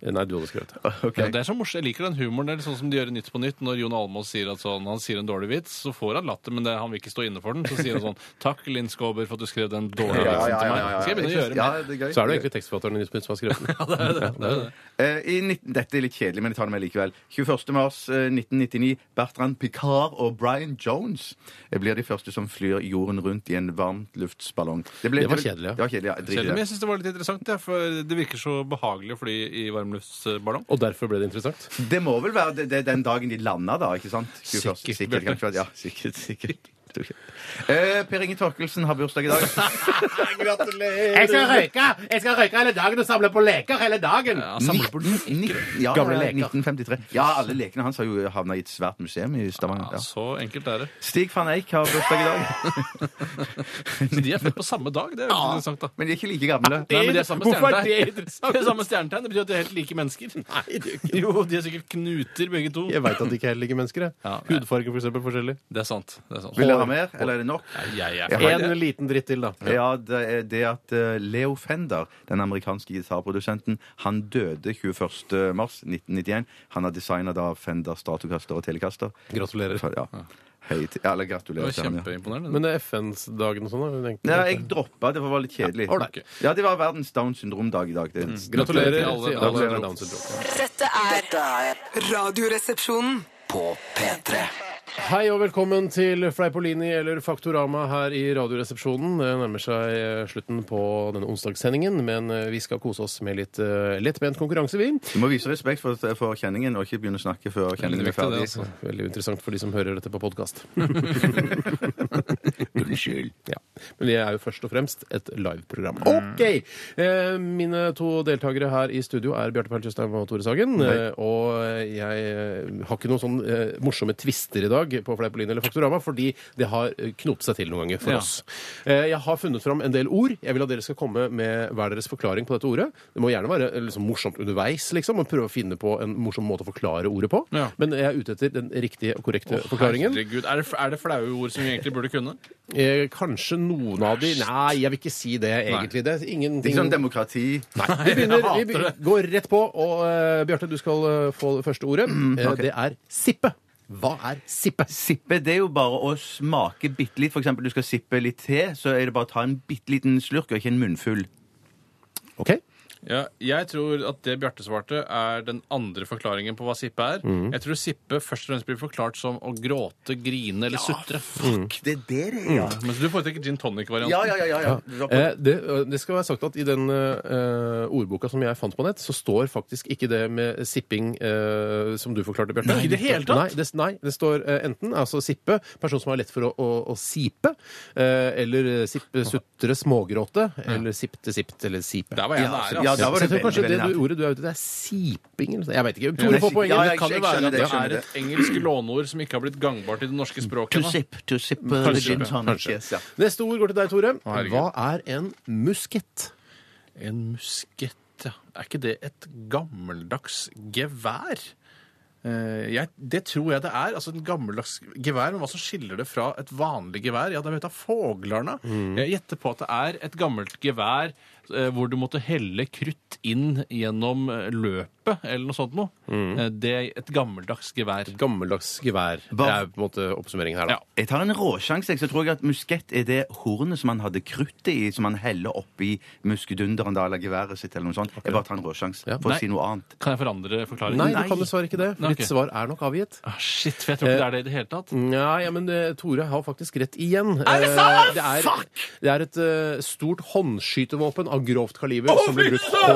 [SPEAKER 3] Nei, du hadde skrevet det.
[SPEAKER 4] Ok.
[SPEAKER 5] Ja, det er så morsomt. Jeg liker den humoren. Det er litt sånn som de gjør i Nytt på Nytt. Når Jon Almaas sier at sånn, han sier en dårlig vits, så får han latter, men det, han vil ikke stå inne for den. Så sier han sånn Takk, Linn Skåber, for at du skrev den dårlige
[SPEAKER 4] Ja, ja,
[SPEAKER 5] vitsen
[SPEAKER 4] ja,
[SPEAKER 5] til meg.
[SPEAKER 4] ja, ja.
[SPEAKER 5] Skal jeg begynne å
[SPEAKER 4] Jeg
[SPEAKER 5] gjøre
[SPEAKER 4] synes-
[SPEAKER 5] det?
[SPEAKER 4] Ja, det er gøy.
[SPEAKER 3] Så er det jo egentlig tekstforfatteren i Nytt på Nytt som har skrevet den.
[SPEAKER 4] Eh, i 19, dette er litt kjedelig, men jeg tar det med likevel. 21. mars eh, 1999. Bertrand Picard og Brian Jones eh, blir de første som flyr jorden rundt i en varmtluftsballong. ble-
[SPEAKER 3] Det var
[SPEAKER 4] ble-
[SPEAKER 3] kjedelig, ja.
[SPEAKER 4] Det var kjedelig, ja. Drit i
[SPEAKER 5] Kjedelig,
[SPEAKER 4] det.
[SPEAKER 5] men jeg syns det var litt interessant, ja, for det virker så behagelig å fly i varmluftsballong.
[SPEAKER 3] Og derfor ble det interessant.
[SPEAKER 4] Det må vel være det, det, er den dagen de landa, da? ikke sant? 21.
[SPEAKER 5] Sikkert,
[SPEAKER 4] sikkert,
[SPEAKER 5] Bjarte.
[SPEAKER 4] kanskje, ja, sikkert, sikkert. Eh, per Inge Torkelsen har bursdag i dag.
[SPEAKER 3] Jeg skal røyke! Jeg skal røyke hele dagen og samle på leker hele dagen!
[SPEAKER 5] Ja, samler på den.
[SPEAKER 4] Ni- ja,
[SPEAKER 3] Gamle
[SPEAKER 4] ja,
[SPEAKER 3] leker.
[SPEAKER 4] 1953. Ja, alle lekene hans har jo havna i et svært museum i Stavanger.
[SPEAKER 5] Ja,
[SPEAKER 4] Ja.
[SPEAKER 5] så enkelt er det.
[SPEAKER 4] Stig van Eijk har bursdag i dag.
[SPEAKER 5] Så de er født på samme dag. Det er jo litt interessant, da.
[SPEAKER 4] Men de er ikke like gamle.
[SPEAKER 5] Nei, men de er samme
[SPEAKER 3] Hvorfor er
[SPEAKER 5] stjernetegn.
[SPEAKER 3] det interessant?
[SPEAKER 5] De er samme stjernetegn. Det betyr at de er helt like mennesker. Jo, de er sikkert knuter, begge to.
[SPEAKER 3] Jeg veit at de ikke er helt like mennesker. jeg.
[SPEAKER 5] Ja, nei.
[SPEAKER 3] Hudfarge, for eksempel, forskjellig.
[SPEAKER 5] Det er sant. Det er sant.
[SPEAKER 4] Vil dere ha mer, eller er det nok?
[SPEAKER 5] Nei, Jeg er
[SPEAKER 4] Jeg har
[SPEAKER 3] En liten dritt til, da.
[SPEAKER 4] Ja, det er det at eh, Leo Fender, den amerikanske gitarprodusenten, han døde 21. mars 1991. Han er designer da Fender Stratocaster og Telecaster.
[SPEAKER 3] Gratulerer.
[SPEAKER 4] Ja. Høyt. Ja, eller
[SPEAKER 5] Det
[SPEAKER 4] gratulerer.
[SPEAKER 5] var
[SPEAKER 4] til han, ja.
[SPEAKER 5] kjempeimponerende.
[SPEAKER 3] Men det er FNs-dagen og sånn, da? tenkte
[SPEAKER 4] Nei,
[SPEAKER 3] jeg.
[SPEAKER 4] jeg droppa det, for det var litt kjedelig.
[SPEAKER 3] Ja, ålreit.
[SPEAKER 4] Ja, det var verdens Downs syndrom-dag i dag. Det.
[SPEAKER 3] Gratulerer til alle,
[SPEAKER 5] alle-
[SPEAKER 3] alle
[SPEAKER 4] alle-
[SPEAKER 3] med Downs syndrom.
[SPEAKER 7] Dette er
[SPEAKER 2] Dette er
[SPEAKER 7] Radioresepsjonen.
[SPEAKER 2] på P3.
[SPEAKER 3] Hei og velkommen til Fleipolini eller Faktorama her i Radioresepsjonen. Det nærmer seg eh, slutten på denne onsdagssendingen, men eh, vi skal kose oss med litt eh, lettbent konkurranse, vi.
[SPEAKER 4] Du må vise respekt for, for kjenningen og ikke begynne å snakke før kjenningen er
[SPEAKER 5] viktig, det,
[SPEAKER 4] ferdig.
[SPEAKER 5] altså.
[SPEAKER 3] Veldig interessant for de som hører dette på podkast.
[SPEAKER 4] Unnskyld.
[SPEAKER 3] Ja. Men vi er jo først og fremst et liveprogram.
[SPEAKER 5] Mm.
[SPEAKER 3] OK! Eh, mine to deltakere her i studio er Bjarte Perl Tjøstheim og Tore Sagen. Eh, og jeg eh, har ikke noen sånn eh, morsomme tvister i dag på Fleipolini eller Faktorama, fordi det har eh, knotet seg til noen ganger for
[SPEAKER 5] Ja.
[SPEAKER 3] oss. Eh, jeg har funnet fram en del ord. Jeg vil at dere skal komme med hver deres forklaring på dette ordet. Det må gjerne være eh, liksom, morsomt underveis, liksom, og prøve å finne på en morsom måte å forklare ordet på.
[SPEAKER 5] Ja.
[SPEAKER 3] Men jeg er ute etter den riktige og korrekte forklaringen.
[SPEAKER 5] Herregud, er det, er det flaue ord som vi egentlig burde kunne?
[SPEAKER 3] Eh, kanskje noen av de Nei, jeg vil ikke si det, egentlig. Det er
[SPEAKER 4] Ikke
[SPEAKER 3] ingenting
[SPEAKER 4] sånn demokrati.
[SPEAKER 3] Nei, vi begynner, vi
[SPEAKER 5] hater
[SPEAKER 3] begynner, går rett på. Og eh, Bjarte, du skal eh, få det første ordet.
[SPEAKER 5] Mm,
[SPEAKER 3] Eh, Det er sippe. Hva er sippe?
[SPEAKER 4] Sippe det er jo bare å smake bitte litt. For eksempel, du skal sippe litt te, så er det bare å ta en bitte liten slurk og ikke en munnfull.
[SPEAKER 3] OK?
[SPEAKER 5] Ja, jeg tror at det Bjarte svarte, er den andre forklaringen på hva sippe er.
[SPEAKER 4] Mm.
[SPEAKER 5] Jeg tror sippe først og fremst blir forklart som å gråte, grine eller sutre.
[SPEAKER 4] Det er det det er, ja.
[SPEAKER 5] Mens du foretrekker gin tonic-varianten.
[SPEAKER 4] Mm. Ja, ja, ja. ja, ja.
[SPEAKER 3] Eh, det, eh, det skal være sagt at i den eh, ordboka som jeg fant på nett, så står faktisk ikke det med sipping eh, som du forklarte, Bjarte.
[SPEAKER 5] Nei, i det hele tatt?
[SPEAKER 3] Nei, det, nei, det står eh, enten altså sippe, person som har lett for å, å, å sipe, eh, eller sippe, sutre, smågråte, eller sippe, sipt eller sipe.
[SPEAKER 5] Der var jeg nære. altså.
[SPEAKER 4] ja, Ja, da var
[SPEAKER 3] Så jeg
[SPEAKER 4] det
[SPEAKER 3] tror kanskje
[SPEAKER 4] veldig,
[SPEAKER 3] det
[SPEAKER 4] veldig
[SPEAKER 3] du, ordet du er ute etter, er siping eller noe sånt. Jeg veit ikke.
[SPEAKER 4] Ja, det
[SPEAKER 3] Tore
[SPEAKER 4] er
[SPEAKER 3] får
[SPEAKER 4] sip-
[SPEAKER 3] poenget.
[SPEAKER 4] ja,
[SPEAKER 3] men
[SPEAKER 4] jeg-
[SPEAKER 3] kan det
[SPEAKER 4] jeg skjønner
[SPEAKER 3] være
[SPEAKER 5] Det
[SPEAKER 4] det.
[SPEAKER 3] at
[SPEAKER 5] er et engelsk låneord som ikke har blitt gangbart i det norske språket.
[SPEAKER 6] To
[SPEAKER 5] ennå.
[SPEAKER 6] sip, to sip uh, the gin tonic.
[SPEAKER 3] Kanskje.
[SPEAKER 6] Yes, ja.
[SPEAKER 3] Neste ord går til deg, Tore.
[SPEAKER 5] herregud.
[SPEAKER 3] Hva er en muskett?
[SPEAKER 5] En muskett, ja. Er ikke det et gammeldags gevær? Eh, jeg, det tror jeg det er. altså En gammeldags gevær, men hva som skiller det fra et vanlig gevær? Ja, det vet jeg, Foglarna.
[SPEAKER 3] Mm.
[SPEAKER 5] Jeg gjetter på at det er et gammelt gevær eh, hvor du måtte helle krutt inn gjennom eh, løpet, eller noe sånt noe.
[SPEAKER 3] Mm.
[SPEAKER 5] Eh, det er et gammeldags gevær.
[SPEAKER 3] Gammeldags gevær. Det er på en måte oppsummeringen her, da.
[SPEAKER 5] Ja.
[SPEAKER 4] Jeg tar en råsjanse. jeg, Så tror jeg at muskett er det hornet som man hadde kruttet i, som man heller oppi muskedunderen da, eller geværet sitt, eller noe sånt. Jeg bare tar en råsjanse
[SPEAKER 3] Ja.
[SPEAKER 4] for
[SPEAKER 5] Nei.
[SPEAKER 4] å si noe annet.
[SPEAKER 5] Kan jeg forandre forklaringen?
[SPEAKER 3] Nei, du Eh, kan dessverre ikke det. for
[SPEAKER 5] Nei,
[SPEAKER 3] Ditt
[SPEAKER 5] ok.
[SPEAKER 3] svar er nok avgitt.
[SPEAKER 5] Ah, shit, for jeg tror ikke det er det i det hele tatt.
[SPEAKER 3] Nei, ja, men eh, Tore har faktisk rett igjen. Er det sant?! Det er, det er et eh, stort håndskytevåpen av grovt kaliber som ble brukt på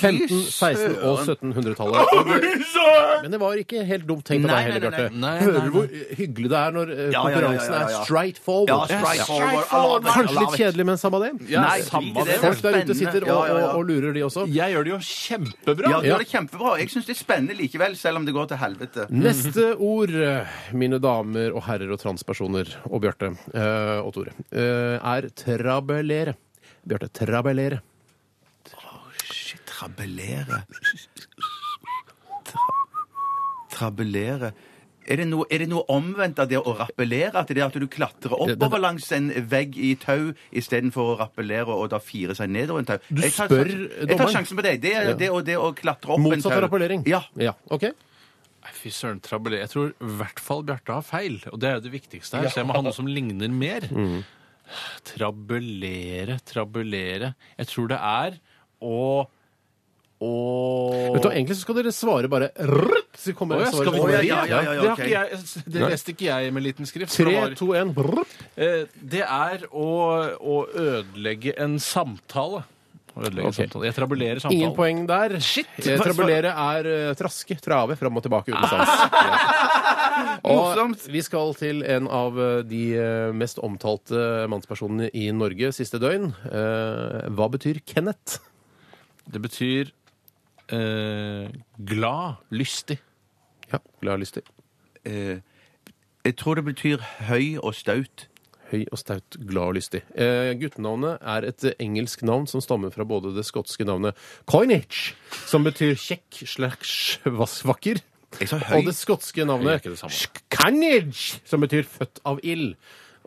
[SPEAKER 3] 15-, 16- og 1700-tallet. Men det var ikke helt dumt tenkt av
[SPEAKER 4] Nei,
[SPEAKER 3] deg heller,
[SPEAKER 4] nei, nei,
[SPEAKER 3] Bjarte.
[SPEAKER 5] nei. Nei, nei,
[SPEAKER 3] Hører du hvor hyggelig det er når eh,
[SPEAKER 4] Ja, ja, ja, ja,
[SPEAKER 3] konkurransen
[SPEAKER 4] ja,
[SPEAKER 3] er
[SPEAKER 4] ja.
[SPEAKER 3] straight forward?
[SPEAKER 4] strike forward. I love it, I
[SPEAKER 3] Kanskje
[SPEAKER 4] love
[SPEAKER 3] litt
[SPEAKER 4] it.
[SPEAKER 3] kjedelig, men samme det.
[SPEAKER 4] Nei,
[SPEAKER 5] samme
[SPEAKER 4] drit i var
[SPEAKER 5] det.
[SPEAKER 3] Folk der ute
[SPEAKER 4] spennende.
[SPEAKER 3] sitter og,
[SPEAKER 4] Ja, ja, ja.
[SPEAKER 3] og, og lurer, de også.
[SPEAKER 5] Jeg gjør det jo kjempebra!
[SPEAKER 4] Ja, du gjør det kjempebra. Jeg syns det er spennende likevel, selv om det går til helvete.
[SPEAKER 3] Neste ord, mine damer og herrer og transpersoner og Bjarte eh, og Tore, eh, er trabellere. Bjarte, trabellere.
[SPEAKER 4] Shit, trabellere. Tra trabellere. Er det, noe, er det noe omvendt av det å rappellere? At det er at du klatrer oppover langs en vegg i tau istedenfor å rappellere og da fire seg nedover en tau?
[SPEAKER 3] Du
[SPEAKER 4] Jeg tar-
[SPEAKER 3] spør
[SPEAKER 4] Jeg tar
[SPEAKER 3] dommeren.
[SPEAKER 4] sjansen på deg. Det er det, og det å klatre opp en tau.
[SPEAKER 3] Motsatt av rappellering.
[SPEAKER 4] Ja.
[SPEAKER 3] ok.
[SPEAKER 5] Nei, Fy søren, trabelé. Jeg tror i hvert fall Bjarte har feil. Og det er jo det viktigste her. Så jeg må ha noe som ligner mer. Trabulere, trabulere Jeg tror det er å å
[SPEAKER 3] Vet du, hva, egentlig så skal dere svare bare rrrt, så kommer
[SPEAKER 5] Å, ja,
[SPEAKER 3] svaret
[SPEAKER 5] skal vi
[SPEAKER 3] som
[SPEAKER 4] Å, ja,
[SPEAKER 3] kommer.
[SPEAKER 4] ja, ja, ja,
[SPEAKER 5] det, har
[SPEAKER 4] ok.
[SPEAKER 5] ikke jeg, det leste ikke jeg med liten skrift. så
[SPEAKER 3] Tre,
[SPEAKER 5] det, var,
[SPEAKER 3] to, en. brrrt.
[SPEAKER 5] eh, det er å, å ødelegge en samtale. Å ødelegge
[SPEAKER 3] Ok.
[SPEAKER 5] samtale. Jeg trabulerer samtalen.
[SPEAKER 3] Ingen poeng der.
[SPEAKER 5] Shit!
[SPEAKER 3] Eh, Trabulere er eh, traske, trave, fram og tilbake uten sans.
[SPEAKER 5] Ah.
[SPEAKER 3] Ja. Og
[SPEAKER 4] Morsomt.
[SPEAKER 3] vi skal til en av eh, de eh, mest omtalte mannspersonene i Norge siste døgn. Eh, Hva betyr Kenneth?
[SPEAKER 5] Det betyr eh, glad, lystig.
[SPEAKER 3] Ja, glad jeg har lyst til.
[SPEAKER 4] Eh, jeg tror det betyr høy og staut.
[SPEAKER 3] Høy og staut, glad og lystig. Eh, guttenavnet er et eh, engelsk navn som stammer fra både det skotske navnet coinage, som betyr kjekk slash vas- vakker,
[SPEAKER 4] Jeg sa høy.
[SPEAKER 3] og det skotske
[SPEAKER 5] Høy er
[SPEAKER 3] navnet
[SPEAKER 5] ikke det samme.
[SPEAKER 3] scanage, som betyr født av ild.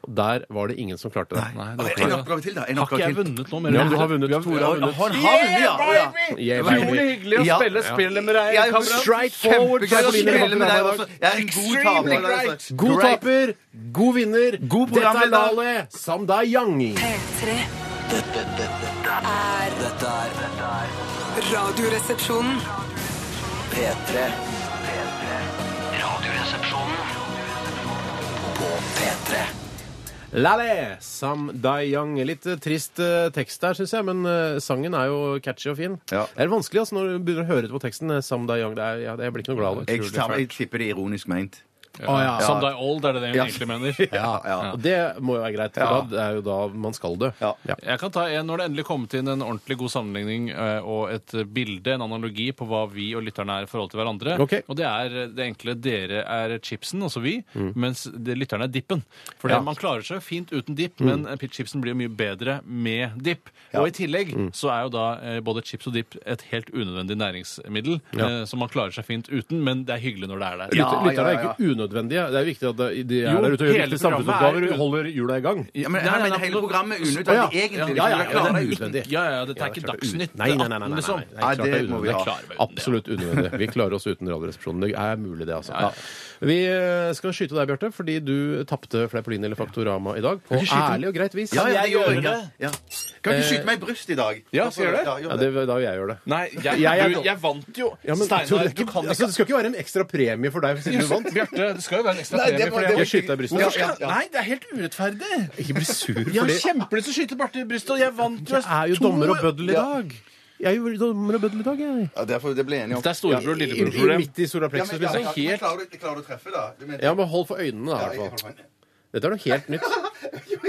[SPEAKER 3] Og Der var det ingen som klarte det.
[SPEAKER 5] Nei, det
[SPEAKER 4] Å,
[SPEAKER 5] var ikke
[SPEAKER 4] En
[SPEAKER 5] det.
[SPEAKER 4] oppgave til, da. En
[SPEAKER 5] Har ikke
[SPEAKER 4] oppgave
[SPEAKER 5] jeg
[SPEAKER 4] til.
[SPEAKER 5] vunnet noe
[SPEAKER 3] Ja,
[SPEAKER 5] mer?
[SPEAKER 3] men du har vunnet. Tore har
[SPEAKER 4] Å,
[SPEAKER 3] vunnet.
[SPEAKER 4] Han har vunnet, ja! Å, ja.
[SPEAKER 3] Yeah,
[SPEAKER 5] Utrolig
[SPEAKER 3] baby.
[SPEAKER 5] hyggelig å
[SPEAKER 4] Ja.
[SPEAKER 5] spille spillet med deg.
[SPEAKER 4] Jeg har
[SPEAKER 5] kamerat.
[SPEAKER 3] Straight forward.
[SPEAKER 4] Kjempegøy å
[SPEAKER 3] Karoline
[SPEAKER 4] spille med deg
[SPEAKER 3] Rappen.
[SPEAKER 4] også. Jeg er en god taper. altså.
[SPEAKER 3] God
[SPEAKER 4] Great.
[SPEAKER 3] taper, god vinner.
[SPEAKER 4] God
[SPEAKER 3] Dette er
[SPEAKER 4] programleder.
[SPEAKER 3] Lale Samdayang.
[SPEAKER 7] P3
[SPEAKER 2] Dette, dette,
[SPEAKER 7] er
[SPEAKER 2] dette er dette er
[SPEAKER 7] radioresepsjonen.
[SPEAKER 2] P3. P3. Radioresepsjonen på P3.
[SPEAKER 3] Lale Samdayang. Litt eh, trist eh, tekst der, syns jeg, men eh, sangen er jo catchy og fin.
[SPEAKER 4] Ja.
[SPEAKER 3] Det er vanskelig altså, når du begynner å høre på teksten. eh, Samdayang. Det er, ja, jeg blir ikke noe glad av det.
[SPEAKER 4] Jeg, tar, jeg tipper det er ironisk ment.
[SPEAKER 3] Å, ja.
[SPEAKER 5] Som deg old, er det det hun egentlig mener?
[SPEAKER 3] Ja, og det må jo være greit, for da det er jo da man skal dø.
[SPEAKER 4] Ja.
[SPEAKER 5] Jeg kan ta en når det endelig kommet inn en ordentlig god sammenligning eh, og et eh, bilde, en analogi på hva vi og lytterne er i forhold til hverandre.
[SPEAKER 3] Ok.
[SPEAKER 5] Og det er eh, det enkle dere er chipsen, altså vi, mens det, lytterne er dippen. For
[SPEAKER 3] Mm. Ja. Mm.
[SPEAKER 5] man klarer seg fint uten dipp, men eh, pit- chipsen blir mye bedre med dipp. Og i tillegg
[SPEAKER 3] Mm.
[SPEAKER 5] så er jo da eh, både chips og dipp et helt unødvendig næringsmiddel, eh, som man klarer seg fint uten, men det er hyggelig når det er der.
[SPEAKER 3] Lytter,
[SPEAKER 4] Ja,
[SPEAKER 3] lytterne
[SPEAKER 4] ja, ja.
[SPEAKER 3] er ikke unødvendige. Det er viktig at det- de er
[SPEAKER 5] Jo,
[SPEAKER 3] der ute og gjør viktige
[SPEAKER 5] hele programmet er-
[SPEAKER 3] samfunnsoppgaver og holder hjula i gang.
[SPEAKER 4] Ja, men, nei,
[SPEAKER 5] Nei, nei,
[SPEAKER 4] men
[SPEAKER 5] nei,
[SPEAKER 4] hele
[SPEAKER 5] nå-
[SPEAKER 4] programmet er
[SPEAKER 3] Å, ja.
[SPEAKER 4] unødvendig, egentlig.
[SPEAKER 3] Ja, ja,
[SPEAKER 4] liksom.
[SPEAKER 3] ja,
[SPEAKER 4] Klarer
[SPEAKER 3] det er
[SPEAKER 4] jeg ut.
[SPEAKER 3] utvendig.
[SPEAKER 5] Ja, ja, dette er ikke
[SPEAKER 3] Ja, det
[SPEAKER 5] Dagsnytt.
[SPEAKER 3] Nei, nei, nei. nei,
[SPEAKER 5] det er 18,
[SPEAKER 3] nei,
[SPEAKER 5] liksom.
[SPEAKER 3] nei. Det er klart
[SPEAKER 4] Nei, det
[SPEAKER 3] det er
[SPEAKER 4] må vi
[SPEAKER 3] unødvendig.
[SPEAKER 4] ha.
[SPEAKER 5] Klarer vi det, ja.
[SPEAKER 3] Absolutt unødvendig. Vi klarer oss uten Radioresepsjonen. Det er mulig, det, altså. Vi eh, skal skyte deg, Bjarte, fordi du tapte Fleipolini eller Faktorama i dag. På ærlig og greit vis.
[SPEAKER 4] Ja, ja,
[SPEAKER 5] jeg
[SPEAKER 4] det gjør
[SPEAKER 5] gjøre
[SPEAKER 4] jeg. Ja. Kan ikke skyte meg i brystet i dag.
[SPEAKER 5] Ja, skal jeg gjøre det?
[SPEAKER 4] Ja,
[SPEAKER 3] Ja, det er da jeg gjør det.
[SPEAKER 5] Nei, jeg,
[SPEAKER 3] Jeg er
[SPEAKER 5] du,
[SPEAKER 3] dum.
[SPEAKER 5] jeg vant jo.
[SPEAKER 3] Ja, men, Tore,
[SPEAKER 5] Steinar,
[SPEAKER 3] det, er
[SPEAKER 5] du
[SPEAKER 3] ikke,
[SPEAKER 5] kan ikke
[SPEAKER 3] altså, det skal ikke være en ekstra premie for deg siden du vant.
[SPEAKER 5] Bjarte, det skal jo være en ekstra
[SPEAKER 4] Nei,
[SPEAKER 5] premie.
[SPEAKER 4] det var-
[SPEAKER 5] for
[SPEAKER 4] det var-
[SPEAKER 3] Jeg skyter deg i brystet.
[SPEAKER 4] Ja,
[SPEAKER 5] Hvorfor skal- Nei, det er helt urettferdig!
[SPEAKER 3] Ikke bli sur
[SPEAKER 5] Jeg har
[SPEAKER 3] fordi
[SPEAKER 5] kjempelyst til å skyte Bjarte i brystet, og jeg vant
[SPEAKER 3] Jeg er jo
[SPEAKER 5] to-
[SPEAKER 3] dommer og bøddel i dag. Jeg er jo dommer og bøddel i dag, jeg.
[SPEAKER 4] Ja, derfor det ble jeg enig om.
[SPEAKER 5] Det er storebror og
[SPEAKER 3] I, i,
[SPEAKER 5] lillebror-problem.
[SPEAKER 3] midt i sola
[SPEAKER 4] Ja,
[SPEAKER 3] plexus,
[SPEAKER 4] men, ja, ja,
[SPEAKER 3] liksom.
[SPEAKER 4] men klarer, du, klarer du å treffe, da? Du mener-
[SPEAKER 3] Ja, men hold for øynene, da,
[SPEAKER 4] Ja,
[SPEAKER 3] i
[SPEAKER 4] jeg-
[SPEAKER 3] hvert fall. Dette er noe helt nytt.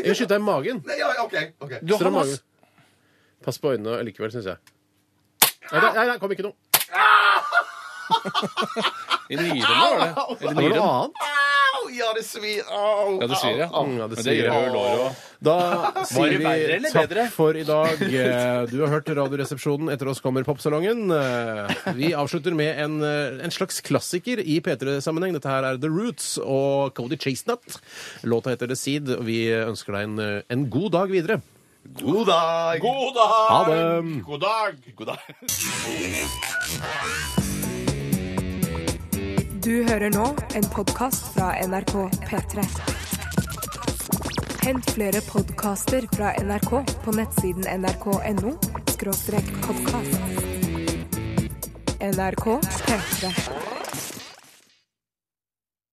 [SPEAKER 3] Jeg skyter deg i magen.
[SPEAKER 4] Nei, ja, OK. ok.
[SPEAKER 5] Du,
[SPEAKER 3] Stram
[SPEAKER 5] Hamas,
[SPEAKER 3] magen. Pass på øynene likevel, syns jeg. Nei, nei, nei, det kom ikke noe.
[SPEAKER 5] I nyrene var det. Eller
[SPEAKER 6] Det var noe
[SPEAKER 5] nyren.
[SPEAKER 6] annet.
[SPEAKER 4] Ja, det svir! Au!
[SPEAKER 5] Ja, det sier jeg.
[SPEAKER 3] Au, ja, det
[SPEAKER 5] Men
[SPEAKER 3] sier
[SPEAKER 5] det gjør
[SPEAKER 3] jeg.
[SPEAKER 5] jo låret òg.
[SPEAKER 3] Da sier
[SPEAKER 5] det verre
[SPEAKER 3] vi
[SPEAKER 5] eller
[SPEAKER 3] takk
[SPEAKER 5] bedre?
[SPEAKER 3] for i dag. Eh, Du har hørt Radioresepsjonen. Etter oss kommer Popsalongen. Eh, Vi avslutter med en, eh, en slags klassiker i P3-sammenheng. Dette her er The Roots og Cody Chasnut. Låta heter The Seed. og Vi ønsker deg en, eh, en god dag videre.
[SPEAKER 4] God dag!
[SPEAKER 5] God dag!
[SPEAKER 3] Ha det!
[SPEAKER 5] God dag! God dag.
[SPEAKER 1] Du hører nå en podkast fra NRK P3. Hent flere podkaster fra NRK på nettsiden nrk.no podkast. NRK P3.